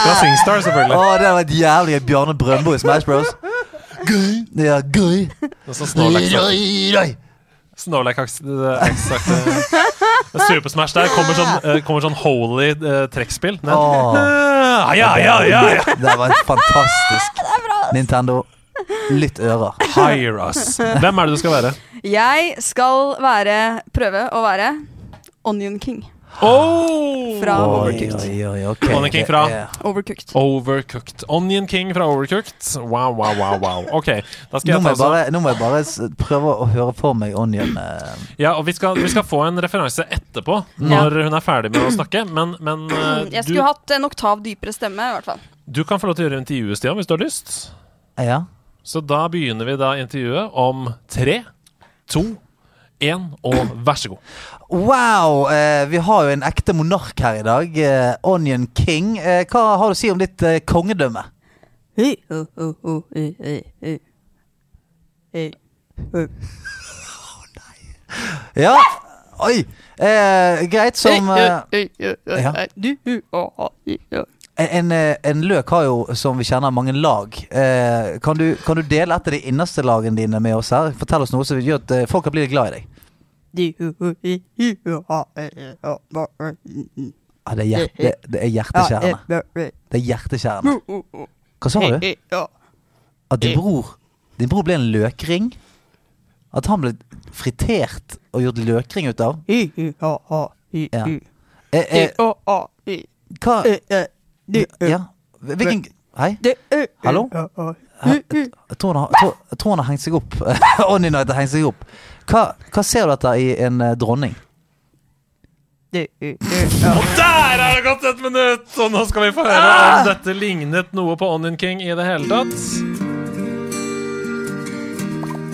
S1: Fra Singstar, selvfølgelig.
S2: Åh, det var et jævlig gøy. Bjarne Brøndbo i Smash Bros. Gøy. Ja, gøy.
S1: Og så Snorlax.
S2: Oi, oi, oi.
S1: Snorlax-aktig. eh, Super Smash der kommer sånn, eh, kommer sånn holy eh, trekkspill. ned.
S2: Åh.
S1: Ah, ja, ja, ja, ja.
S2: Det var fantastisk. Nintendo, lytt ører.
S1: Hire us. Hvem er det du skal være?
S5: Jeg skal være Prøve å være Onion King.
S1: Oh!
S5: Fra Overcooked.
S1: Onion King fra
S5: Overcooked.
S1: Overcooked. Onion King fra Overcooked. Wow, wow, wow. wow. Ok, da skal
S2: Nå
S1: jeg
S2: må
S1: ta sånn-
S2: jeg,
S1: så-
S2: bare, nå må jeg bare s- prøve å høre for meg Onion. eh.
S1: Ja, og vi skal, vi skal få en referanse etterpå, når hun er ferdig med å snakke. Men, men
S2: Mm,
S1: eh,
S5: Jeg
S1: du,
S5: skulle hatt en oktav dypere stemme, i hvert fall.
S1: du kan få lov til å gjøre intervjuet, Stian, hvis du har lyst.
S2: Ja.
S1: Så da begynner vi da intervjuet om tre, to, én, og vær så god.
S2: Wow! Eh, vi har jo en ekte monark her i dag. Eh, Onion King. Eh, hva har du å si om ditt eh, kongedømme?
S17: Hei, ho, ho, ho, hei, hei, hei. Hei. Hei.
S2: Ja, oi! Eh, greit som eh, ja.
S17: Du, du, å, å, i, ja.
S2: En, en, eh, en løk har jo, som vi kjenner, mange lag. Eh, kan, du, kan du dele et av de innerste lagene dine med oss her? Fortell oss noe som gjør at eh, folk kan bli litt glad i deg.
S17: Du, ho, ho, i, i, å, å, i, i, å, å, å, i, i.
S2: Ja, det, er hjert, det, det er hjerteskjærende. eh. Det er eh. Mm. hjerteskjærende.
S17: Ho, ho, ho.
S2: Hva sa du?
S17: Hei, hei, å.
S2: At din bror, din bror ble en løkring? At han ble fritert og gjort løkring ut av?
S17: I, i, å, å, i,
S2: Ja.
S17: i.
S2: Eh, eh,
S17: I, å, å, i.
S2: Hva-
S17: I, i, du,
S2: ja. Hvilken Hei?
S17: du, i, i,
S2: Hallo?
S17: å, å.
S2: Jeg jeg tror han har- jeg tror- jeg tror han har hengt seg opp. Onion Knight har hengt seg opp. Hva, hva ser du etter i en eh, dronning?
S17: Du, i, i.
S1: Og der er det gått et minutt! Og nå skal vi få høre
S5: Ah!
S1: om dette lignet noe på Onion King i det hele tatt.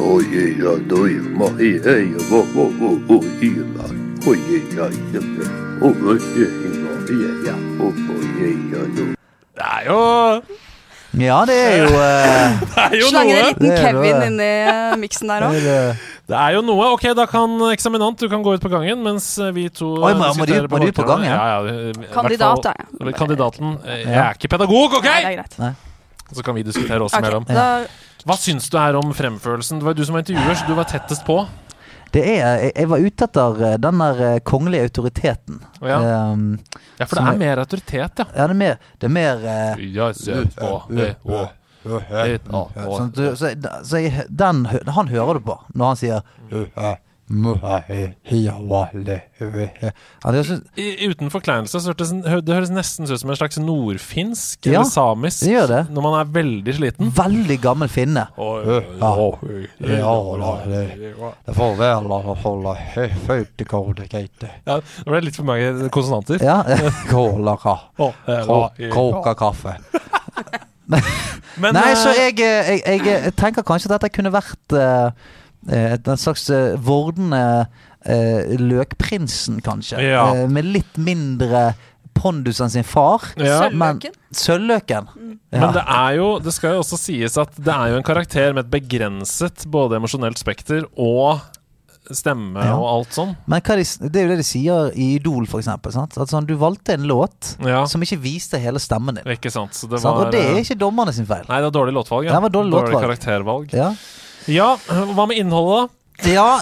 S18: Oi, oi, oi, oi, ma, i, ei, vo, vo, vo, vo, i, la. Oi, oi, oi, jømme. Oi, oi, oi, ma, i, ei, ja. Oi, oi, oi, oi, oi.
S1: Det er jo
S2: Ja, det er jo eh,
S5: Slanger en liten
S2: Det er jo
S5: Kevin
S2: det.
S5: inni eh, miksen der òg.
S2: eh,
S1: Det er jo noe. Ok, da kan eksaminant du kan gå ut på gangen mens eh, vi to
S2: Oi, må- må de ut- må de ut på gangen, ja?
S1: Ja, ja, i hvert fall-
S5: Kandidat, er jeg.
S1: Kandidaten. eh, Jeg
S2: Ja.
S1: er ikke pedagog, OK?
S5: Nei, det er greit.
S1: Så kan vi diskutere oss
S5: Ok,
S1: imellom.
S5: da-
S1: Hva syns du her om fremførelsen? Det var jo du som var intervjuer, så du var tettest på.
S2: Det er, jeg, jeg var ute etter eh, den der eh, kongelige autoriteten.
S1: Å ja.
S2: Ehm,
S1: Ja, for det
S2: som
S1: er mer autoritet, ja.
S2: Ja, det er mer, det er mer eh,
S1: Ja, se på det, og- et av- og-
S2: Sånn at du- Så, så jeg, den, hø- han hører du på når han sier Ja, det er så-
S1: I, uten forkleinelse så hørtes, det høres nesten ut som en slags nordfinsk
S2: Ja,
S1: eller samisk
S2: det gjør det.
S1: når man er veldig sliten.
S2: Veldig gammel finne.
S1: Ja, nå ble det litt for mange konsonanter.
S2: Ja.
S1: Å, eh, hva-
S2: Kokakaffe.
S1: Men,
S2: Nei,
S1: eh,
S2: så jeg, eh, jeg, jeg, eh, tenker kanskje at dette kunne vært eh, eh, et- en slags eh, vordende eh, Løkprinsen, kanskje.
S1: Ja.
S2: Eh, med litt mindre pondus enn sin far.
S1: Ja.
S2: men-
S1: Sølvløken.
S2: Sølvløken. Ja.
S1: Men det er jo, det skal jo også sies at det er jo en karakter med et begrenset både emosjonelt spekter og stemme
S2: Ja.
S1: og alt sånn.
S2: Men hva de, s- det er jo det de sier i Idol, for eksempel. Sant? At sånn, du valgte en låt
S1: Ja.
S2: som ikke viste hele stemmen din.
S1: Ikke sant? Så det
S2: sant?
S1: var,
S2: og det er
S1: eh,
S2: ikke dommerne sin feil.
S1: Nei, det var dårlig låtvalg. Ja.
S2: Det var dårlig låtvalg.
S1: karaktervalg.
S2: Ja.
S1: hva med
S2: da?
S1: innholdet,
S2: Ja,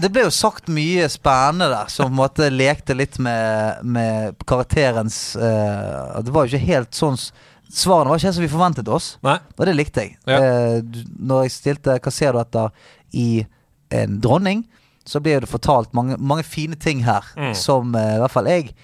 S2: det ble jo sagt mye spennende der, som på en måte lekte litt med, med karakterens eh, Det var jo ikke helt sånn s- Svarene var ikke helt som vi forventet oss, og det likte jeg.
S1: Ja.
S2: Eh, du- når jeg stilte 'Hva ser du etter?' i en dronning, så ble det fortalt mange, mange fine ting her
S1: Mm.
S2: som eh, i hvert fall jeg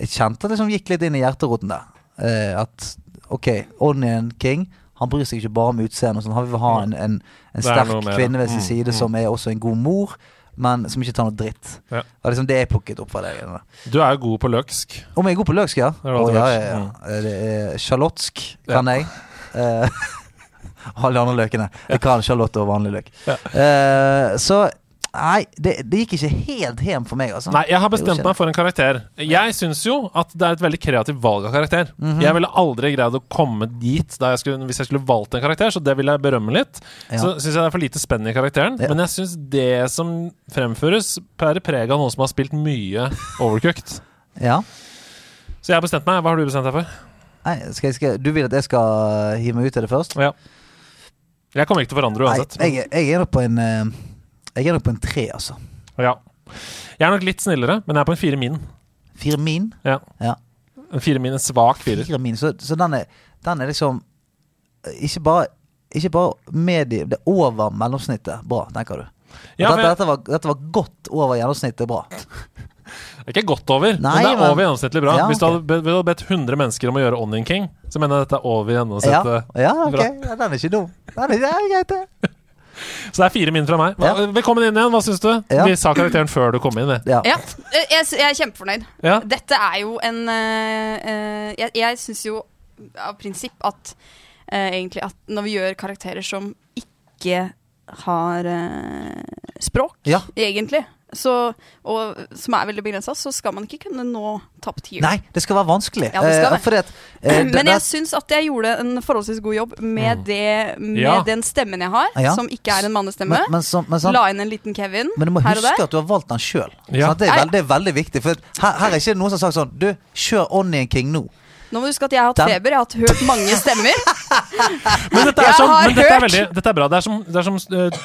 S2: kjente det som gikk litt inn i hjerteroten der. Eh, at OK, Onion King han bryr seg ikke bare om utseendet. og sånn. Han vil ha en, en, en
S1: Det er
S2: sterk
S1: noe mer,
S2: kvinne ved
S1: ja.
S2: sin
S1: Mm,
S2: side
S1: mm.
S2: som er også en god mor, men som ikke tar noe dritt.
S1: Ja.
S2: Det var liksom det jeg plukket opp fra deg. Janne.
S1: Du er jo god på løksk.
S2: Om jeg er god på løksk, ja? Eh,
S1: er Mm. det
S2: Å,
S1: du
S2: ja,
S1: har
S2: ja, ja. Det er Charlotsk kan
S1: Ja.
S2: jeg. Eh, alle de andre løkene. Det kan sjalott og vanlig løk. Eh, så Nei, det, det gikk ikke helt hjem for meg, altså.
S1: Nei, jeg har
S2: Det gjorde
S1: bestemt
S2: ikke
S1: meg for en karakter. Jeg syns jo at det er et veldig kreativt valg av karakter.
S2: Mhm.
S1: Jeg ville aldri greid å komme dit da jeg skulle, hvis jeg skulle valgt en karakter, så det vil jeg berømme litt.
S2: Ja.
S1: Så syns jeg det er for lite spenn i karakteren, men jeg syns det som fremføres, bærer preg av noen som har spilt mye overcooked.
S2: Ja.
S1: Så jeg har bestemt meg. Hva har du bestemt deg for?
S2: Nei, skal jeg, skal, du vil at jeg skal hive meg ut av det først?
S1: Ja. Jeg kommer ikke til å forandre
S2: Nei,
S1: uansett.
S2: jeg, jeg er nok på en eh, Jeg er nok på en tre, altså.
S1: Ja. Jeg er nok litt snillere, men jeg er på en fire min.
S2: Fire min?
S1: Ja. En fire min, en svak firer.
S2: Fire min, så, så den, er, den er liksom eh, Ikke bare, ikke bare medie... Det er over mellomsnittet bra, tenker du.
S1: Ja, for
S2: dette,
S1: jeg-
S2: dette, var, dette var godt over gjennomsnittet bra.
S1: Det er ikke godt over,
S2: Nei,
S1: men det er
S2: men-
S1: over gjennomsnittlig bra.
S2: Ja,
S1: Hvis du
S2: ok.
S1: hadde, be- hvis du hadde bedt 100 mennesker om å gjøre Onion King, så mener jeg dette er over
S2: Ja,
S1: gjennomsnittet
S2: ja ok.
S1: bra.
S2: Ja, den er ikke dum. Den er, det er greit, det.
S1: Så det er fire min fra meg. Hva, Velkommen inn igjen, hva syns du?
S2: Ja.
S1: Vi sa karakteren før du kom inn, vi.
S5: Ja, eh, jeg, s- jeg er kjempefornøyd.
S1: Ja.
S5: Dette er jo en eh, eh, Jeg, jeg syns jo av prinsipp at eh, egentlig at når vi gjør karakterer som ikke har eh, språk,
S2: Ja.
S5: egentlig, så, og som er veldig begrensa, så skal man ikke kunne nå topp tier.
S2: Nei, det skal være vanskelig.
S5: Ja, det skal
S2: Eh,
S5: det.
S2: fordi at, eh, det-
S5: Men jeg
S2: det-
S5: syns at jeg gjorde en forholdsvis god jobb med, det, med
S2: Ja.
S5: den stemmen jeg har,
S2: Ja.
S5: som ikke er en mannestemme.
S2: Men- men som- men som-
S5: La inn en liten Kevin
S2: Men du må
S5: her og
S2: huske
S5: der.
S2: at du har valgt den sjøl.
S1: Ja.
S2: Det, er
S5: Nei.
S2: veld- det er veldig viktig. For her, her er ikke noen som har sagt sånn Du, kjør Onion King nå.
S5: Nå må du huske at jeg har hatt
S2: Den-
S5: feber, jeg har hatt hørt mange stemmer.
S1: Men dette er,
S5: Jeg
S1: sånn,
S5: har
S1: men dette er,
S5: hørt.
S1: veldig, dette er bra. Det er som, det er som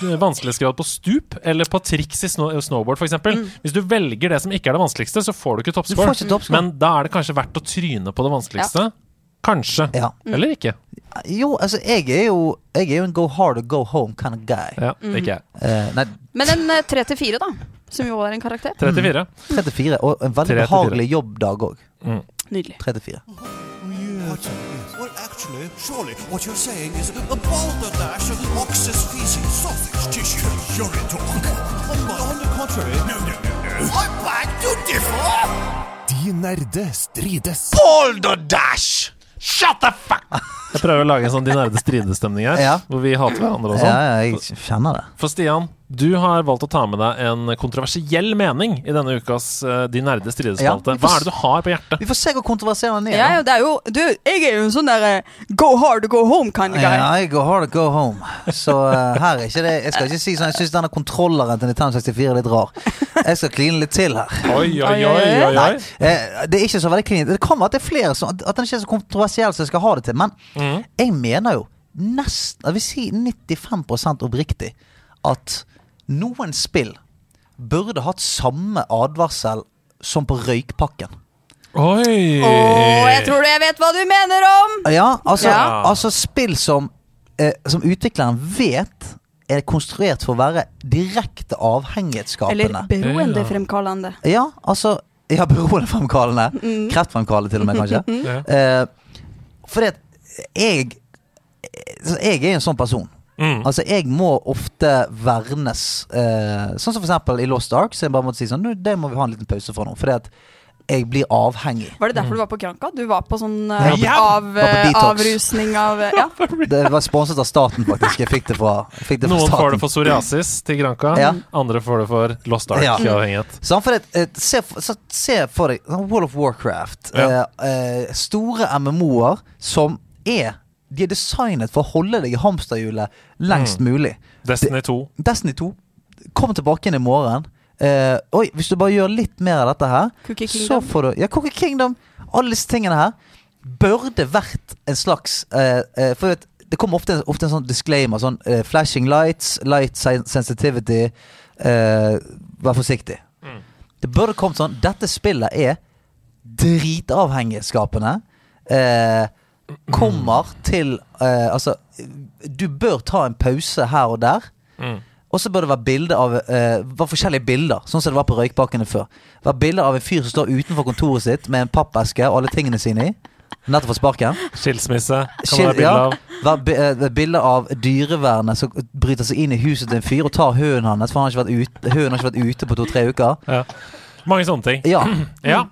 S1: eh, vanskelighetsgrad på stup eller på triks i snow, snowboard, f.eks. eksempel Hvis du velger det som ikke er det vanskeligste, så får du ikke
S2: Mm. Du
S1: toppscore.
S2: får ikke toppscore.
S1: Men da er det kanskje verdt å tryne på det vanskeligste. Kanskje.
S2: Mm.
S1: Eller ikke.
S2: Jo, altså, jeg er jo Jeg er jo en go hard or go home kind of guy.
S1: Ja, det er ikke jeg.
S2: Eh, nei,
S5: Men en eh, tre til fire, da. Som jo er en karakter.
S1: 34.
S2: 34. Og en veldig
S1: 34.
S2: behagelig jobbdag òg.
S1: Mm.
S5: Nydelig.
S2: 34. Mm.
S4: Well, actually, surely what you're saying is a balderdash of ox's feces, sausage tissue, urine to On, the- on the contrary, no, no, no, no. I beg to differ!
S1: De nerde strides.
S4: Balderdash! Shut the fuck
S1: Jeg prøver å lage en sånn De nerde strides-stemning her, hvor vi hater hverandre og sånn.
S2: Ja, ja, jeg kjenner det.
S1: For Stian, du har valgt å ta med deg en kontroversiell mening i denne ukas eh, De nerde stridespalte.
S2: Ja, vi får
S1: Hva er det du har på hjertet?
S2: Vi får se hvor kontroversiell den er.
S5: Ja, ja, det er jo Du, jeg er jo en sånn derre go hard, go home kind of guy.
S2: Ja, jeg går hard or go home. Så eh, her er ikke det Jeg skal ikke si sånn Jeg syns denne kontrolleren til 1964 er litt rar. Jeg skal kline litt til her.
S1: Oi, oi, oi, oi.
S2: Nei, eh, det er ikke så veldig klint. Det kommer at det er flere som At den ikke er så kontroversiell som jeg skal ha det til. Men
S1: Mhm.
S2: jeg mener jo nesten Jeg vil si 95 oppriktig at noen spill burde hatt samme advarsel som på røykpakken.
S1: Oi!
S5: Og jeg tror jeg vet hva du mener om!
S2: Ja, altså,
S5: Ja.
S2: altså spill som, eh, som utvikleren vet er konstruert for å være direkte avhengighetsskapende.
S5: Eller beroende fremkallende.
S2: Ja, altså Ja, beroende fremkallende.
S5: Mm.
S2: Kreftfremkallende, til og med, kanskje.
S5: Ja.
S2: Eh, fordi at jeg så Jeg er en sånn person.
S1: Mm.
S2: Altså, jeg må ofte vernes. Eh, sånn som for eksempel i Lost Ark, så jeg bare måtte si sånn "Nå, Det må vi ha en liten pause for nå. Fordi at jeg blir avhengig.
S5: Var det derfor du var på Kranka? Du var på sånn eh,
S2: Jeg var på-
S5: av,
S2: var på
S5: eh,
S2: detox.
S5: avrusning av eh, Ja.
S2: Det var sponset av staten, faktisk. Jeg fikk det fra, jeg fikk det fra
S1: Noen
S2: staten.
S1: får det for psoriasis til Granka,
S2: Ja.
S1: andre får det for Lost
S2: Ja.
S1: Ark-avhengighet.
S2: Sånn, for det, eh, se, for- så, se for deg sånn World of Warcraft.
S1: Ja.
S2: Eh, eh, store MMO-er som er De er designet for å holde deg i hamsterhjulet lengst
S1: Mm.
S2: mulig.
S1: Destiny 2.
S2: Destiny 2. Kom tilbake inn i morgen. Eh, oi, hvis du bare gjør litt mer av dette her,
S5: Cookie
S2: så
S5: Kingdom.
S2: får du Ja, Cookie Kingdom. Alle disse tingene her burde vært en slags eh, eh, For vet, det kommer ofte, ofte en sånn disclaimer. Sånn eh, flashing lights, light sen- sensitivity. eh, vær forsiktig. Det burde kommet sånn Dette spillet er dritavhengighetsskapende. Eh, kommer til eh, Altså, du bør ta en pause her og der.
S1: Mm.
S2: Og så bør det være bilder av eh, være forskjellige bilder, sånn som det var på røykbakkene før. Være bilder av en fyr som står utenfor kontoret sitt med en pappeske og alle tingene sine i. Nettopp fått sparken.
S1: Skilsmisse kan det
S2: Skil-
S1: være bilde
S2: ja.
S1: av.
S2: Vær bi- eh, Bilder av dyrevernet som bryter seg inn i huset til en fyr og tar hunden hans, for han har ikke vært ute, hunden har ikke vært ute på to-tre uker.
S1: Ja. Mange sånne ting.
S2: Ja. Mm.
S1: Ja.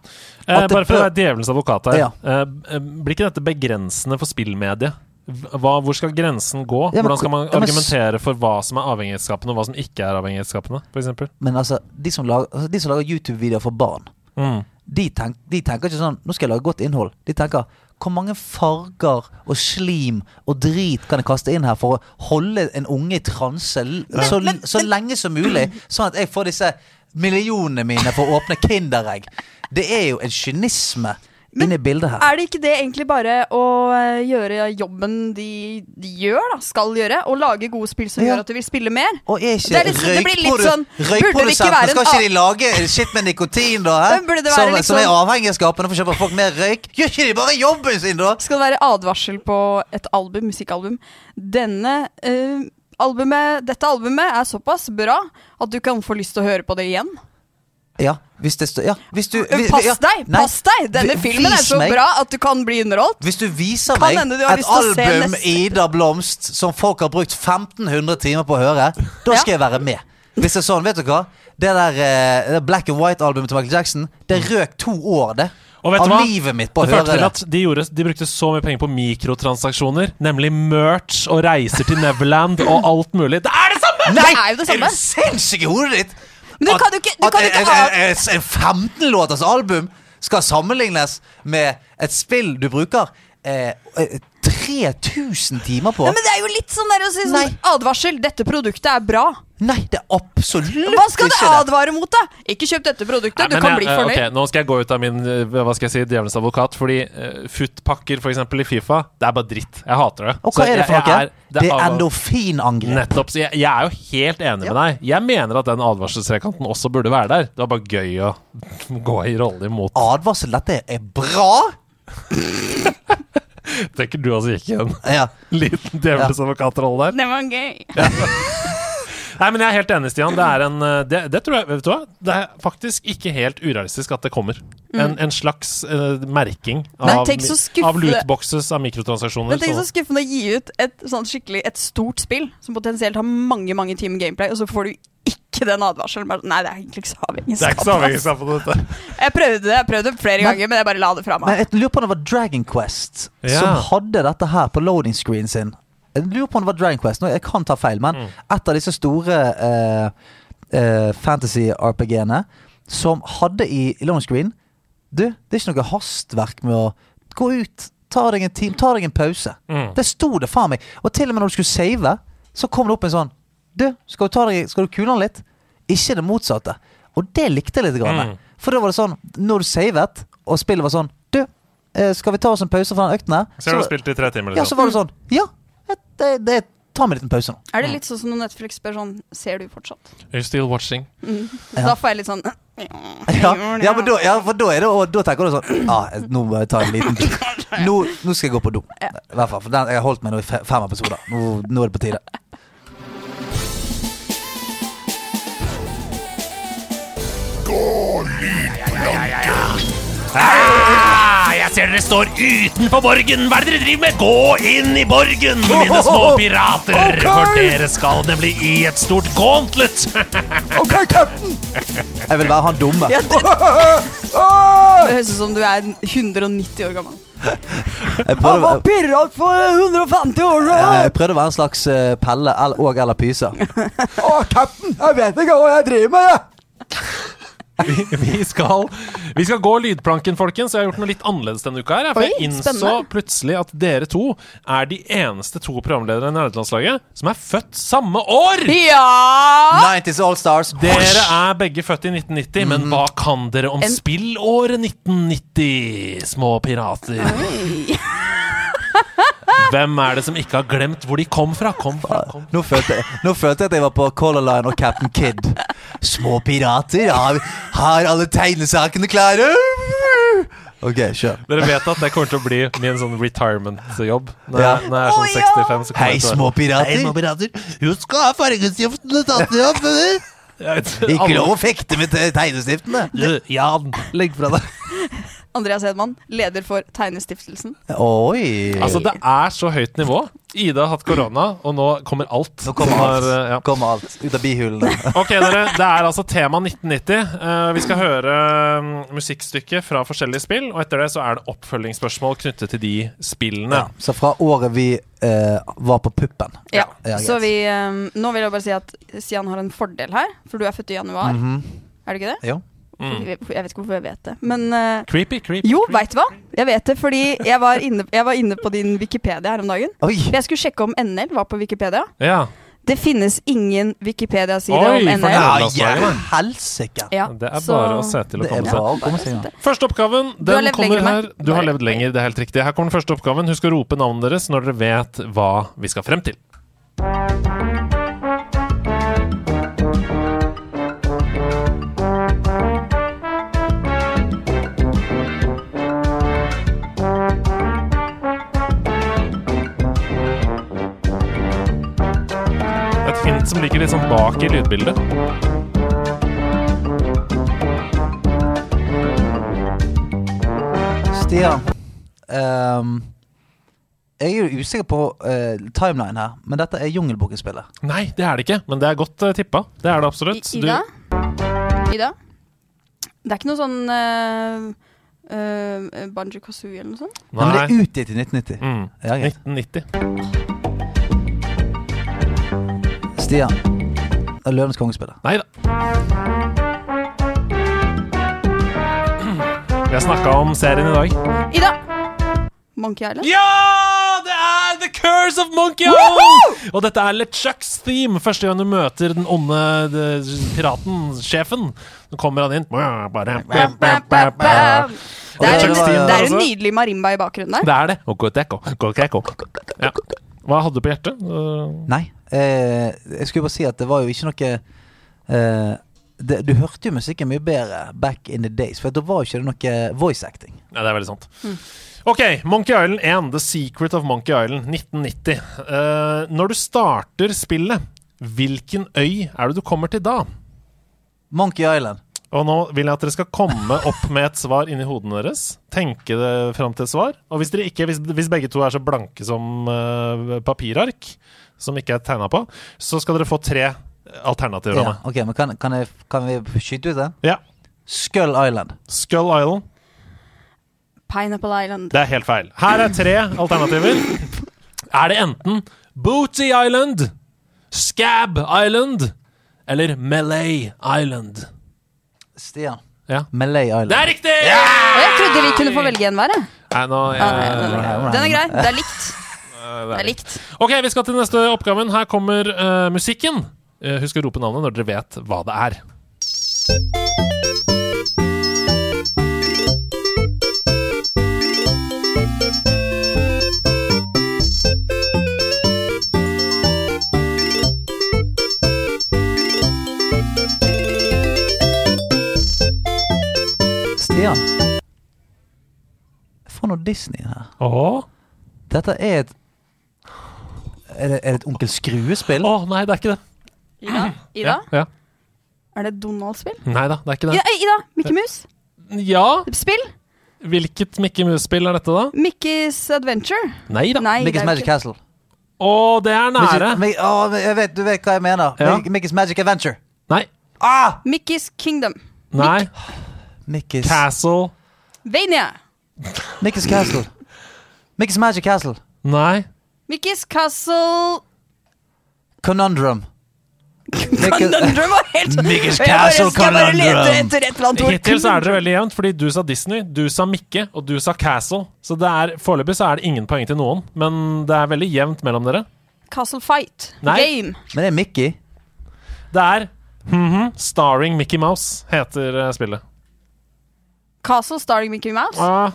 S1: Eh,
S2: At det
S1: bare for å
S2: bør-
S1: være djevelens advokat her.
S2: Ja.
S1: Eh, eh, blir ikke dette begrensende for spillmediet? hva, hvor skal grensen gå?
S2: Ja, men
S1: Hvordan skal man
S2: hvor- ja, men s-
S1: argumentere for hva som er avhengighetsskapende, og hva som ikke er avhengighetsskapende, f.eks.?
S2: Men altså, de som lager, altså, de som lager YouTube-videoer for barn,
S1: Mm.
S2: de, tenk, de tenker ikke sånn 'Nå skal jeg lage godt innhold'. De tenker 'Hvor mange farger og slim og drit kan jeg kaste inn her for å holde en unge i transe l- så, så lenge som mulig', sånn at jeg får disse millionene mine for å åpne Kinderegg? Det er jo en kynisme inni bildet her.
S5: Er det ikke det egentlig bare å eh, gjøre jobben de, de gjør, da, skal gjøre, og lage gode spill som
S2: Ja.
S5: gjør at du vil spille mer?
S2: Og er liksom, ikke
S5: det, er litt, det blir litt sånn Burde det ikke
S2: Røykprodusentene
S5: være en
S2: skal ikke de
S5: annen
S2: lage shit med nikotin, da? Hæ?
S5: Men burde det være
S2: Som,
S5: liksom-
S2: som er avhengighetsskapende for å kjøpe folk mer røyk? Gjør ikke de bare jobben sin, da?
S5: Skal det være advarsel på et album, musikkalbum? Denne eh, albumet, dette albumet er såpass bra at du kan få lyst til å høre på det igjen.
S2: Ja, hvis det står ja, hvis du,
S5: Men
S2: hvis,
S5: Pass
S2: ja,
S5: deg!
S2: nei,
S5: pass deg! Denne
S2: vi-
S5: filmen er
S2: vis
S5: så
S2: meg-
S5: bra at du kan bli underholdt.
S2: Hvis du viser
S5: Kan
S2: meg
S5: hende du har
S2: et
S5: lyst til å se
S2: album
S5: neste-
S2: Ida Blomst som folk har brukt 1500 timer på å høre, da skal jeg være med. Hvis det er sånn, vet du hva? Det der eh, det Black and White-albumet til Michael Jackson, det røk to år, det.
S1: Og vet
S2: av
S1: du hva?
S2: livet mitt på å
S1: det førte
S2: høre
S1: til
S2: det.
S1: at de, gjorde, de brukte så mye penger på mikrotransaksjoner, nemlig merch og reiser til Neverland og alt mulig. Det er det samme!
S2: Nei!
S5: Det er jo det samme.
S2: Er du sinnssyk i hodet ditt?
S5: Men du kan jo ikke, du kan jo ikke ha
S2: At en 15-låters album skal sammenlignes med et spill du bruker eh, eh, 3000 timer på.
S5: Nei, men det er jo litt sånn der å si sånn Advarsel, dette produktet er bra.
S2: Nei, det er absolutt
S5: Hva skal du
S1: ikke det.
S5: advare mot, da? Ikke kjøp dette produktet,
S1: Nei,
S5: du
S1: men
S5: kan
S1: jeg-
S5: bli
S1: eh,
S5: fornøyd.
S1: ok, nå skal jeg gå ut av min eh, hva skal jeg si, djevelens advokat. Fordi eh, futtpakker for eksempel, i Fifa, det er bare dritt. Jeg hater det.
S2: Og
S1: Så
S2: hva er det for
S1: jeg-
S2: noe?
S1: jeg er-
S2: Det er
S1: av-
S2: endorfinangrep.
S1: Nettopp. Så jeg, jeg er jo helt enig med deg. Jeg mener at den advarselstrekanten også burde være der. Det var bare gøy å gå i rolle imot.
S2: Advarsel, dette er bra!
S1: Tenker du altså ikke en
S2: ja.
S1: liten djevelens advokatrolle der?
S5: Det var gøy.
S1: Nei, men jeg er helt enig, Stian. Det, er en, eh, det, det tror jeg Vet du hva? Det er faktisk ikke helt urealistisk at det kommer.
S5: Mm.
S1: En, en slags eh, merking
S5: Nei,
S1: av,
S5: tenk så
S1: mi- av
S5: skuffende-
S1: lootboxes av mikrotransaksjoner. sånn.
S5: Men tenk så
S1: så-
S5: skuffende å gi ut et sånn skikkelig et stort spill som potensielt har mange mange timer gameplay, og så får du ikke den advarselen. Bare, sånn, nei, det er egentlig ikke så
S1: det er ikke så avhengig av dette.
S5: Jeg prøvde det jeg prøvde det flere ganger, men jeg bare la det fra
S2: Men
S5: meg.
S2: jeg lurer på om det var Dragon Quest
S1: Ja.
S2: som hadde dette her på loading screen sin. Jeg lurer på om det var Dragon Quest. Nå, jeg kan ta feil,
S1: Mm.
S2: men et av disse store eh, eh, fantasy-RPG-ene som hadde i i loading screen Du, det er ikke noe hastverk med å gå ut, ta deg en time, ta deg en pause.
S1: Mm.
S2: Det sto det faen meg. Og til og med når du skulle save, så kom det opp en sånn Du, skal du, ta deg, skal du kule den litt? Ikke det motsatte. Og det likte jeg litt. Grann.
S1: Mm.
S2: For da var det sånn, når du savet, og spillet var sånn Du, eh, skal vi ta oss en pause fra den økten her?
S1: Så har du spilt i tre timer, liksom.
S2: Ja, så var det sånn Ja, det, det, ta meg en liten pause nå.
S5: Er det litt sånn som når Netflix spør sånn Ser du fortsatt?
S1: You're still watching.
S5: Mm.
S2: Ja.
S5: Da får jeg litt sånn
S2: Ja, ja, men da, ja for da, er det, og da tenker du sånn Ja, ah, nå må jeg ta en liten nå, nå skal jeg gå på do. I hvert fall. For den, jeg har holdt meg nå i fe- fem episoder. Nå, nå er det på tide.
S1: Ah, jeg ser dere står utenfor borgen. Hva er det dere driver med? Gå inn i borgen, mine små pirater.
S4: Ok.
S1: For dere skal nemlig i et stort gauntlet.
S2: OK, cap'n. Jeg vil være han dumme.
S5: Ja, det, det høres ut som du er 190 år gammel.
S2: Jeg prøvde,
S5: pirat for 150 år
S2: jeg prøvde å være en slags eh, Pelle el- og eller Pyse.
S4: Å, cap'n, jeg vet ikke hva jeg driver med, jeg.
S1: Vi, vi, skal, vi skal gå lydplanken, folkens. Jeg har gjort noe litt annerledes denne uka. her jeg, For
S5: Oi,
S1: jeg innså
S5: spennende.
S1: plutselig at dere to er de eneste to programledere i nederlandslaget som er født samme år!
S5: Ja!
S2: 90's All Stars. Mm.
S1: Dere er begge født i 1990, men hva kan dere om
S5: En-
S1: spillåret 1990, små pirater? Hvem er det som ikke har glemt hvor de kom fra? Kom fra, kom
S2: Nå følte, jeg, nå følte jeg at jeg var på Color Line og Captain Kid. Små pirater, har, har alle tegnesakene klare? OK, kjør.
S1: Dere vet at det kommer til å bli min sånn retirement-jobb når,
S2: Ja.
S1: jeg- når jeg er sånn 65. Så kommer
S2: Hei,
S1: jeg til å-
S2: små pirater.
S1: Hei, små pirater.
S2: Husk å ha fargestiftene tatt i opp, eller?
S1: Jeg vet-
S2: Ikke
S1: alle-
S2: lov å fekte med te- tegnestiftene.
S1: Du, Jan, legg fra deg.
S5: Andreas Hedman, leder for Tegnestiftelsen.
S2: Oi!
S1: Altså, det er så høyt nivå. Ida har hatt korona, og nå kommer alt. Nå
S2: kommer alt. Kommer alt. Ut av bihulene.
S1: Ok, dere. Det er altså tema 1990. Eh, vi skal høre mm, musikkstykke fra forskjellige spill, og etter det så er det oppfølgingsspørsmål knyttet til de spillene.
S2: Så fra året vi eh, var på puppen.
S5: Ja,
S2: greit.
S5: så vi ehm, Nå vil jeg bare si at Sian har en fordel her, for du er født i januar.
S2: Mhm.
S5: Er du ikke det?
S2: Jo.
S1: Mm.
S5: Jeg vet jeg vet ikke hvorfor jeg vet det, men eh,
S1: Creepy, creepy.
S5: Jo, veit du hva? Jeg vet det, fordi jeg var inne, jeg var inne på din Wikipedia her om dagen.
S1: Oi.
S5: For jeg skulle sjekke om NL var på Wikipedia.
S1: Ja.
S5: Det finnes ingen Wikipedia-side om
S1: Oi,
S5: NL.
S1: for nærmest var det, da.
S2: Helsike!
S5: Ja,
S1: Det er
S5: så-
S1: bare å se til å
S2: Det er
S1: komme
S2: bare å
S1: seg.
S2: komme seg.
S1: Første oppgaven
S5: Du har
S1: den
S5: levd
S1: kommer
S5: lenger enn
S1: her.
S5: meg.
S1: Du har levd lenger, det er helt riktig. Her kommer den første oppgaven. Husk å rope navnet deres når dere vet hva vi skal frem til. Et hint som ligger litt sånn bak i lydbildet.
S2: Stian, ehm, jeg er jo usikker på eh, timeline her, men dette er Jungelboken-spillet.
S1: Nei, det er det ikke, men det er godt eh, tippa. Det er det absolutt. Du-
S5: Ida? Ida? Det er ikke noe sånn uh, uh, Banjo Kazooie eller noe sånt?
S2: Nei. Men det er utgitt i 1990.
S1: Mm.
S2: Ja, greit.
S1: 1990.
S2: Stian, det er Løvenes kongespillet.
S1: Nei da. Vi har snakka om serien i dag.
S5: Ida! Monkey Island?
S1: Ja! Det er The Curse of Monkey
S5: Island!
S1: Og dette er LeChucks theme. Første gang du møter den onde eh, piraten, sjefen. Nå kommer han inn. Og
S5: Det er, en,
S1: LeChucks theme
S5: det er en
S1: altså.
S5: nydelig marimba i bakgrunnen der.
S1: Det er det. Og Koteko, Koteko. Ja. Hva hadde du på hjertet? Eh,
S2: Nei, eh, jeg skulle bare si at det var jo ikke noe eh, det, Du hørte jo musikken mye bedre back in the days, for da var jo ikke det noe voice acting.
S1: Nei, det er veldig sant. Ok, Monkey Island 1, The Secret of Monkey Island, 1990. Eh, når du starter spillet, hvilken øy er det du kommer til da?
S2: Monkey Island.
S1: Og nå vil jeg at dere skal komme opp med et svar inni hodene deres. Tenke det fram til et svar. Og hvis, dere ikke, hvis, hvis begge to er så blanke som eh, papirark, som ikke er tegna på, så skal dere få tre alternativer.
S2: Ja,
S1: av meg.
S2: ok, men kan, kan, jeg, kan vi skyte ut den?
S1: Ja.
S2: Skull Island.
S1: Skull Island.
S5: Pineapple Island.
S1: Det er helt feil. Her er tre alternativer. Er det enten Booty Island, Scab Island eller Malay Island?
S2: Stian.
S1: Ja.
S2: Malay Island.
S1: Det er riktig!
S5: Og jeg trodde vi kunne få velge en hver. jeg.
S1: Nei, nå, jeg,
S5: Den er grei. Det er likt.
S1: Det
S5: er likt.
S1: Ok, vi skal til neste oppgaven. Her kommer eh, musikken. Eh, husk å rope navnet når dere vet hva det er.
S2: Stian. Jeg får noe Disney her.
S1: Åh.
S2: Dette er et Er det, er det et Onkel Skrue-spill?
S1: Å, nei, det er ikke det.
S5: Ida? Ida?
S1: Ja.
S5: Er det Donald-spill?
S1: Nei da, det er ikke det.
S5: Ida, Ida Mickey Mus?
S1: Ja.
S5: Spill?
S1: Hvilket Mickey Mouse-spill er dette, da?
S5: Mickey's Adventure?
S1: Nei da.
S5: Nei, det er ikke-
S2: Castle.
S1: Å, det er nære.
S2: Mickey- Mickey- å, jeg vet, du vet hva jeg mener.
S1: Ja.
S2: Mickey- Mickey's Magic Adventure.
S1: Nei.
S2: Ah!
S5: Mickey's Kingdom.
S1: Nei.
S2: Mickey's
S1: Castle.
S5: Vania.
S2: Mickey's Castle. Mickey's Magic Castle.
S1: Nei.
S5: Mickey's Castle
S2: Conundrum.
S5: Conundrum var helt sånn-
S2: Mickey's
S5: Jeg bare-
S2: Castle
S5: skal bare lete
S2: Conundrum.
S5: etter et eller annet ord.
S1: Hittil så er dere veldig jevnt, fordi du sa Disney, du sa Mikke, og du sa Castle. Så det er, foreløpig så er det ingen poeng til noen, men det er veldig jevnt mellom dere.
S5: Castle Fight.
S1: Nei.
S5: Game.
S2: Men det er Mickey.
S1: Det er mhm, Starring Mickey Mouse heter eh, spillet.
S5: Castle starring Mickey Mouse.
S1: Ah.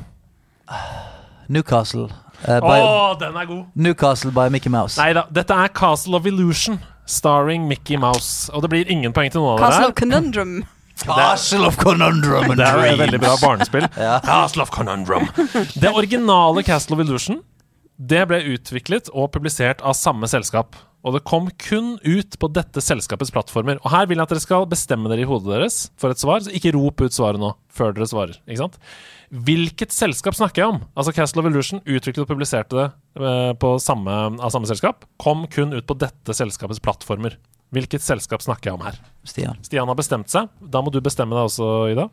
S2: Newcastle. eh, by,
S1: Å, den er god!
S2: Newcastle by Mickey Mouse.
S1: Nei da, dette er Castle of Illusion, starring Mickey Mouse. Og det blir ingen poeng til noen av
S5: Castle
S1: dere.
S5: of Conundrum.
S2: Castle of Conundrum and
S1: Det er et
S2: Dreams.
S1: veldig bra barnespill. Castle of Conundrum. Det originale Castle of Illusion Det ble utviklet og publisert av samme selskap. Og det kom kun ut på dette selskapets plattformer. Og her vil jeg at dere skal bestemme dere i hodet deres for et svar. Så ikke rop ut svaret nå, før dere svarer. ikke sant? Hvilket selskap snakker jeg om? Altså Castle of Illusion uttrykte og publiserte det eh, på samme, av samme selskap. Kom kun ut på dette selskapets plattformer. Hvilket selskap snakker jeg om her?
S2: Stian.
S1: Stian har bestemt seg. Da må du bestemme deg også, Ida.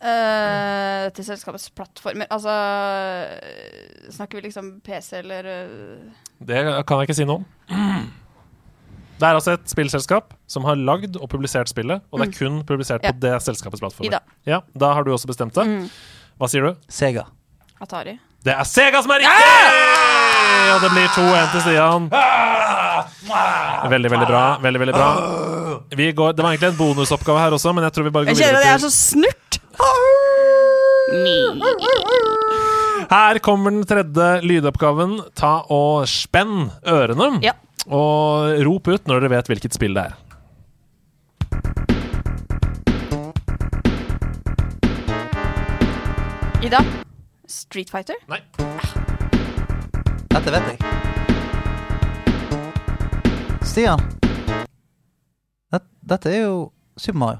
S5: Eh, til selskapets plattformer. Altså eh, Snakker vi liksom PC eller eh,
S1: Det kan jeg ikke si noe om. Det er altså et spillselskap som har lagd og publisert spillet, og
S17: Mm.
S1: det er kun publisert
S5: Ja.
S1: på det selskapets plattformer.
S5: Ida.
S1: Ja, da har du også bestemt det.
S17: Mm.
S1: Hva sier du?
S2: Sega.
S5: Atari?
S1: Det er Sega som er riktig! Og det blir 2-1 til Stian.
S17: Ah!
S1: Veldig, veldig bra. Veldig, veldig bra. Vi går, det var egentlig en bonusoppgave her også, men jeg tror vi bare
S17: Jeg
S1: går
S17: kjenner at jeg
S1: videre
S17: er så
S1: til
S17: snurt.
S1: Her kommer den tredje lydoppgaven. Ta og spenn ørene. Og rop ut når dere vet hvilket spill det er.
S5: Ida? Street Fighter?
S1: Nei.
S2: Dette vet jeg. Stian. Det, dette er jo Super Mario.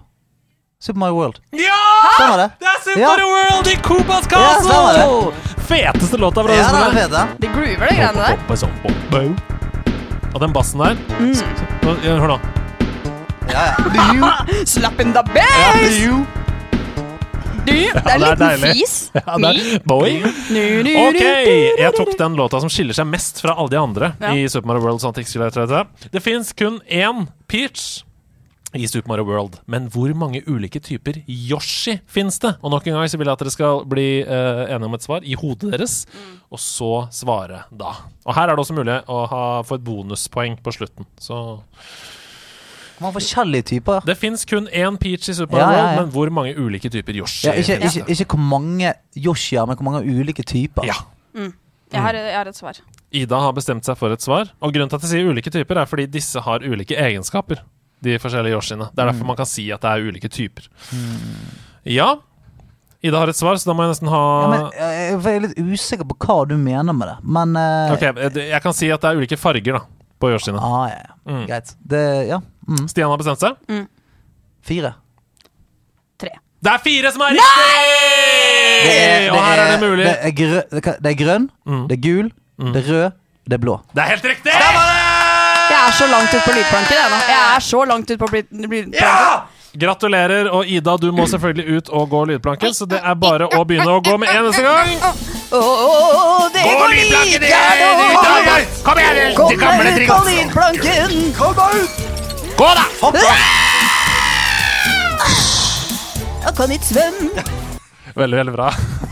S2: Super Mario World.
S1: Ja!
S2: Stemmer det?
S1: Det er Super
S2: Ja.
S1: World i Coopas
S2: Ja,
S1: Castle!
S2: stemmer
S1: Feteste låta fra
S2: Ja,
S1: det
S2: det er
S1: spillet.
S5: Det groover, det greiene der.
S1: Bare sånn, bom, bom. Og den bassen der
S5: Mm.
S2: Mm.
S1: s- s- Hør nå.
S5: Slap in the bass! Du, det er en
S1: Ja,
S5: liten
S1: deilig.
S5: fis.
S1: Ja, det er- Bowie. Ok, jeg tok den låta som skiller seg mest fra alle de andre
S5: Ja.
S1: i Super Mario World. Sånn at det ikke skulle være tre- tre. det fins kun én Peach i Super Mario World, men hvor mange ulike typer Yoshi fins det? Og nok en gang så vil jeg at dere skal bli eh, enige om et svar i hodet deres, og så svare da. Og her er det også mulig å ha, få et bonuspoeng på slutten, så
S2: Man har forskjellige typer.
S1: Det fins kun én Peach i Super
S2: Ja,
S1: Mario
S2: ja,
S1: World,
S2: ja.
S1: men hvor mange ulike typer Yoshi
S2: Ja, ikke,
S1: finnes
S2: ikke,
S1: det?
S2: ikke hvor mange Yoshier, men hvor mange ulike typer. Ja.
S5: Mm. Jeg, har, jeg har et svar.
S1: Ida har bestemt seg for et svar. Og grunnen til at jeg sier ulike typer, er fordi disse har ulike egenskaper. De forskjellige Yoshiene. Det er
S2: Mm.
S1: derfor man kan si at det er ulike typer.
S2: Hmm.
S1: Ja, Ida har et svar, så da må jeg nesten ha
S2: men, eh, jeg er litt usikker på hva du mener med det, men eh,
S1: Ok, jeg kan si at det er ulike farger, da. På Yoshiene.
S2: Ah, ja, ja. Greit. Det, ja. Mm.
S1: Mm. Stian har bestemt seg?
S5: Mm.
S2: Fire.
S1: Det er fire som er riktig! og her er det mulig. Mm.
S2: Det er, grø det kan- det er grønn, det er gul, det er rød, det er blå.
S1: Det er helt riktig!
S5: Jeg er så langt ut på lydplanken. Jeg, nå. jeg er så langt ut på bli- lydplanken.
S1: Gratulerer. Og Ida, du må selvfølgelig ut og gå lydplanken, så det er bare å begynne å gå med en eneste gang.
S17: Å, å, det
S1: Gå
S17: går dit,
S1: lydplanken, det-
S17: ja, da!
S1: det- det- det- det- kom igjen, det-
S17: Kom
S1: det gamle
S17: igjen,
S1: trikset.
S17: Kom inn, planken! Kom deg ut!
S1: Gå, da!
S17: Jeg kan ikke svømme.
S1: Veldig, veldig bra.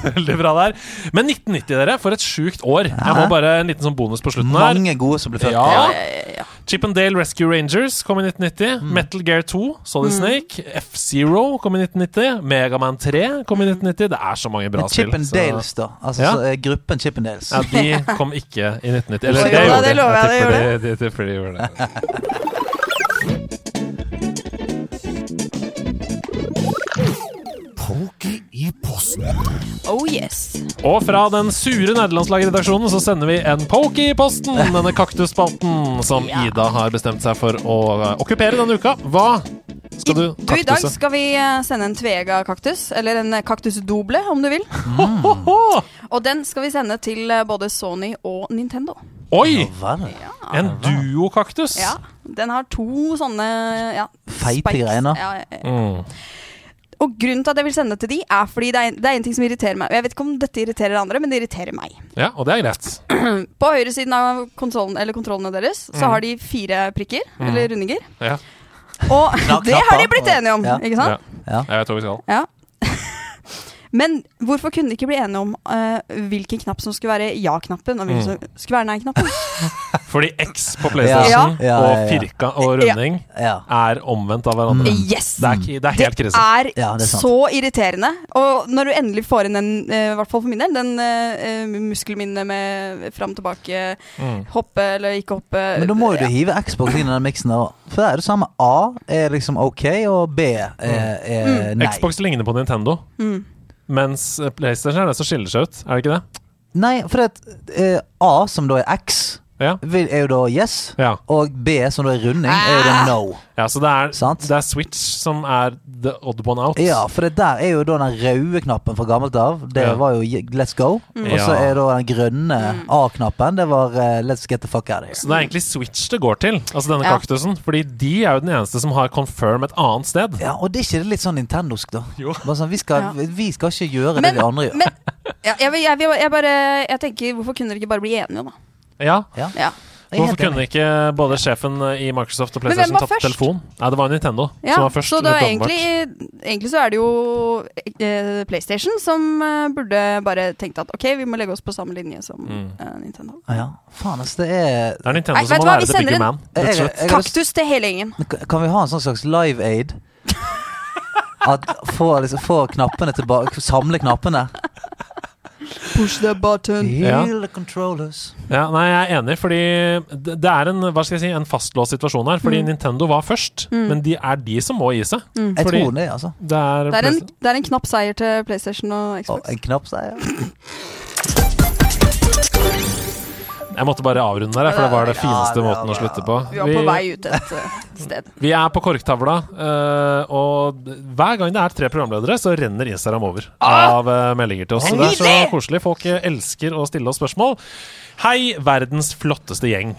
S1: Veldig bra der. Men 1990, dere, for et sjukt år. Jeg må bare en liten sånn bonus på slutten her.
S2: Mange gode som ble født.
S1: Ja. Chip and Dale Rescue Rangers kom i 1990. Metal Gear 2, Solid
S2: Mm.
S1: Snake, F-Zero kom i 1990. Megaman 3 kom i 1990. Det er så mange bra
S2: Men Chip
S1: spill.
S2: and
S1: så-
S2: Dales, da. Altså
S1: Ja.
S2: så, eh, gruppen Chip and Dales.
S1: Ja, de kom ikke i 1990. Eller
S2: Oi,
S1: det
S2: jo da,
S1: gjorde
S2: det
S1: de.
S2: lover jeg, det
S1: tipper
S2: gjorde
S1: de- de tipper de gjorde
S4: Poke i posten.
S5: Oh yes.
S1: Og fra den sure nederlandslagredaksjonen så sender vi en poke i posten, denne kaktusspalten som Ida har bestemt seg for å eh, okkupere denne uka. Hva skal du
S5: Du, I dag
S1: kaktuse?
S5: skal vi eh, sende en Tvega-kaktus, eller en eh, kaktusdoble om du vil.
S1: Mm.
S5: Og den skal vi sende til eh, både Sony og Nintendo.
S1: Oi! En duokaktus?
S5: Ja, Den har to sånne ja,
S2: Feite greiene.
S5: Ja, ja, ja.
S1: Mm.
S5: Og grunnen til at jeg vil sende til de, er fordi det er, en, det er en ting som irriterer meg. Og Jeg vet ikke om dette irriterer andre, men det irriterer meg.
S1: Ja, og det er greit.
S5: På høyresiden av konsollen, eller kontrollene deres
S1: Mm.
S5: så har de fire prikker,
S1: Mm.
S5: eller rundinger.
S1: Ja.
S5: Og
S1: Knapp-
S5: det har de
S1: knappa.
S5: blitt enige om,
S1: Ja.
S5: ikke sant?
S1: Ja. Jeg vet hvor vi skal.
S5: Ja. Men hvorfor kunne de ikke bli enige om eh, hvilken knapp som skulle være ja-knappen, og hvilken
S1: Mm.
S5: som skulle være nei-knappen?
S1: Fordi X på PlayStation
S5: Ja. Ja,
S1: og
S5: ja, ja.
S1: firka og runding er omvendt av hverandre.
S5: Yes!
S1: Det er, ikke- det er helt krise.
S5: er, så irriterende. Og når du endelig får inn den, eh, i hvert fall for min del, den eh, muskelminnet med fram og tilbake,
S2: Mm.
S5: hoppe eller ikke hoppe
S2: Men da må jo du hive Xbox inn i den miksen der òg. For da er det samme. A er liksom OK, og B er, er Eh, nei.
S1: Mm. Xbox ligner på Nintendo,
S5: Mm.
S1: mens eh, PlayStation er det som skiller seg ut. Er det ikke det?
S2: Nei, for det, eh, A, som da er X, vil, er jo da yes, og B, som da er runding, er jo da no.
S1: Ja, så det er, det er Switch som er the odd one out.
S2: Ja, for det der er jo da den røde knappen fra gammelt av. Det
S1: Ja.
S2: var jo ye- let's go.
S1: Mm.
S2: Og så
S1: Ja.
S2: er da den grønne
S5: Mm.
S2: A-knappen, det var eh, let's get the fuck out of here.
S1: Så det er egentlig Switch det går til, altså denne
S2: Ja.
S1: kaktusen. Fordi de er jo den eneste som har confirm et annet sted.
S2: Ja, og det er ikke det litt sånn nintendosk, da? Bare sånn, vi, skal,
S5: Ja.
S2: vi- vi skal ikke gjøre
S5: Men-
S2: det de andre gjør.
S5: Ja, jeg, vil- jeg, vil- jeg bare Jeg tenker, hvorfor kunne dere ikke bare bli enige, da?
S1: Ja.
S5: Ja. Jeg er
S1: Hvorfor
S5: helt
S1: kunne ikke både sjefen i Microsoft og
S5: Men hvem
S1: PlayStation
S5: var
S1: tatt
S5: først?
S1: telefonen? Nei, det var Nintendo
S5: Ja,
S1: som var først.
S5: så det var
S1: helt
S5: egentlig,
S1: åpenbart.
S5: egentlig så er det jo eh, PlayStation som eh, burde bare tenkt at ok, vi må legge oss på samme linje som
S1: Mm.
S5: eh, Nintendo.
S2: Ah, ja. Faen, ass, det er
S1: Det er Nintendo
S5: Nei, vet du hva, vi sender en Eh,
S2: Jeg- jeg- jeg har lyst-
S5: kaktus til hele gjengen.
S2: Men ka- Kan vi ha en sånn slags live aid? At få, liksom, få knappene tilbake Samle knappene.
S17: Push the button.
S1: Ja.
S2: Heal the controllers.
S1: Ja, nei, jeg er enig, fordi det det er en, hva skal jeg si, en fastlåst situasjon her. Fordi
S5: Mm.
S1: Nintendo var først,
S5: Mm.
S1: men de er de som må gi seg.
S5: Mm. Jeg tror det,
S2: altså.
S1: Det er,
S5: Det er en, det er en knapp seier til PlayStation og Xbox.
S2: En knapp seier.
S1: Jeg måtte bare avrunde der, for det var det
S5: Ja,
S1: fineste
S5: det var
S1: måten å slutte på.
S5: Vi var på vei ut et eh, sted.
S1: Vi er på korktavla, eh, og hver gang det er tre programledere, så renner Instagram over av eh, meldinger til oss. Så det er så
S5: Ah! Nydelig!
S1: koselig. Folk eh, elsker å stille oss spørsmål. Hei, verdens flotteste gjeng.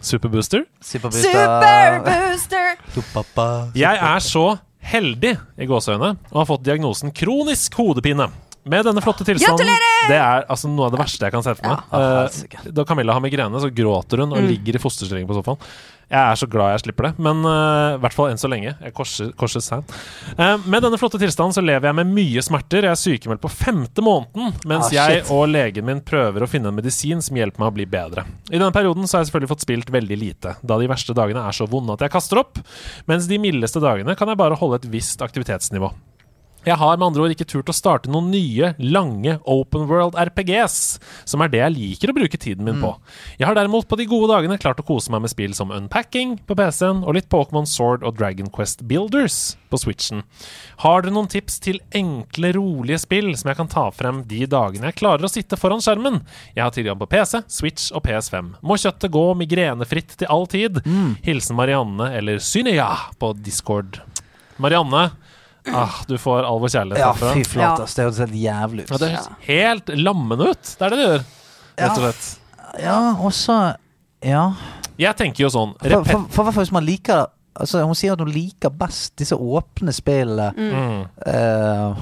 S1: Superbooster.
S5: Mm. Superbooster!
S1: Jeg er så heldig i gåseøyne og har fått diagnosen kronisk hodepine. Med denne flotte tilstanden
S5: Gratulerer!
S1: Det er altså noe av det verste jeg kan se for meg. Eh, da Camilla har migrene, så gråter hun og
S5: Mm.
S1: ligger i fosterstilling på sofaen. Jeg er så glad jeg slipper det, men eh, i hvert fall enn så lenge. Jeg korser, korser sein. Eh, med denne flotte tilstanden så lever jeg med mye smerter. Jeg er sykemeldt på femte måneden, mens
S15: Ah,
S1: jeg
S15: shit.
S1: og legen min prøver å finne en medisin som hjelper meg å bli bedre. I denne perioden så har jeg selvfølgelig fått spilt veldig lite, da de verste dagene er så vonde at jeg kaster opp, mens de mildeste dagene kan jeg bare holde et visst aktivitetsnivå. Jeg har med andre ord ikke turt å starte noen nye, lange open world RPGs, som er det jeg liker å bruke tiden min på. Jeg har derimot på de gode dagene klart å kose meg med spill som Unpacking på PC-en, og litt Pokémon Sword og Dragon Quest Builders på Switchen. Har dere noen tips til enkle, rolige spill som jeg kan ta frem de dagene jeg klarer å sitte foran skjermen? Jeg har tilgang på PC, Switch og PS5. Må kjøttet gå migrenefritt til all tid? Hilsen Marianne eller Synia på Discord. Marianne, ah, du får all vår kjærlighet
S2: Ja,
S1: herfra.
S2: fy flate, ass. Det høres helt jævlig ut.
S1: Ja, det høres helt lammende ut. Det er det det gjør, rett og
S2: Ja.
S1: slett.
S2: Ja, og så Ja.
S1: Jeg tenker jo sånn
S2: For,
S1: repet-
S2: for, for hvert fall hvis man liker Altså, Hun sier at hun liker best disse åpne spillene.
S5: Mm.
S2: Eh,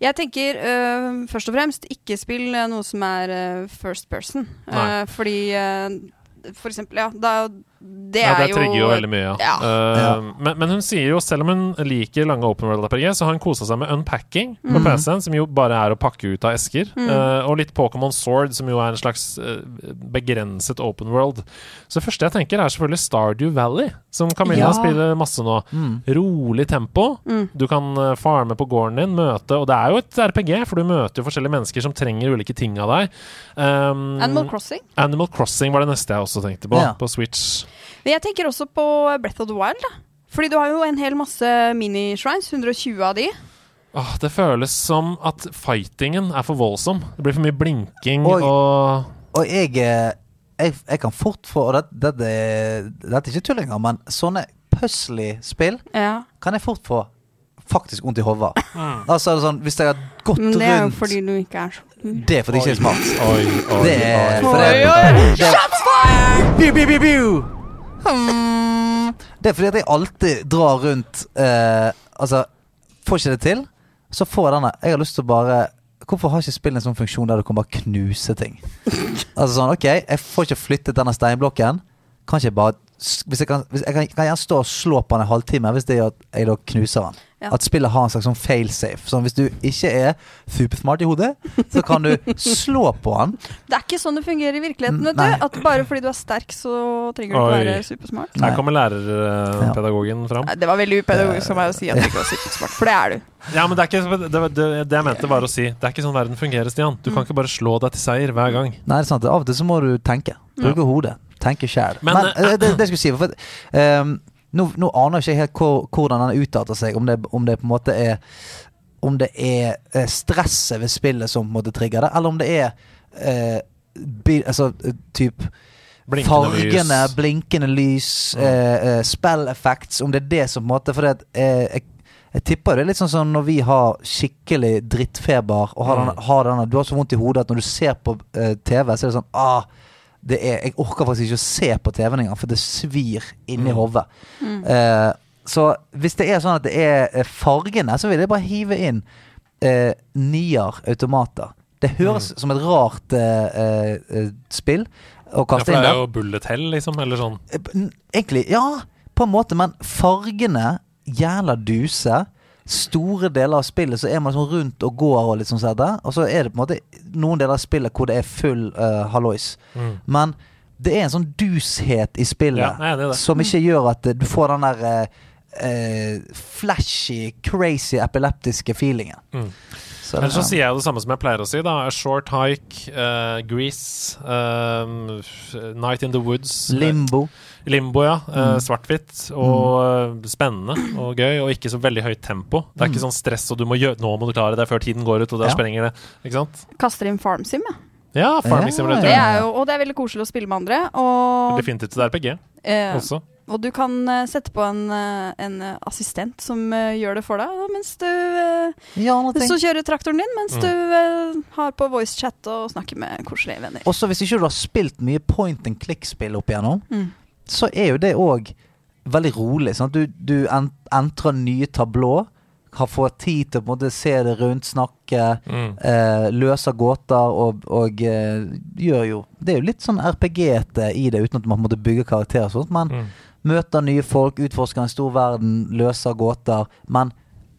S5: Jeg tenker øh, først og fremst ikke spill øh, noe som er øh, first person.
S1: Nei.
S5: Øh, fordi øh, for eksempel, ja. Da, det
S1: Nei,
S5: er
S1: det
S5: jo
S1: trigger jo veldig mye, ja.
S5: ja.
S1: Eh, Men, men hun sier jo, selv om hun liker lange Open World RPG, så har hun kosa seg med Unpacking på
S5: Mm.
S1: PC-en, som jo bare er å pakke ut av esker,
S5: Mm.
S1: eh, og litt Pokémon Sword, som jo er en slags eh, begrenset open world. Så det første jeg tenker, er selvfølgelig Stardew Valley, som Camilla
S5: Ja.
S1: spiller masse nå. Rolig tempo.
S5: Mm.
S1: Du kan eh, farme på gården din, møte Og det er jo et RPG, for du møter jo forskjellige mennesker som trenger ulike ting av deg. Um,
S5: Animal Crossing?
S1: Animal Crossing var det neste jeg også tenkte på,
S5: Ja.
S1: på Switch.
S5: Men jeg tenker også på Breath of the Wild. Da. Fordi du har jo en hel masse mini-shrines, 120 av de.
S1: Åh, Ah, det føles som at fightingen er for voldsom. Det blir for mye blinking
S2: Og-
S1: og,
S2: og jeg, eh, jeg Jeg kan fort få Og dette det, det, dette er ikke tull engang, men sånne puzzly spill
S5: Ja.
S2: kan jeg fort få faktisk vondt i hodet. Altså, er det sånn, hvis jeg har gått
S5: Men
S2: rundt
S5: det er jo fordi du ikke er så Mm. kul.
S2: Det er fordi jeg ikke er smart.
S1: Oi, oi,
S2: det er
S5: oi.
S2: for det,
S5: Oi, oi.
S2: det,
S5: Shots fired!
S2: Biu, biu, biu, biu. Hmm. det er fordi at jeg alltid drar rundt eh, Altså, får ikke det til, så får jeg denne. Jeg har lyst til å bare Hvorfor har ikke spillet en sånn funksjon der du kan bare knuse ting? altså sånn, OK, jeg får ikke flyttet denne steinblokken. Kan ikke jeg bare s- hvis jeg kan, hvis jeg kan, kan gjerne stå og slå på den en halvtime hvis det gjør at jeg da knuser den.
S5: Ja.
S2: At spillet har en slags sånn failsafe. Sånn, hvis du ikke er supersmart i hodet, så kan du slå på den.
S5: Det er ikke sånn det fungerer i virkeligheten. vet
S2: Nei.
S5: du At bare fordi du er sterk, så trenger du ikke
S1: oi.
S5: være supersmart.
S1: Her kommer lærerpedagogen fram.
S5: Nei, Det var veldig
S2: Eh,
S5: upedagogisk av meg å si at du ikke var supersmart, for det er du.
S1: Ja, men det, er ikke, det, det, det jeg mente, var å si det er ikke sånn verden fungerer, Stian. Du kan ikke bare slå deg til seier hver gang.
S2: Nei, det er sant. Av og til så må du tenke. Bruke hodet. Tenke sjæl.
S1: Men,
S2: Men, eh, det, det skulle jeg si for, at, ehm, nå, nå aner jeg ikke helt hvor, hvordan den utarter seg. Om det, om det på en måte er Om det er eh, stresset ved spillet som på en måte trigger det, eller om det er eh, bi, Altså eh, typ
S1: Blinkende
S2: fargene,
S1: lys. Mm.
S2: blinkende lys, eh, eh, spell effects, om det er det som på en måte For det, at, eh, jeg, jeg tipper det er litt sånn som når vi har skikkelig drittfeber, og
S1: Mm.
S2: har denne, har denne, du har så vondt i hodet at når du ser på eh, TV, så er det sånn ah, det er, Jeg orker faktisk ikke å se på TV-en engang, for det svir inni
S19: Mm.
S2: hodet.
S19: Mm.
S2: Eh, så hvis det er sånn at det er eh, fargene, så vil jeg bare hive inn eh, nier automater. Det høres
S1: Mm.
S2: som et rart eh, eh, eh, spill å
S1: Ja, for
S2: kaste
S1: det
S2: inn
S1: er
S2: der.
S1: jo bullet hell, liksom. Eller sånn.
S2: Egentlig, ja, på en måte, men fargene jævla duse. Store deler av spillet så er man sånn rundt og går og litt sånn sånn der. Og så er det på en måte noen deler av spillet hvor det er full eh, hallois.
S1: Mm.
S2: Men det er en sånn dushet i spillet
S1: Ja, nei, det er det.
S2: som ikke gjør at eh, du får den der eh, eh, flashy, crazy, epileptiske feelingen.
S1: Mm.
S2: Så
S1: Ellers så
S2: det-
S1: sier jeg jo det samme som jeg pleier å si. da A Short Hike, eh, Grease, eh, f- Night in the Woods.
S2: Limbo.
S1: Eh, Limbo, ja. Eh,
S2: Mm.
S1: Svart-hvitt og eh, spennende og gøy, og ikke så veldig høyt tempo. Det er ikke
S2: Mm.
S1: sånn stress og du må gjøre Nå må du klare det før tiden går ut, og der
S2: Ja.
S1: sprenger det. Ikke sant?
S5: Kaster inn Farm Sim, jeg.
S1: Ja, Farming Simulator.
S5: Det er jo, og det er veldig koselig å spille med andre. Og,
S1: Definitivt et RPG
S5: eh,
S1: også.
S5: og du kan eh, sette på en, eh, en eh, assistent som eh, gjør det for deg, og mens du eh,
S2: ting.
S5: Så kjører traktoren din, mens
S2: Mm.
S5: du eh, har på voicechat og snakker med koselige venner.
S2: Også hvis ikke du har spilt mye point and click-spill opp igjennom,
S5: Mm.
S2: så er jo det òg veldig rolig. Sant? Du, du en- entrer nye tablå, har fått tid til å på en måte se det rundt, snakke,
S1: Mm.
S2: eh, løser gåter og, og eh, gjør jo Det er jo litt sånn RPG-ete i det, uten at man måtte bygge karakterer og sånt, men møter nye folk, utforsker en stor verden, løser gåter, men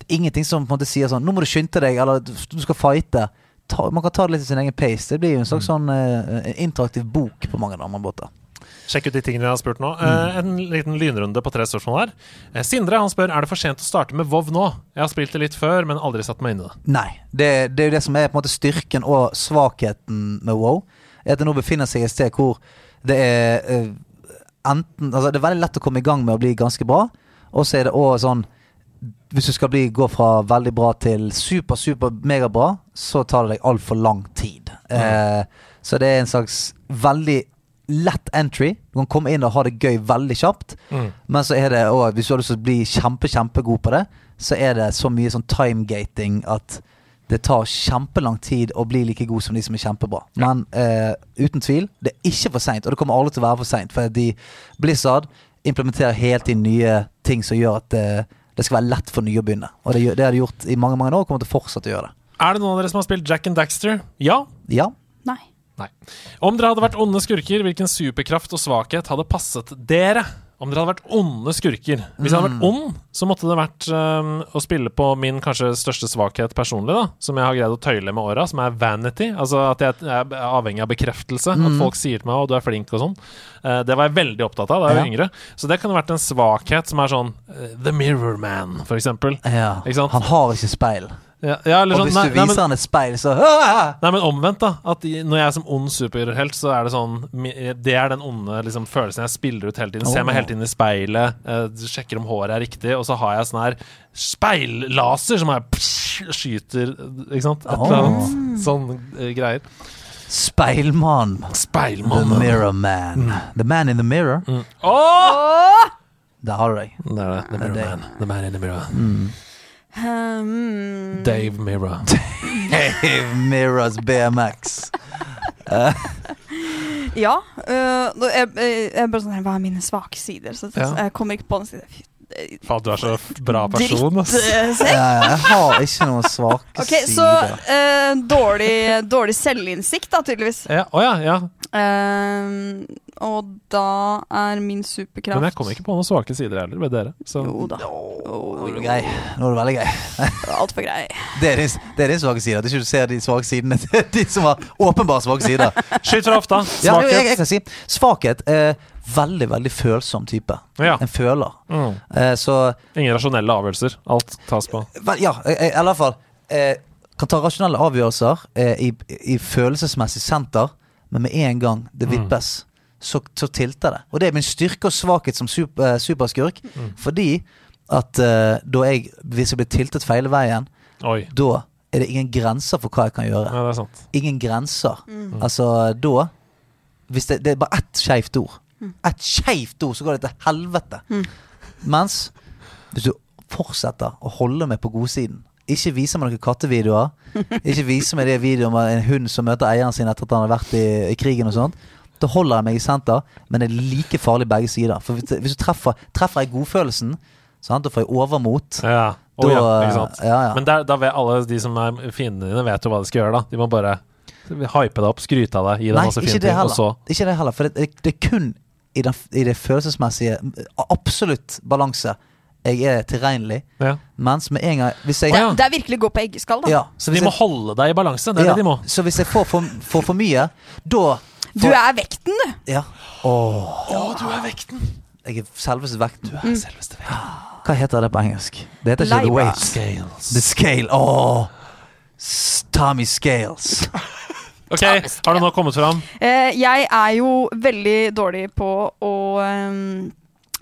S2: ingenting som på en måte sier sånn 'Nå må du skynde deg', eller 'du skal fighte'. Ta, man kan ta det litt i sin egen pace. Det blir jo en slags sånn eh, interaktiv bok på mange andre måter.
S1: Sjekk ut de tingene jeg har spurt nå. Eh,
S2: Mm.
S1: en liten lynrunde på tre spørsmål her. Eh, Sindre han spør er det for sent å starte med WoW nå. Jeg har spilt det litt før, men aldri satt meg inn i det.
S2: Nei. Det, det er jo det som er på en måte styrken og svakheten med WoW. Er at det nå befinner seg et sted hvor det er eh, enten Altså, det er veldig lett å komme i gang med å bli ganske bra, og så er det òg sånn Hvis du skal bli, gå fra veldig bra til super, super, megabra, så tar det deg altfor lang tid. Eh, så det er en slags veldig lett entry. Du kan komme inn og ha det gøy veldig kjapt.
S19: Mm.
S2: Men så er det også, hvis du har lyst til å bli kjempe, kjempegod på det, så er det så mye sånn timegating at det tar kjempelang tid å bli like god som de som er kjempebra. Men eh, uten tvil, det er ikke for seint, og det kommer aldri til å være for seint. For de Blizzard implementerer helt inn nye ting som gjør at eh, det skal være lett for nye å begynne. Og det, gjør- det har de gjort i mange mange år og kommer til å fortsette å gjøre det.
S1: Er det noen av dere som har spilt Jack and Daxter? Ja?
S2: Ja.
S5: Nei.
S1: Nei. Om dere hadde vært onde skurker, hvilken superkraft og svakhet hadde passet dere? Om dere hadde vært onde skurker. Hvis jeg hadde vært ond, så måtte det vært øhm, å spille på min kanskje største svakhet personlig, da, som jeg har greid å tøyle med åra, som er vanity. Altså at jeg er avhengig av bekreftelse. At
S11: Mm.
S1: folk sier til meg 'å, du er flink' og sånn. Eh, det var jeg veldig opptatt av da jeg var
S2: Ja.
S1: yngre. Så det kunne vært en svakhet som er sånn eh, The Mirror Man, for eksempel.
S2: Ja.
S1: Ikke sant?
S2: Han har ikke speil.
S1: Ja, ja, eller
S2: Og
S1: sånn,
S2: hvis
S1: nei,
S2: du
S1: nei,
S2: viser
S1: men-
S2: han et speil, så
S1: Nei, men omvendt, da. At i- når jeg er som ond superhelt, så er det sånn mi- Det er den onde liksom, følelsen jeg spiller ut hele tiden. Ser meg
S2: Åh.
S1: helt inn i speilet, eh, sjekker om håret er riktig, og så har jeg sånn her speillaser som er psh, skyter Ikke sant? Et eller annet sånn eh, greier.
S2: Speilmann.
S1: Speilmann. Mm.
S2: The Mirror Man. The Man in the Mirror. Ah!
S5: Åh!
S2: Der har du deg.
S1: Det er det. The Mirror Man. The Man in the Mirror.
S2: Mm.
S5: Um,
S1: Dave Mirror.
S2: Dave Mirrors BMX. Eh,
S5: Ja. øh, nå- jeg, jeg, jeg bare sånn her, Hva er mine svake sider? Så
S1: Ja.
S5: Jeg kommer ikke på den siden. Fy, det-
S1: Faen, du er så f- bra person, ass.
S5: Drittsekk.
S2: ja, jeg har ikke noen svake
S5: Ok, så
S2: sider.
S5: øh, dårlig, dårlig selvinnsikt, da, tydeligvis.
S1: Ja, å ja, ja.
S5: Ehm, og da er min superkraft
S1: Men jeg kom ikke på noen svake sider heller ved dere. Så.
S5: Jo da.
S2: Nå er du grei. Nå er du veldig grei.
S5: Altfor grei.
S2: Det er din, det er din svake side. At ikke du ser de svake sidene til de som har åpenbare svake sider.
S1: Skyt fra hofta.
S2: Ja, jo,
S1: Svakhet.
S2: jeg, jeg kan si. Svakhet. Eh, veldig, veldig følsom type.
S1: Ja.
S2: En føler.
S1: Mm.
S2: Eh, så
S1: Ingen rasjonelle avgjørelser. Alt tas på.
S2: Vel, ja, eh, eh, i alle fall eh, Kan ta rasjonelle avgjørelser eh, i, i følelsesmessig senter, men med en gang det vippes, så, så tilter det. Og det er min styrke og svakhet som sup- eh, superskurk, fordi at eh, da jeg Hvis jeg blir tiltet feil veien,
S1: Oi.
S2: da er det ingen grenser for hva jeg kan gjøre.
S1: Nei, det er sant.
S2: Ingen grenser.
S1: Mm.
S2: Altså, da Hvis det, det er bare ett skeivt ord. Ett skeivt ord, så går det til helvete. Mens hvis du fortsetter å holde meg på godsiden ikke vise meg noen kattevideoer. Ikke vise meg det videoen med en hund som møter eieren sin etter at han har vært i, i krigen og sånt. Da holder jeg meg i senter, men det er like farlig begge sider. For hvis, hvis du treffer, treffer jeg godfølelsen, sant, da får jeg overmot.
S1: Ja. Å
S2: Da-
S1: ja, ikke sant?
S2: Ja, ja.
S1: Men der, da vet alle de som er fiendene dine, vet jo hva de skal gjøre, da. De må bare hype deg opp, skryte av deg, gi deg
S2: Nei,
S1: masse fine
S2: ikke det
S1: ting, og
S2: heller.
S1: så
S2: Ikke det heller, for det, det, det er kun i, den, i det følelsesmessige absolutt balanse. Jeg er tilregnelig,
S1: Ja.
S2: mens med en gang Hvis jeg
S5: Det, er- det er virkelig gå på eggeskall, da.
S2: Ja, så hvis
S1: De må
S2: jeg-
S1: holde deg i balanse, det er
S2: ja,
S1: det de må.
S2: Så hvis jeg får for, får for mye, da
S5: Du er vekten, du.
S2: Ja. Åh,
S1: Å, du er vekten!
S2: jeg er selveste vekten. Du
S1: er
S5: Mm.
S1: selveste
S2: vekten. Hva heter det på engelsk? Det heter ikke The
S1: Libra.
S2: Weight.
S1: Scales.
S2: The Scale. Åh. S- Tommy Scales.
S1: Ok, har du nå kommet fram?
S5: Eh, jeg er jo veldig dårlig på å ehm,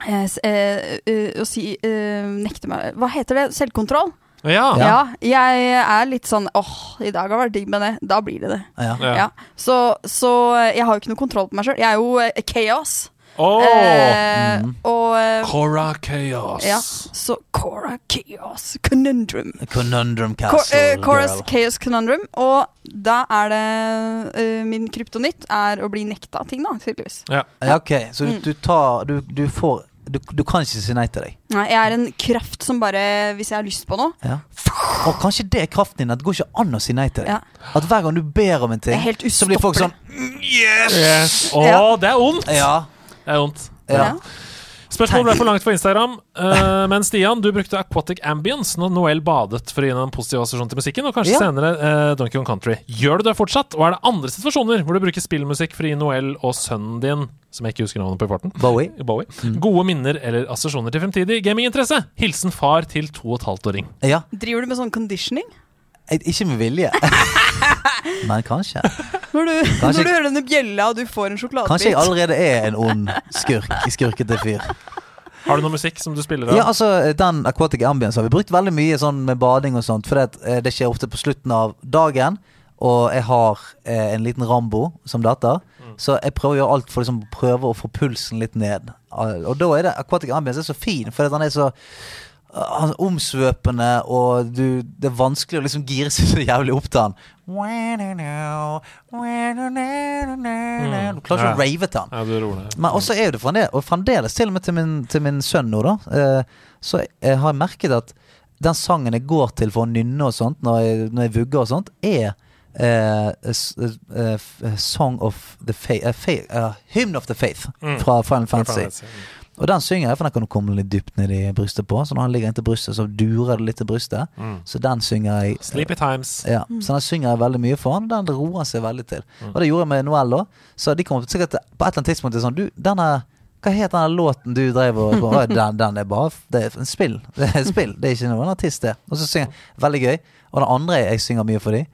S5: eh, s- eh, eh, å si eh, Nekte meg Hva heter det? Selvkontroll?
S1: Ja.
S5: Jeg er litt sånn åh, i dag har vært digg med det. Da blir det det.
S1: Ja.
S5: Ja. Så, så eh, jeg har jo ikke noe kontroll på meg sjøl. Jeg er jo eh, chaos.
S1: Åh.
S5: Eh,
S2: Mm.
S5: og eh,
S1: Cora Chaos.
S5: Ja, så Cora Chaos Conundrum.
S2: Conundrum
S5: Cor
S2: Castle.
S5: eh, Cora's
S2: girl.
S5: Chaos Conundrum. Og da er det eh, Min kryptonitt er å bli nekta ting, da, tydeligvis.
S1: Ja.
S2: ok, så du,
S5: Mm.
S2: du tar Du, du får du, du kan ikke si nei til deg.
S5: Nei, jeg er en kraft som bare Hvis jeg har lyst på noe
S2: Ja. Og kanskje det er kraften din. At det går ikke an å si nei til deg.
S5: Ja.
S2: At hver gang du ber om en ting,
S5: Jeg er helt
S2: så blir folk sånn
S1: Yes! Å,
S2: Ja.
S1: det er vondt!
S2: Ja.
S1: Det er vondt.
S2: Ja.
S1: Spørsmålet ble for langt for Instagram. eh, men Stian, du brukte Aquatic Ambience når Noel badet for å gi henne en positiv assosiasjon til musikken, og kanskje
S2: Ja.
S1: senere eh, Donkey Kong Country. Gjør du det fortsatt, og er det andre situasjoner hvor du bruker spillmusikk for å gi Noel og sønnen din som jeg ikke husker navnet på i farten
S2: Bowie. Mm.
S1: Gode minner eller assosiasjoner til fremtidig gaminginteresse? Hilsen far til to og et halvt åring.
S2: Ja.
S5: Driver du med sånn conditioning?
S2: eh, Ikke med vilje. Men kanskje.
S5: Når du,
S2: Kanskje-
S5: når du hører denne bjella og du får en sjokoladebit
S2: Kanskje jeg allerede er en ond skurk. Skurkete fyr.
S1: Har du noe musikk som du spiller av?
S2: Ja, altså Den aquatic ambience har vi brukt veldig mye sånn med bading og sånt. For det, at, eh, det skjer ofte på slutten av dagen. Og jeg har eh, en liten Rambo som dette. Så jeg prøver å gjøre alt for liksom, å prøve å få pulsen litt ned. Al- Og da er det aquatic ambience er så fin, for at han er så eh, han er omsvøpende, og du, det er vanskelig å liksom gire seg så jævlig opp til han. Mm. Du klarer ikke å rave til han.
S1: Ja, du roer ned.
S2: Men også er det fremdeles, og fremdeles til og med til min, til min sønn nå, da, eh, så jeg har jeg merket at den sangen jeg går til for å nynne og sånt, når jeg, når jeg vugger og sånt, er eh, s- eh, f- eh, Song of the Faith, eh, faith eh, Hymn of the Faith
S1: Mm.
S2: fra Final
S1: Fra Final
S2: Fantasy.
S1: Fantasy, mm.
S2: Og den synger jeg, for den kan du komme litt dypt ned i brystet på. Så når han ligger inntil brystet, så durer det litt til brystet.
S1: Mm.
S2: Så den synger jeg
S1: Sleepy Times.
S2: ja,
S5: Mm.
S2: sånn så den synger jeg veldig mye for han, og den roer han seg veldig til. Og det gjorde jeg med Noel òg, så de kom sikkert til- på et eller annet tidspunkt til sånn Du, denne hva het den låten du drev og og den, den er bare Det er en spill. Det er, et spill. Det er ikke noen artist, det. Og så synger jeg Veldig gøy. Og den andre jeg synger mye for de,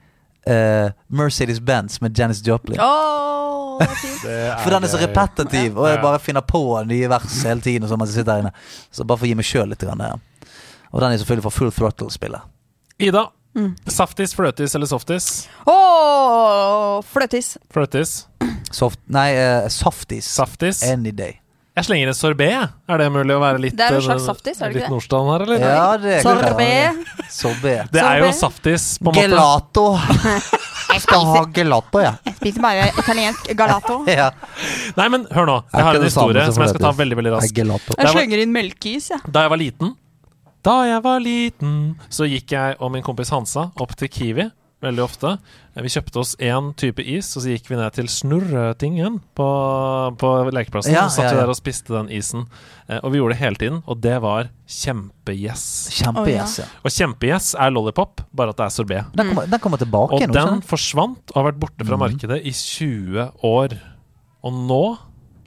S2: eh, Mercedes Benz med Janis Joplin.
S5: Åh, det er fint.
S2: For den er så repetitiv, og jeg bare finner på nye vers hele tiden. Og sånn mens jeg sitter her inne Så bare for å gi meg sjøl litt. Grann, eh. og den er selvfølgelig fra Full Throttle-spillet.
S1: Ida.
S5: Mm.
S1: Saftis, fløtis eller softis?
S5: Åh, fløtis
S1: Fløtis.
S2: Soft, nei, eh, saftis.
S1: Saftis.
S2: Any day.
S1: Jeg slenger en sorbé. Er det mulig å være litt
S5: Det er en slags
S1: eh,
S5: saftis, er det
S1: litt
S5: ikke det?
S1: Nordstrand her, eller?
S2: Ja, det kan
S5: Sorbet.
S2: være. Sorbet.
S1: Det er jo
S5: Sorbet.
S1: saftis, på en måte.
S2: Gelato. Jeg skal ha gelato, jeg.
S5: Jeg spiser bare italiensk galato
S2: Ja.
S1: Nei, men hør nå.
S2: Er
S1: Jeg har
S2: ikke
S1: en
S2: det samme
S1: historie
S2: som
S1: som jeg skal ta
S2: fløtis?
S1: veldig veldig raskt.
S2: Er gelato.
S1: Da
S5: Jeg
S1: jeg,
S5: slenger inn melkeis, jeg
S1: var, da jeg var liten, da jeg var liten, så gikk jeg og min kompis Hansa opp til Kiwi veldig ofte. Vi kjøpte oss én type is, og så gikk vi ned til Snurretingen på, på lekeplassen.
S2: Ja,
S1: og satt
S2: ja,
S1: vi
S2: ja.
S1: der og spiste den isen. Eh, Og vi gjorde det hele tiden, og det var kjempegjess.
S2: Kjempegjess, Å, ja. ja.
S1: Og kjempegjess er lollipop, bare at det er sorbé.
S2: Den
S5: Mm.
S2: kommer, den kommer tilbake Mhm.
S1: Og
S2: nå.
S1: den
S2: skjønner du?
S1: forsvant og har vært borte fra markedet i 20 år. Og nå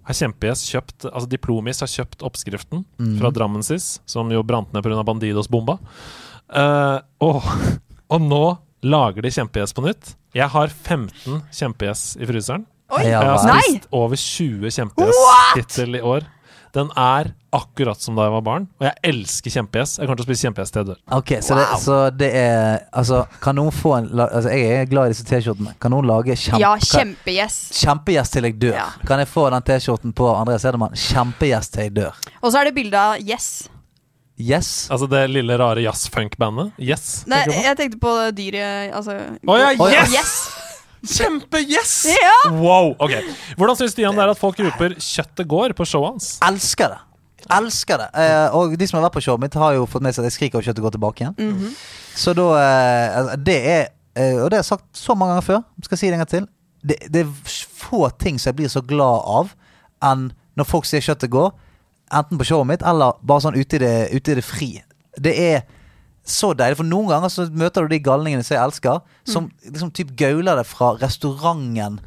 S1: har Kjempegjess kjøpt Altså Diplomis har kjøpt oppskriften
S2: Mhm.
S1: fra Drammen SIS, som jo brant ned pga. Bandidos-bomba. Eh, og, og nå lager de Kjempegjess på nytt. Jeg har 15 Kjempegjess i fryseren.
S5: Oi.
S1: Jeg har
S5: Nei!
S1: spist over 20 Kjempegjess
S5: What?
S1: hittil i år. Den er akkurat som da jeg var barn, og jeg elsker kjempegjess. Jeg kommer til å spise kjempegjess til jeg dør.
S2: Ok, så, det, så det er Altså, kan noen få en la- altså, Jeg er glad i disse T-skjortene. Kan noen lage kjempe...
S5: Ja,
S2: kan-
S5: kjempegjess.
S2: Kjempegjest til jeg dør. Kan jeg få den T-skjorten på Andreas Edemann? Kjempegjest til jeg dør.
S5: Og så er det bilde av Yes.
S2: Yes.
S1: Altså det lille rare jazzfunk-bandet. Yes.
S5: Nei,
S1: tenker du på?
S5: jeg tenkte på dyret Altså
S1: Å ja,
S5: Å
S1: yes! Kjempegjess!
S5: Ja!
S1: Wow, ok Hvordan syns Stian det er at folk roper 'kjøttet går' på showet hans?
S2: Elsker det. Elsker det. Eh, og de som har vært på showet mitt, har jo fått med seg at jeg skriker og kjøttet går tilbake igjen.
S1: Mhm.
S2: Så da eh, altså, Det er eh, Og det har jeg sagt så mange ganger før, skal jeg si det en gang til. Det, det er få ting som jeg blir så glad av enn når folk sier kjøttet går, enten på showet mitt eller bare sånn ute i det, ute i det fri. Det er så deilig, for noen ganger så møter du de galningene som jeg elsker, som
S1: Mm.
S2: liksom typ gauler det fra restauranten.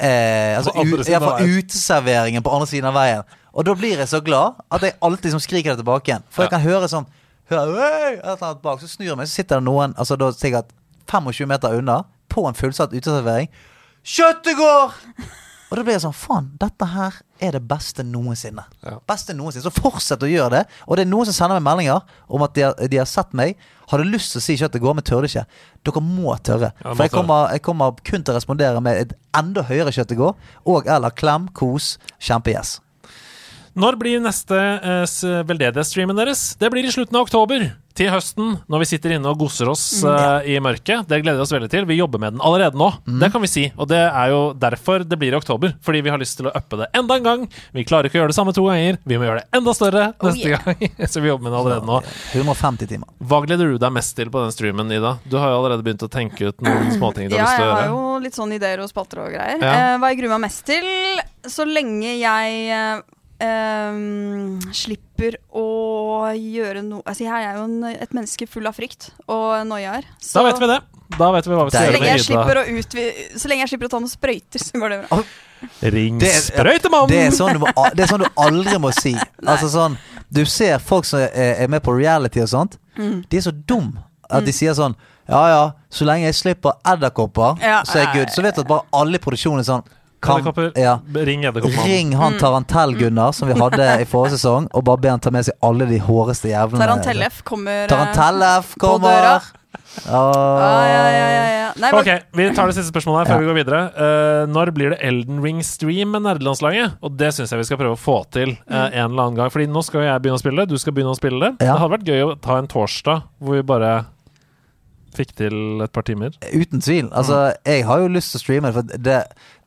S2: Eh, altså,
S1: På andre
S2: ut,
S1: siden
S2: ja,
S1: av
S2: fra
S1: veien.
S2: uteserveringen på andre siden av veien. Og da blir jeg så glad at jeg alltid liksom skriker det tilbake igjen. For jeg kan høre sånn høre, «Øy!» et eller annet bak, Så snur jeg meg, så sitter det noen altså da sikkert 25 meter unna på en fullsatt uteservering. Kjøttet går! Og da blir jeg sånn Faen, dette her er det beste noensinne. Beste noensinne. Så fortsett å gjøre det. Og det er noen som sender meg meldinger om at de har, de har sett meg. Hadde lyst til å si kjøttet går, men tør det ikke. Dere må tørre.
S1: Ja, må
S2: For jeg
S1: tørre.
S2: kommer, jeg kommer kun til å respondere med et enda høyere kjøttet går, og eller klem, kos, kjempegjess.
S1: Når blir neste eh, s- veldedighetsstreamen deres? Det blir i slutten av oktober. Til høsten, når vi sitter inne og gosser oss
S2: Mm,
S1: eh, i mørket. Det gleder vi oss veldig til. Vi jobber med den allerede nå.
S2: Mm.
S1: Det kan vi si. Og det er jo derfor det blir i oktober. Fordi vi har lyst til å uppe det enda en gang. Vi klarer ikke å gjøre det samme to ganger. Vi må gjøre det enda større neste gang. Så vi jobber med det allerede nå.
S2: 150 timer.
S1: Hva gleder du deg mest til på den streamen, Ida? Du har jo allerede begynt å tenke ut noen småting du
S5: Ja,
S1: har lyst
S5: jeg
S1: til å
S5: har
S1: gjøre.
S5: jo litt sånn ideer og spatter og greier.
S1: Ja.
S5: Eh, hva jeg gruer meg mest til? Så lenge jeg eh, ehm, slipper å gjøre noe Altså, jeg er jo en, et menneske full av frykt og noiaer.
S1: Da vet vi det. Da vet vi hva vi
S5: Så
S1: skal
S5: lenge, jeg
S1: gjøre
S5: slipper
S1: med
S5: å utvi så lenge jeg slipper å ta noen sprøyter, så går det bra.
S1: Ida. Ring
S2: Det er-
S1: sprøytemannen!
S2: Det er, sånn du må, a- det er sånn du aldri må si. Altså sånn, Du ser folk som er, er med på reality og sånt.
S5: Mm.
S2: De er så dum at de sier sånn Ja ja, så lenge jeg slipper edderkopper,
S1: Ja.
S2: så er jeg good. Så vet du at bare alle i produksjonen er sånn kan,
S1: Edderkopper.
S2: ja.
S1: Ring edderkoppmannen.
S2: Ring han Tarantell-Gunnar som vi hadde i forrige sesong, og bare be han ta med seg alle de håreste jævlene.
S5: Tarantellef kommer eh,
S2: Tarantellef
S5: på døra.
S2: kommer! Ah.
S5: Ja, ja, ja, ja. Nei, men-
S1: ok, Vi tar det siste spørsmålet her før vi går videre. Eh, når blir det Elden Ring-stream med nerdelandslaget? Og det syns jeg vi skal prøve å få til eh,
S5: Mm.
S1: en eller annen gang. Fordi nå skal jo jeg begynne å spille det, du skal begynne å spille det. Det hadde vært gøy å ta en torsdag hvor vi bare fikk til et par timer. Mm.
S2: Uten tvil. Altså, jeg har jo lyst til å streame, det, for det,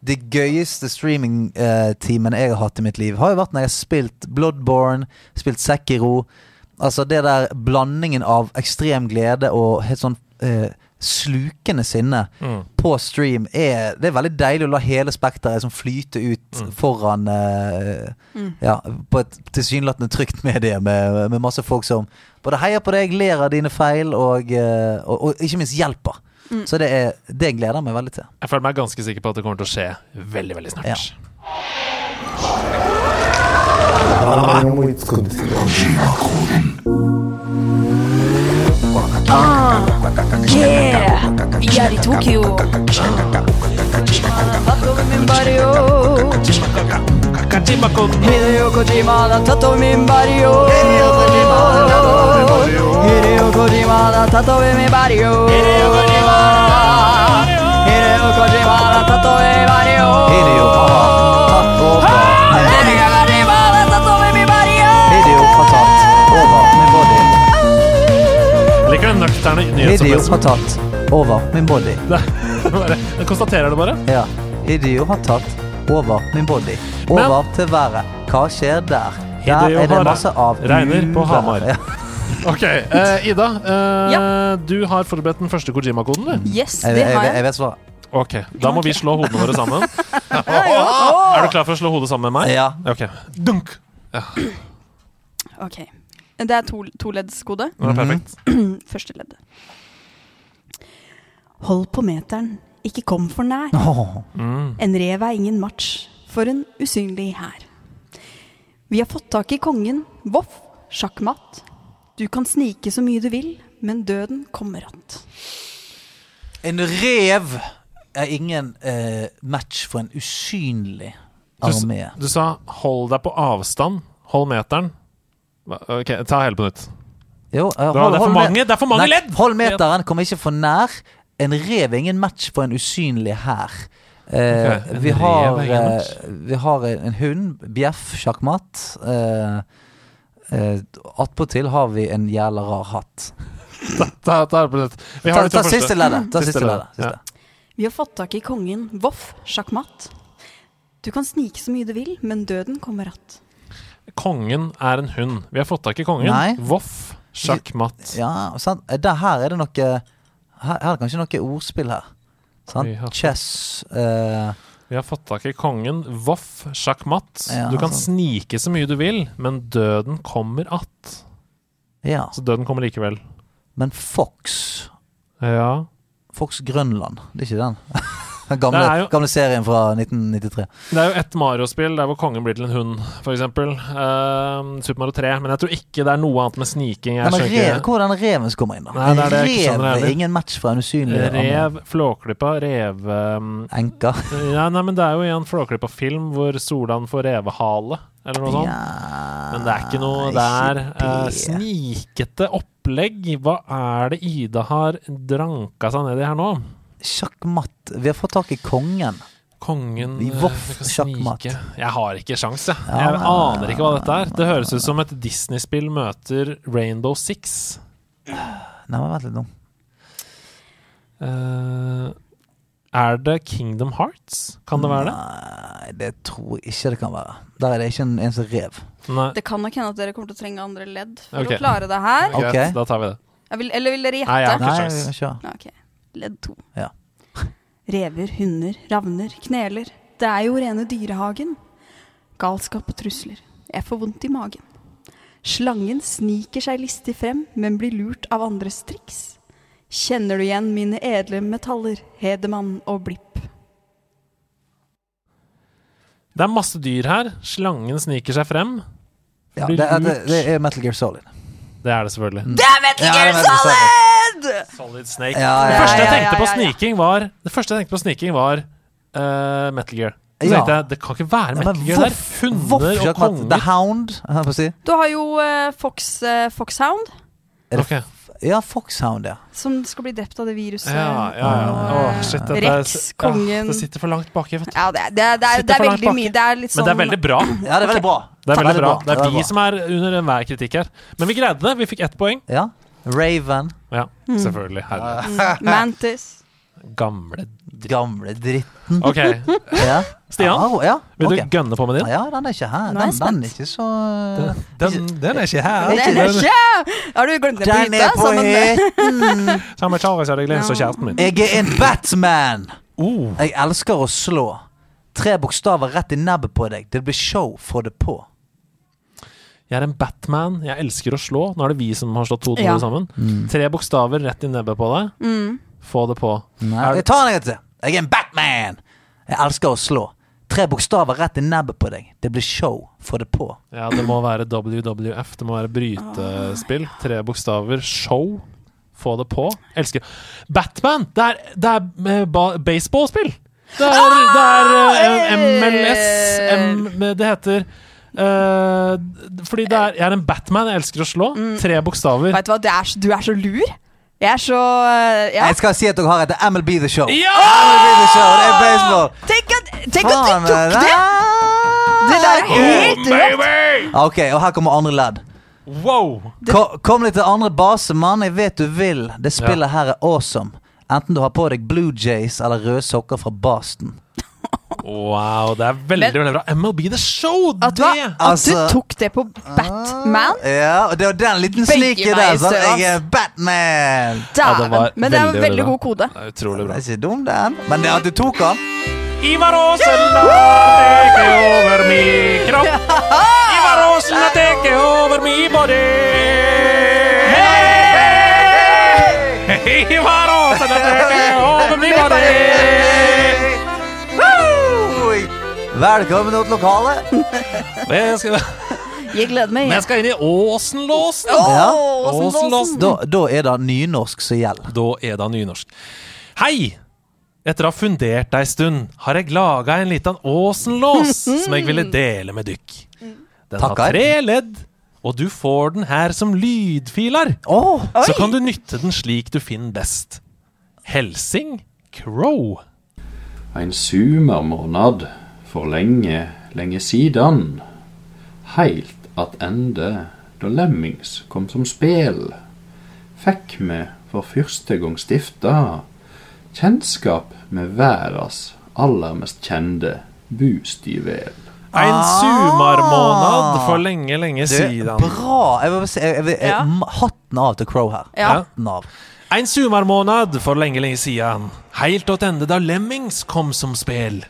S2: det gøyeste streamingtimen jeg har hatt i mitt liv, har jo vært når jeg har spilt Bloodborne, spilt Sekiro. Altså det der blandingen av ekstrem glede og helt sånn eh, slukende sinne
S1: Mm.
S2: på stream er Det er veldig deilig å la hele spekteret liksom flyte ut foran eh,
S1: Mm.
S2: Ja, på et tilsynelatende trygt medie med, med masse folk som både heier på deg, ler av dine feil og, eh, og, og ikke minst hjelper.
S1: Mm.
S2: Så det, er, det gleder jeg meg veldig til.
S1: Jeg føler meg ganske sikker på at det kommer til å skje veldig, veldig snart.
S6: Ah, yeah! Vi er i Tokyo.
S5: min barrio. Hideo Kojima har tatt over min barrio. Hideo Kojima har tatt over min barrio. Hideo Kojima Hideo Kojima har tatt over min barrio. Hideo Kojima har tatt over min barrio.
S1: Jeg Liker den nøkterne
S2: Hideo har
S1: nyhetsopplesen.
S2: tatt over min body.
S1: Bare- Jeg konstaterer det bare.
S2: Ja. Hideo har tatt over min body. Over til været. Hva skjer der? Der
S1: Hideo
S2: er det
S1: har-
S2: masse av
S1: regner på
S2: uvær.
S1: Hamar.
S2: Ja.
S1: Ok, eh, Ida. eh, Du har forberedt den første Kojima-koden, du?
S5: Yes, Jeg- det jeg- har jeg. jeg
S2: vet svaret.
S1: Ok, Da må vi slå hodene våre sammen.
S5: ja.
S1: Er du klar for å slå hodet sammen med meg?
S2: Ja.
S1: Ok. Dunk! Ja.
S5: Ok. Det er to, toleddskode.
S1: Ja, perfekt.
S5: Første ledd. Hold på meteren, ikke kom for nær.
S1: Mm.
S5: En rev er ingen match for en usynlig hær. Vi har fått tak i kongen, voff, sjakkmatt. Du kan snike så mye du vil, men døden kommer att.
S2: En rev er ingen eh, match for en usynlig
S1: Du, s-
S2: armé.
S1: du sa 'hold deg på avstand'. Hold meteren. Hva- Ok, ta hele på nytt.
S2: Jo, eh,
S1: Det var- det er for
S2: me-
S1: mange- det er for mange
S2: Nei,
S1: ledd!
S2: Hold meteren, kom ikke for nær. En rev er ingen match på en usynlig hær. Eh,
S1: Ok, en
S2: vi,
S1: rev
S2: har,
S1: er ingen
S2: eh,
S1: match.
S2: vi har en en hund, bjeff, sjakkmatt. Eh, eh, Attpåtil har vi en jævla rar hatt.
S1: Ta, ta, hele på nytt. Vi har
S2: Ta-
S1: de to
S2: ta
S1: første.
S2: siste leddet, ta siste leddet,
S1: Ja.
S5: Vi har fått tak i kongen Voff sjakkmatt. Du kan snike så mye du vil, men døden kommer att.
S1: Kongen er en hund. Vi har fått tak i kongen.
S2: Nei.
S1: Voff, sjakkmatt.
S2: Ja, og sant? Eh, Der, her er det noe Her, her er det kanskje noe ordspill her. Sant?
S1: Vi har fått-
S2: Chess eh,
S1: Vi har fått tak i kongen. Voff, sjakkmatt.
S2: Ja,
S1: du kan
S2: sånn.
S1: snike så mye du vil, men døden kommer att.
S2: Ja.
S1: Så døden kommer likevel.
S2: Men Fox
S1: Ja.
S2: Fox Grønland, det er ikke den? Den gamle,
S1: Det er jo-
S2: gamle serien fra 1993.
S1: Det er jo ett Mario-spill der hvor kongen blir til en hund, f.eks. Uh, Super Mario 3. Men jeg tror ikke det er noe annet med sniking.
S2: Nei,
S1: Jeg
S2: men
S1: skjønner
S2: rev,
S1: ikke.
S2: hvor er den reven som kommer inn, da?
S1: Nei, det er det jeg ikke skjønner
S2: rev
S1: heller.
S2: er ingen match for en usynlig annen.
S1: Rev, Flåklypa, rev... um,
S2: Enka.
S1: Ja, nei, men det er jo i en Flåklypa-film hvor Solan får revehale, eller noe sånt. men det er ikke noe der. Eh, snikete opplegg. Hva er det Ida har dranka seg ned i her nå?
S2: Sjakkmatt. Vi har fått tak i kongen.
S1: Kongen
S2: Vi
S1: eh,
S2: voff
S1: kan
S2: sjakkmatt.
S1: snike. Jeg har ikke sjans, jeg.
S2: Ja,
S1: Jeg
S2: nei,
S1: aner ikke hva dette er. Det høres ut som et Disney-spill møter Rainbow Six.
S2: Nei, men vent litt nå.
S1: Eh, er det Kingdom Hearts? Kan det være det?
S2: Nei, det tror jeg ikke det kan være. Der er det ikke en eneste rev.
S1: Nei.
S5: Det kan nok hende at dere kommer til å trenge andre ledd for
S1: Ok.
S5: å klare det her.
S1: Greit,
S2: Ok.
S1: Da tar vi det.
S5: Jeg vil, eller vil dere gjette?
S1: Nei, jeg har ikke
S2: Nei, sjans. kjør.
S5: Ok, Ledd to.
S2: Ja.
S5: Rever, hunder, ravner, kneler. Det er jo rene dyrehagen. Galskap og trusler. Jeg får vondt i magen. Slangen sniker seg listig frem, men blir lurt av andres triks. Kjenner du igjen mine edle metaller, Hedemann og Blipp?
S1: Det er masse dyr her. Slangen sniker seg frem.
S2: Ja,
S1: Blir
S2: det, er, det,
S1: lurt.
S2: det er Metal Gear Solid. Mm.
S1: Det er det selvfølgelig.
S5: Det er Metal
S2: Ja,
S5: Gear
S2: det er Metal Gear
S5: Solid!
S1: Solid Snake.
S2: Ja, ja,
S1: det første jeg
S2: ja, ja,
S1: tenkte på
S2: ja, ja.
S1: sniking, var Det første jeg tenkte på sniking var eh, Metal Gear. Så
S2: Ja.
S1: tenkte jeg, Det kan ikke være
S2: Men
S1: Metal Gear der.
S2: voff- voff
S1: Hunder og
S2: sjakkmatt. The
S1: konger.
S2: Hound, jeg holdt på å si.
S5: Du har jo eh, Fox, eh, Foxhound,
S2: Er det Ja, Foxhound, ja. Ah.
S5: som skal bli drept av det viruset.
S1: Ja, ja, ja.
S5: Og,
S1: Åh, shit,
S5: eh,
S1: dette er-
S5: Rex, kongen
S1: Åh, det sitter for langt baki, vet du.
S5: Ja, det, er- det, er- det, er-
S1: Sitter
S5: det er
S1: for langt
S5: veldig
S1: baki.
S5: mye. Det er litt sånn
S1: Men det er veldig bra.
S2: Ja, det er veldig bra.
S1: Det er
S2: Takk.
S1: veldig bra.
S2: Det
S1: Det
S2: er
S1: er
S2: bra.
S1: vi som er under enhver kritikk her. Men vi greide det. Vi fikk ett poeng.
S2: Ja. Raven.
S1: Ja,
S5: Hmm.
S2: Mm.
S1: selvfølgelig. Herre.
S5: Mm, Mantis.
S1: Gamle
S2: Gamle dritten.
S1: Ok.
S2: ja.
S1: Stian,
S2: Ja, ja,
S1: vil du
S2: ok.
S1: gønne på med din?
S2: Ja, den er ikke her.
S5: Nå er jeg
S2: Den, den er ikke så
S1: Den, er ikke her.
S5: Det er ikke Har du glemt det på
S2: Den er
S5: hytta?
S2: på
S5: sammen med-
S1: Samme Charles hadde glemt seg kjæresten min. Oh.
S2: Jeg er en Batman! Jeg elsker å slå. Tre bokstaver rett i nebbet på deg. Det blir show, få det på.
S1: Jeg er en Batman. Jeg elsker å slå. Nå er det vi som har slått to og to
S2: Ja.
S1: sammen.
S2: Mm.
S1: Tre bokstaver rett i nebbet på deg.
S2: Mm.
S1: Få det på. Er-
S2: Jeg tar den en gang til. Jeg er en Batman! Jeg elsker å slå. Tre bokstaver rett i nebbet på deg. Det blir show, få det på.
S1: Ja, det må være WWF. Det må være brytespill.
S5: Ah.
S1: Tre bokstaver. Show. Få det på. Elsker Batman! Det er, det er eh, ba- baseballspill! Det
S5: Ah,
S1: er, det er eh, MLS M, Det heter eh, d- Fordi det er Jeg er en Batman, jeg elsker å slå. Tre bokstaver.
S5: Mm. Vet du hva, du er, så- du er så lur. Jeg er så eh, ja.
S2: Jeg skal si at dere har et MLB The
S1: Oh.
S2: Show.
S5: Ja!
S1: Ah!
S2: MLB The Show, Det er baseball.
S5: Tenk at, tenk at
S2: Faen,
S5: du tok
S2: det
S5: det! Det der er helt rått.
S2: Ja, Ah, Ok, og her kommer andre ledd.
S1: Wow!
S2: Ko- Kom litt til andre base, mann. Jeg vet du vil. Det spillet her er awesome. Enten du har på deg Blue Jays eller røde sokker fra Boston.
S1: Wow, det er veldig veldig bra. MLB The Show!
S5: At, du,
S1: det!
S5: at
S2: altså-
S5: du tok det på
S2: Ah.
S5: Batman?
S2: Ja, og det var den liten
S5: Begge
S2: sliken
S5: veier,
S2: der. Sånn,
S5: ass.
S2: jeg er Batman!
S5: Dæven. Men det er en veldig god kode.
S1: Utrolig
S2: bra. Det er ikke dum, den. Men det at du tok den
S1: Ivar Aasen har tatt over min kropp. Ivar Aasen har tatt over min body. Ivar Aasen har tatt over min body.
S2: Velkommen til lokalet.
S1: Jeg skal,
S5: Jeg gleder meg.
S1: jeg skal inn i Åsenlåsen.
S2: Ja.
S1: Åsenlåsen.
S2: Da, da er det nynorsk som gjelder.
S1: Da er det nynorsk. Hei! Etter å ha fundert ei stund, har jeg laga en liten Åsenlås som jeg ville dele med dykk. Den
S2: Takkar.
S1: har tre ledd, og du får den her som lydfiler. Så kan du nytte den slik du finner best. Helsing Crow.
S19: En sumermånad for lenge, lenge sidan. Heilt attende da Lemmings kom som spel. Fikk me for første gong stifta kjennskap med verdas aller mest kjende bustivel.
S1: En sumarmånad for lenge, lenge
S2: Ah. Du,
S1: siden.
S2: Bra! Jeg vil bare si, jeg vil, jeg,
S1: Ja.
S2: Hatten av til Crow her.
S1: Ja.
S2: Hatten av.
S1: En sumarmånad for lenge, lenge siden. Heilt åt ende da Lemmings kom som spel.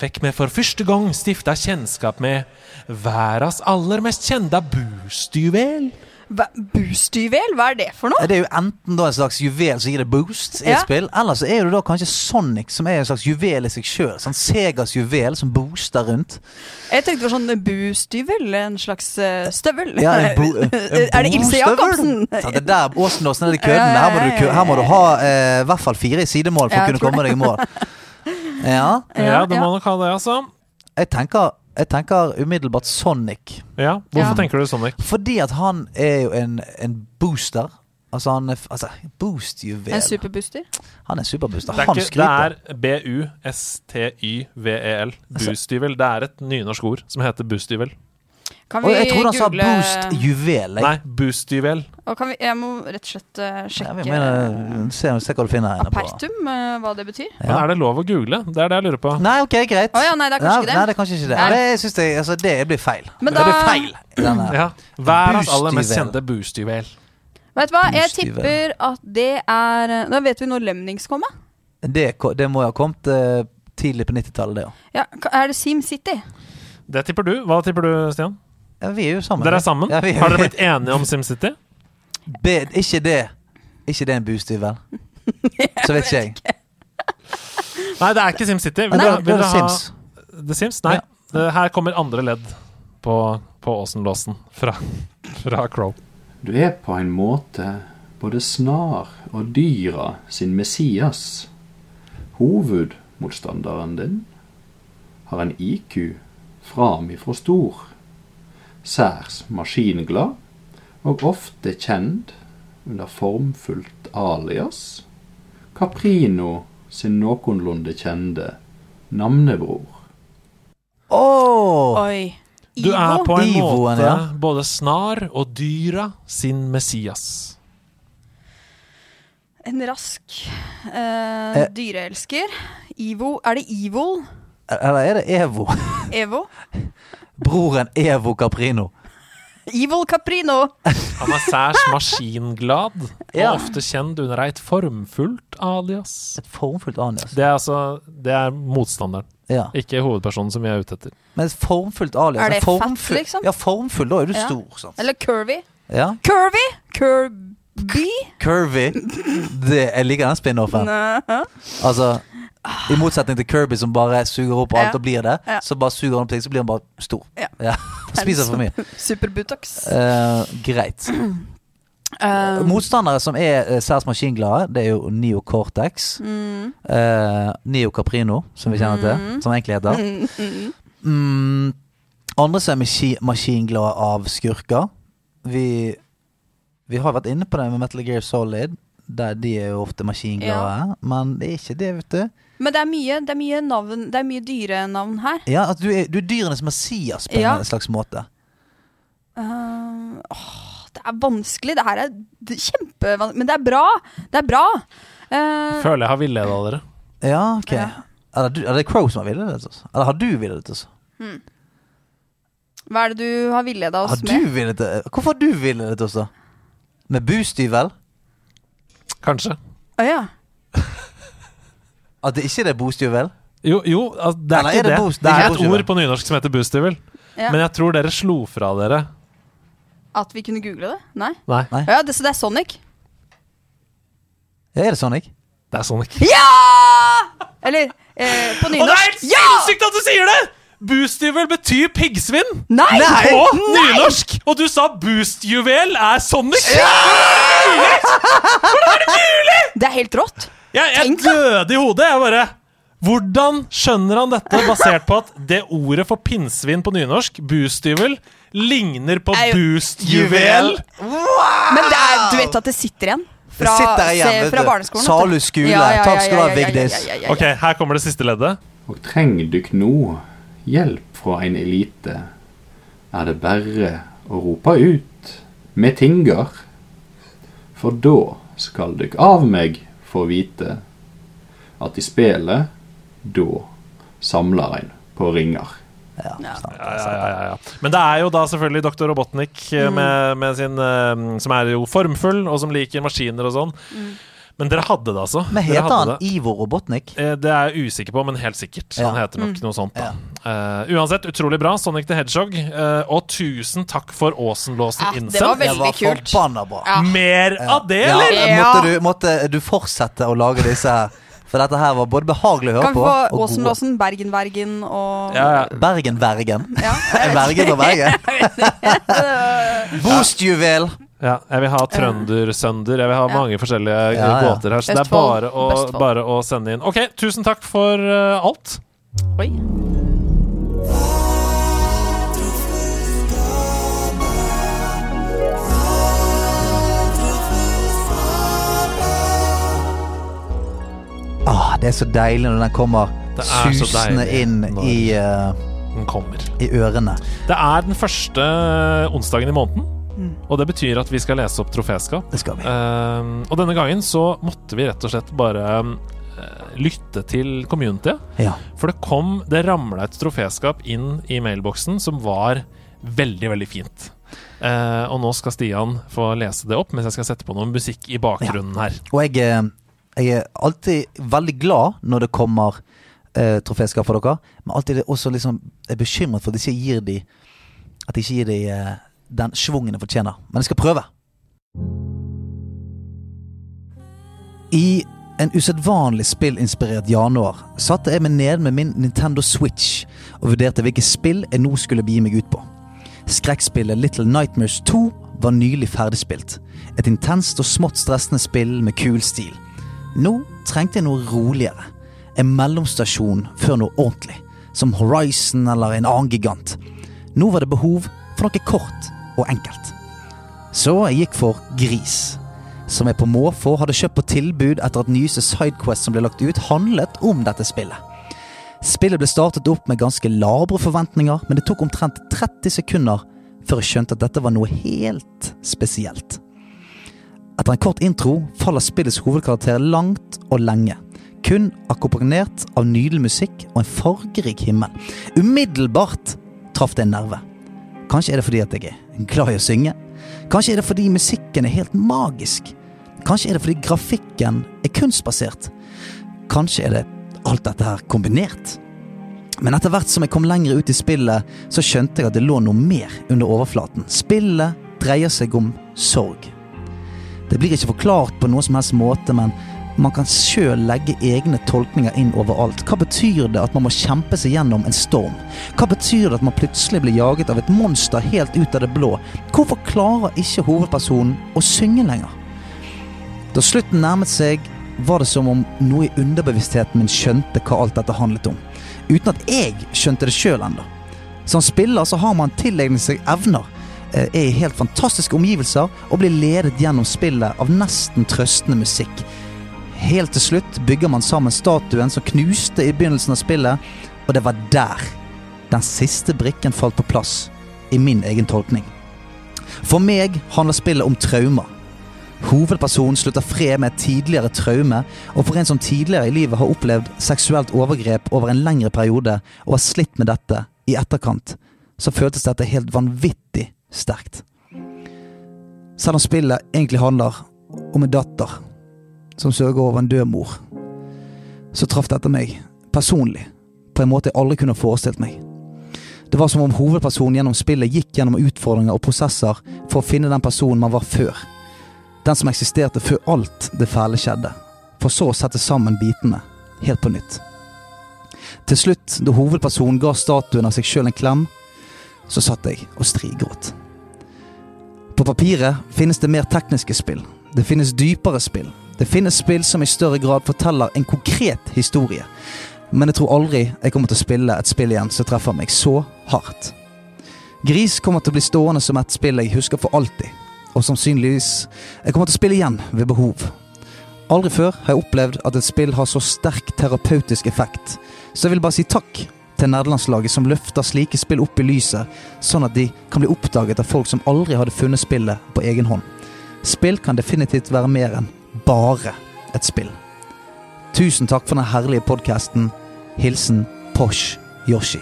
S1: Fikk vi for første gang stifta kjennskap med verdas aller mest kjenda bustyvel.
S5: Bustyvel, hva er det for noe?
S2: Det er jo enten da en slags juvel som gir deg boost i
S5: Ja.
S2: et spill, eller så er det da kanskje Sonic, som er en slags juvel i seg sjøl. Sånn Segas juvel som booster rundt.
S5: Jeg tenkte det var sånn bustyvel, en slags eh, støvel.
S2: Ja, en bo- en
S5: er det Ilse
S2: bostøvel?
S5: Jacobsen?
S2: Så det der Åsendåsen er de
S5: Ja,
S2: køddene.
S5: ja,
S2: Her må du,
S5: ja,
S2: kø-
S5: ja,
S2: her må du ha eh, i hvert fall fire i sidemål for
S5: Ja,
S2: å
S5: jeg
S2: kunne komme
S5: tror
S2: deg i mål. Ja.
S1: Ja, det må nok ha det, altså.
S2: Jeg tenker, jeg tenker umiddelbart Sonic.
S1: Ja, Hvorfor tenker du Sonic?
S2: Fordi at han er jo en, en booster. Altså, han er f- altså, Boost-juvel.
S5: En superbooster?
S2: Han er en superbooster.
S1: Det er,
S2: Han
S1: ikke,
S2: skryter.
S1: det er B-U-S-T-Y-V-E-L.
S2: Altså-
S1: Bustyvel. E Det er et nynorsk ord som heter bustyvel.
S5: Kan
S2: Og
S5: vi
S2: jeg trodde han sa
S5: google-
S2: boost-juvel. jeg.
S1: Nei, bustyvel.
S5: Og kan vi, jeg må rett og slett eh,
S2: Jeg
S5: sjekke
S2: mener, se, se hva du finner her inne på.
S5: Pertum, eh, hva det betyr.
S1: Men er det lov å google? Det er det jeg lurer på.
S2: Nei, ok, greit.
S5: Å ja, nei, det er kanskje ikke det.
S2: Nei, det er kanskje ikke det.
S5: Nei.
S2: Det, synes jeg, altså, det blir feil.
S5: Men
S2: det blir
S5: da-
S2: feil. i denne.
S1: Ja, Verdens aller mest
S2: Bustyvel.
S1: kjente bustyvel.
S5: Vet du hva, jeg
S2: Bustyvel.
S5: tipper at det er eh, Da vet vi når Lemnings kom, da.
S2: Det, ko- det må jo ha kommet eh, tidlig på 90-tallet, det òg.
S5: Ja, ka- er det Sim City?
S1: Det tipper du. Hva tipper du, Stian?
S2: vi er jo sammen.
S1: Dere er sammen?
S2: Ja, vi-
S1: Har dere blitt enige om SimCity?
S2: Be- Ikke det. Ikke det en boostyvel. Så vet ikke jeg.
S1: Nei, det er ikke SimCity.
S2: Nei,
S1: dere-
S2: det er
S1: dere ha-
S2: Sims.
S1: The Sims? Nei. Det- Her kommer andre ledd på, på Åsenlåsen fra, fra Crow.
S19: Du er på en måte både snar og dyra sin Messias. Hovedmotstanderen din har en IQ framifrå stor, særs maskinglad og ofte kjent under formfullt alias Caprino sin noenlunde kjende navnebror.
S5: Oi.
S1: Du er på en
S2: Ivoen,
S1: måte
S2: ja.
S1: både snar og dyra sin Messias.
S5: En rask eh,
S2: Eh.
S5: dyreelsker. Ivo Er det Evil?
S2: Eller er det Evo?
S5: Evo?
S2: Broren Evo Caprino.
S5: Evil Caprino!
S1: Han er særs maskinglad og
S5: Ja.
S1: ofte kjent under et formfullt alias.
S2: Et formfullt alias?
S1: Det er altså Det er motstanderen,
S2: Ja.
S1: ikke hovedpersonen som vi er ute etter.
S2: Men et formfullt alias
S5: Er det
S2: altså, formfull-
S5: fett, liksom?
S2: Ja, formfull. Da er du
S5: Ja.
S2: stor. Sant?
S5: Eller Curvy.
S2: Ja.
S5: Curvy! Curvy?
S2: Curvy. Det, jeg liker den spin-offen.
S5: Nå.
S2: Altså, I motsetning til Kirby, som bare suger opp alt
S5: Ja.
S2: og blir det.
S5: Ja.
S2: Så bare suger han opp ting, så blir han bare stor.
S5: Ja.
S2: Spiser for mye.
S5: Superbutox.
S2: Eh, greit.
S5: Um,
S2: Motstandere som er eh, særs maskinglade, det er jo Neo Cortex.
S5: Mm.
S2: eh, Neo Caprino, som vi kjenner til.
S5: Mm.
S2: Som egentlig heter.
S5: Mm, mm.
S2: Mm, andre som er maski maskinglade av skurker. Vi, vi har vært inne på det med Metal Gear Solid. Der de er jo ofte maskinglade. Men det er ikke det, vet du.
S5: Men det er mye, det er mye navn Det er mye dyrenavn her.
S2: Ja, at du, er, du er dyrenes Messias på
S5: Ja.
S2: en slags måte.
S5: Um, åh, det er vanskelig. Det her er d- kjempevanskelig. Men det er bra! Det er bra! Eh,
S1: Føler jeg har villeda dere.
S2: Ja, ok.
S5: Ja.
S2: Er, det du, er det Crow som har villedet oss? Eller har du altså? villedet oss?
S5: hmm. Hva er det du har villeda
S2: Har
S5: oss
S2: du
S5: med?
S2: villedet Hvorfor har du villedet oss, da? Med bustyvel?
S1: Kanskje.
S5: Å ja.
S2: At det ikke er bustyvel?
S1: Jo, jo altså, det er
S2: Eller er
S1: ikke
S2: det
S1: det.
S2: boost-
S1: det
S2: det er
S1: er
S2: ikke
S1: et
S2: boost,
S1: ord på nynorsk som heter boostyvel.
S5: Ja.
S1: Men jeg tror dere slo fra dere.
S5: At vi kunne google det? Nei?
S1: Nei.
S5: Å Ja, det, så det er Sonic?
S2: Ja, er det Sonic?
S1: Det er Sonic.
S5: Ja! Eller eh, på
S1: Og det er
S5: nynorsk
S1: helt sinnssykt at du sier det! Boostjuvel betyr piggsvinn
S5: Nei! Nei!
S1: på
S5: Nei!
S1: nynorsk! Og du sa boostjuvel er sonic!
S5: Det er helt rått!
S1: Jeg, jeg døde i hodet. Jeg bare Hvordan skjønner han dette, basert på at det ordet for pinnsvin på nynorsk, bustyvel, ligner på bustjuvel?
S5: Men det er, du vet at det sitter igjen? Fra,
S2: sitter igjen,
S5: se-
S2: vet
S5: fra
S2: du.
S5: barneskolen. vet du.
S2: Salu skule.
S5: Ja, ja,
S2: Takk skal du ha,
S5: ja, ja, ja,
S2: Vigdis.
S5: ja, ja, ja, ja.
S1: Ok, her kommer det siste leddet.
S19: Og treng dykk nå hjelp fra ein elite, er det berre å ropa ut med tingar. For da skal dykk av meg få vite at i spelet, da samlar ein på ringar.
S1: Ja, ja, ja, ja, ja. Men det er jo da selvfølgelig Dr. Robotnik eh,
S19: Mm.
S1: med, med sin, eh, som er jo formfull, og som liker maskiner og sånn.
S2: Mm.
S1: Men dere hadde det, altså.
S2: Men
S1: Dere
S2: heter
S1: hadde
S2: han Ivo Robotnik?
S1: Eh, Det er jeg usikker på, men helt sikkert. Han
S2: Ja.
S1: heter nok
S2: Mm.
S1: noe sånt. da Eh, Uansett, utrolig bra. Sonic the Hedgehog. eh, og tusen takk for Åsenblåsen
S2: Ah, det
S1: innsendt.
S2: var veldig Det var kult. forbanna bra. Ja.
S1: Mer av det,
S2: Ja,
S1: eller?
S2: måtte, du, måtte du fortsette å lage disse her? For dette her var både behagelig å høre
S5: Kan vi
S2: på
S5: få
S2: og gode.
S5: Åsenblåsen, Bergen-Vergen og
S2: Bergen-Vergen. Bergen og Bergen. Eh, Boostjuvel.
S1: Ja, jeg vil ha trøndersønder. Jeg vil ha mange forskjellige eh,
S2: Ja, ja.
S1: gåter her. Så
S2: Østfold,
S1: det er bare å,
S2: Vestfold.
S1: bare å sende inn. OK, tusen takk for eh, alt.
S5: Oi.
S2: Ah, det er så deilig når den kommer
S1: Det er så
S2: susende
S1: deilig
S2: inn
S1: når
S2: i, eh, i ørene.
S1: Det er den første onsdagen i måneden.
S2: Mm.
S1: Og det betyr at vi skal lese opp troféskap. Ehm,
S2: Det skal vi.
S1: og denne gangen så måtte vi rett og slett bare eh, lytte til communityet.
S2: Ja.
S1: For det kom Det ramla et troféskap inn i mailboksen som var veldig, veldig fint. Eh, og nå skal Stian få lese det opp mens jeg skal sette på noe musikk i bakgrunnen her.
S2: Og jeg, eh, jeg er alltid veldig glad når det kommer eh, troféskap for dere, men alltid er jeg også liksom er bekymret for at de ikke gir de, at de, ikke gir de eh, den schwungen de fortjener. Men jeg skal prøve. I en usedvanlig spillinspirert januar satte jeg meg ned med min Nintendo Switch og vurderte hvilke spill jeg nå skulle begi meg ut på. Skrekkspillet Little Nightmares 2 var nylig ferdigspilt. Et intenst og smått stressende spill med kul stil. Nå trengte jeg noe roligere. En mellomstasjon før noe ordentlig. Som Horizon eller en annen gigant. Nå var det behov for noe kort og enkelt. Så jeg gikk for Gris, som jeg på måfå hadde kjøpt på tilbud etter at nyeste Sidequest som ble lagt ut, handlet om dette spillet. Spillet ble startet opp med ganske labre forventninger, men det tok omtrent 30 sekunder før jeg skjønte at dette var noe helt spesielt. Etter en kort intro faller spillets hovedkarakter langt og lenge. Kun akkompagnert av nydelig musikk og en fargerik himmel. Umiddelbart traff det en nerve. Kanskje er det fordi at jeg er glad i å synge. Kanskje er det fordi musikken er helt magisk. Kanskje er det fordi grafikken er kunstbasert. Kanskje er det alt dette her kombinert. Men etter hvert som jeg kom lenger ut i spillet, så skjønte jeg at det lå noe mer under overflaten. Spillet dreier seg om sorg. Det blir ikke forklart på noen som helst måte, men man kan sjøl legge egne tolkninger inn overalt. Hva betyr det at man må kjempe seg gjennom en storm? Hva betyr det at man plutselig blir jaget av et monster helt ut av det blå? Hvorfor klarer ikke hovedpersonen å synge lenger? Da slutten nærmet seg, var det som om noe i underbevisstheten min skjønte hva alt dette handlet om. Uten at jeg skjønte det sjøl ennå. Som spiller så har man tilegnet seg evner, eh, er i helt fantastiske omgivelser og blir ledet gjennom spillet av nesten trøstende musikk. Helt til slutt bygger man sammen statuen som knuste i begynnelsen av spillet, og det var der den siste brikken falt på plass, i min egen tolkning. For meg handler spillet om traumer. Hovedpersonen slutter fred med et tidligere traume, og for en som tidligere i livet har opplevd seksuelt overgrep over en lengre periode og har slitt med dette i etterkant, så føltes dette helt vanvittig sterkt. Selv om spillet egentlig handler om en datter som sørger over en død mor, så traff dette meg personlig på en måte jeg aldri kunne ha forestilt meg. Det var som om hovedpersonen gjennom spillet gikk gjennom utfordringer og prosesser for å finne den personen man var før. Den som eksisterte før alt det fæle skjedde. For så å sette sammen bitene, helt på nytt. Til slutt, da hovedpersonen ga statuen av seg sjøl en klem, så satt jeg og strigråt. På papiret finnes det mer tekniske spill. Det finnes dypere spill. Det finnes spill som i større grad forteller en konkret historie. Men jeg tror aldri jeg kommer til å spille et spill igjen som treffer meg så hardt. Gris kommer til å bli stående som et spill jeg husker for alltid. Og sannsynligvis jeg kommer til å spille igjen ved behov. Aldri før har jeg opplevd at et spill har så sterk terapeutisk effekt, så jeg vil bare si takk til nerdelandslaget som løfter slike spill opp i lyset, sånn at de kan bli oppdaget av folk som aldri hadde funnet spillet på egen hånd. Spill kan definitivt være mer enn bare et spill. Tusen takk for den herlige podkasten. Hilsen Posh Yoshi.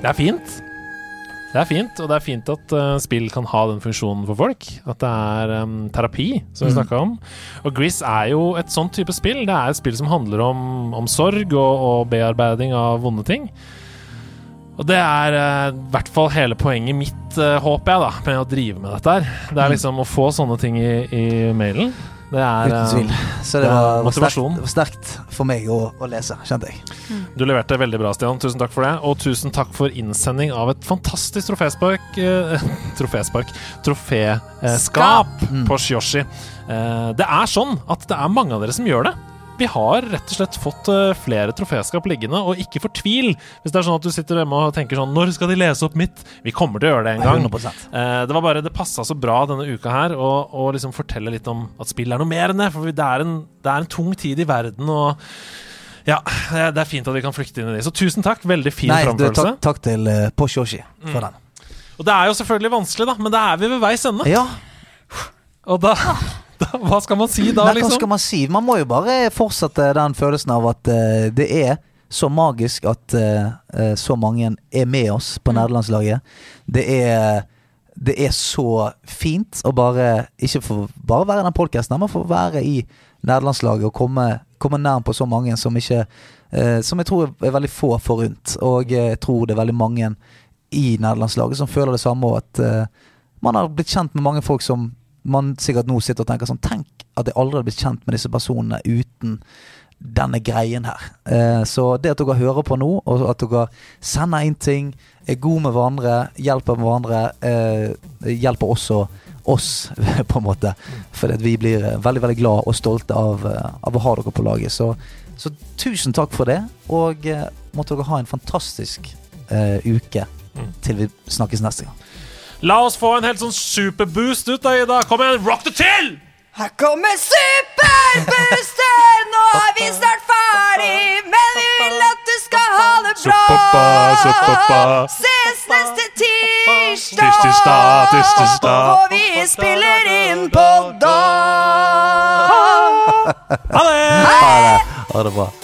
S1: Det er fint. Det er fint, og det er fint at eh, spill kan ha den funksjonen for folk. At det er em, terapi, som vi
S20: Mm.
S1: snakka om. Og Gris er jo et sånt type spill. Det er et spill som handler om, om sorg og, og bearbeiding av vonde ting. Og det er eh, i hvert fall hele poenget mitt, eh, håper jeg, da, med å drive med dette her.
S2: Mm.
S1: Det er liksom å få sånne ting i, i mailen. Det er
S2: Uten
S1: eh,
S2: tvil. Så det
S1: er
S2: var, var, sterkt,
S1: motivasjon.
S2: det var sterkt for meg å, å lese, kjente jeg.
S1: Du leverte veldig bra, Stian. Tusen takk for det. Og tusen takk for innsending av et fantastisk troféspark eh, Troféspark Troféskap på Shyoshi. Eh, det er sånn at det er mange av dere som gjør det. Vi har rett og slett fått eh, flere troféskap liggende, og ikke fortvil hvis det er sånn at du sitter hjemme og tenker sånn Når skal de lese opp mitt? Vi kommer til å gjøre det en gang.
S2: 100%.
S1: Eh, Det var bare, det passa så bra denne uka her å å liksom fortelle litt om at spill er noe mer enn det. For det er en, det er en tung tid i verden, og ja, eh, det det er fint at vi kan flykte inn i det. Så tusen takk. Veldig fin
S2: Nei, du,
S1: framførelse. Mm.
S2: takk, takk til uh, Posh Yoshi for den.
S1: Og det er jo selvfølgelig vanskelig, da, men da er vi ved veis ende. Og da, da Hva skal man si da,
S2: Nei,
S1: liksom?
S2: Hva skal man si? Man må jo bare fortsette den følelsen av at eh, det er så magisk at eh, eh, så mange er med oss
S1: Mm.
S2: på nerdelandslaget. Det er det er så fint å bare ikke få bare være i den podkasten, men få være i nerdelandslaget og komme, komme nær på så mange som ikke eh, Som jeg tror er veldig få forunt. Og eh, jeg tror det er veldig mange i nerdelandslaget som føler det samme, og at eh, man har blitt kjent med mange folk som man sikkert nå sitter og tenker sånn Tenk at jeg aldri hadde blitt kjent med disse personene uten denne greien her. Eh, Så det at dere hører på nå, og at dere sender inn ting, er gode med hverandre, hjelper hverandre, eh, hjelper også oss, på en måte. Fordi at vi blir eh, veldig, veldig glad og stolte av, eh, av å ha dere på laget. Så, så tusen takk for det, og eh, måtte dere ha en fantastisk eh, uke
S1: Mm.
S2: til vi snakkes neste gang.
S1: La oss få en helt sånn superboost ut da, Ida. Kom igjen, rock det til!
S6: Her kommer superbooster! Nå er vi snart ferdig, men vi vil at du skal ha det bra.
S21: Suppa-pa, suppa-pa.
S6: Ses neste
S21: Tirsdag,
S6: tirsdag,
S21: tirsdag.
S6: og vi spiller inn på dag.
S1: Ha det!
S2: Ha det. Ha det bra.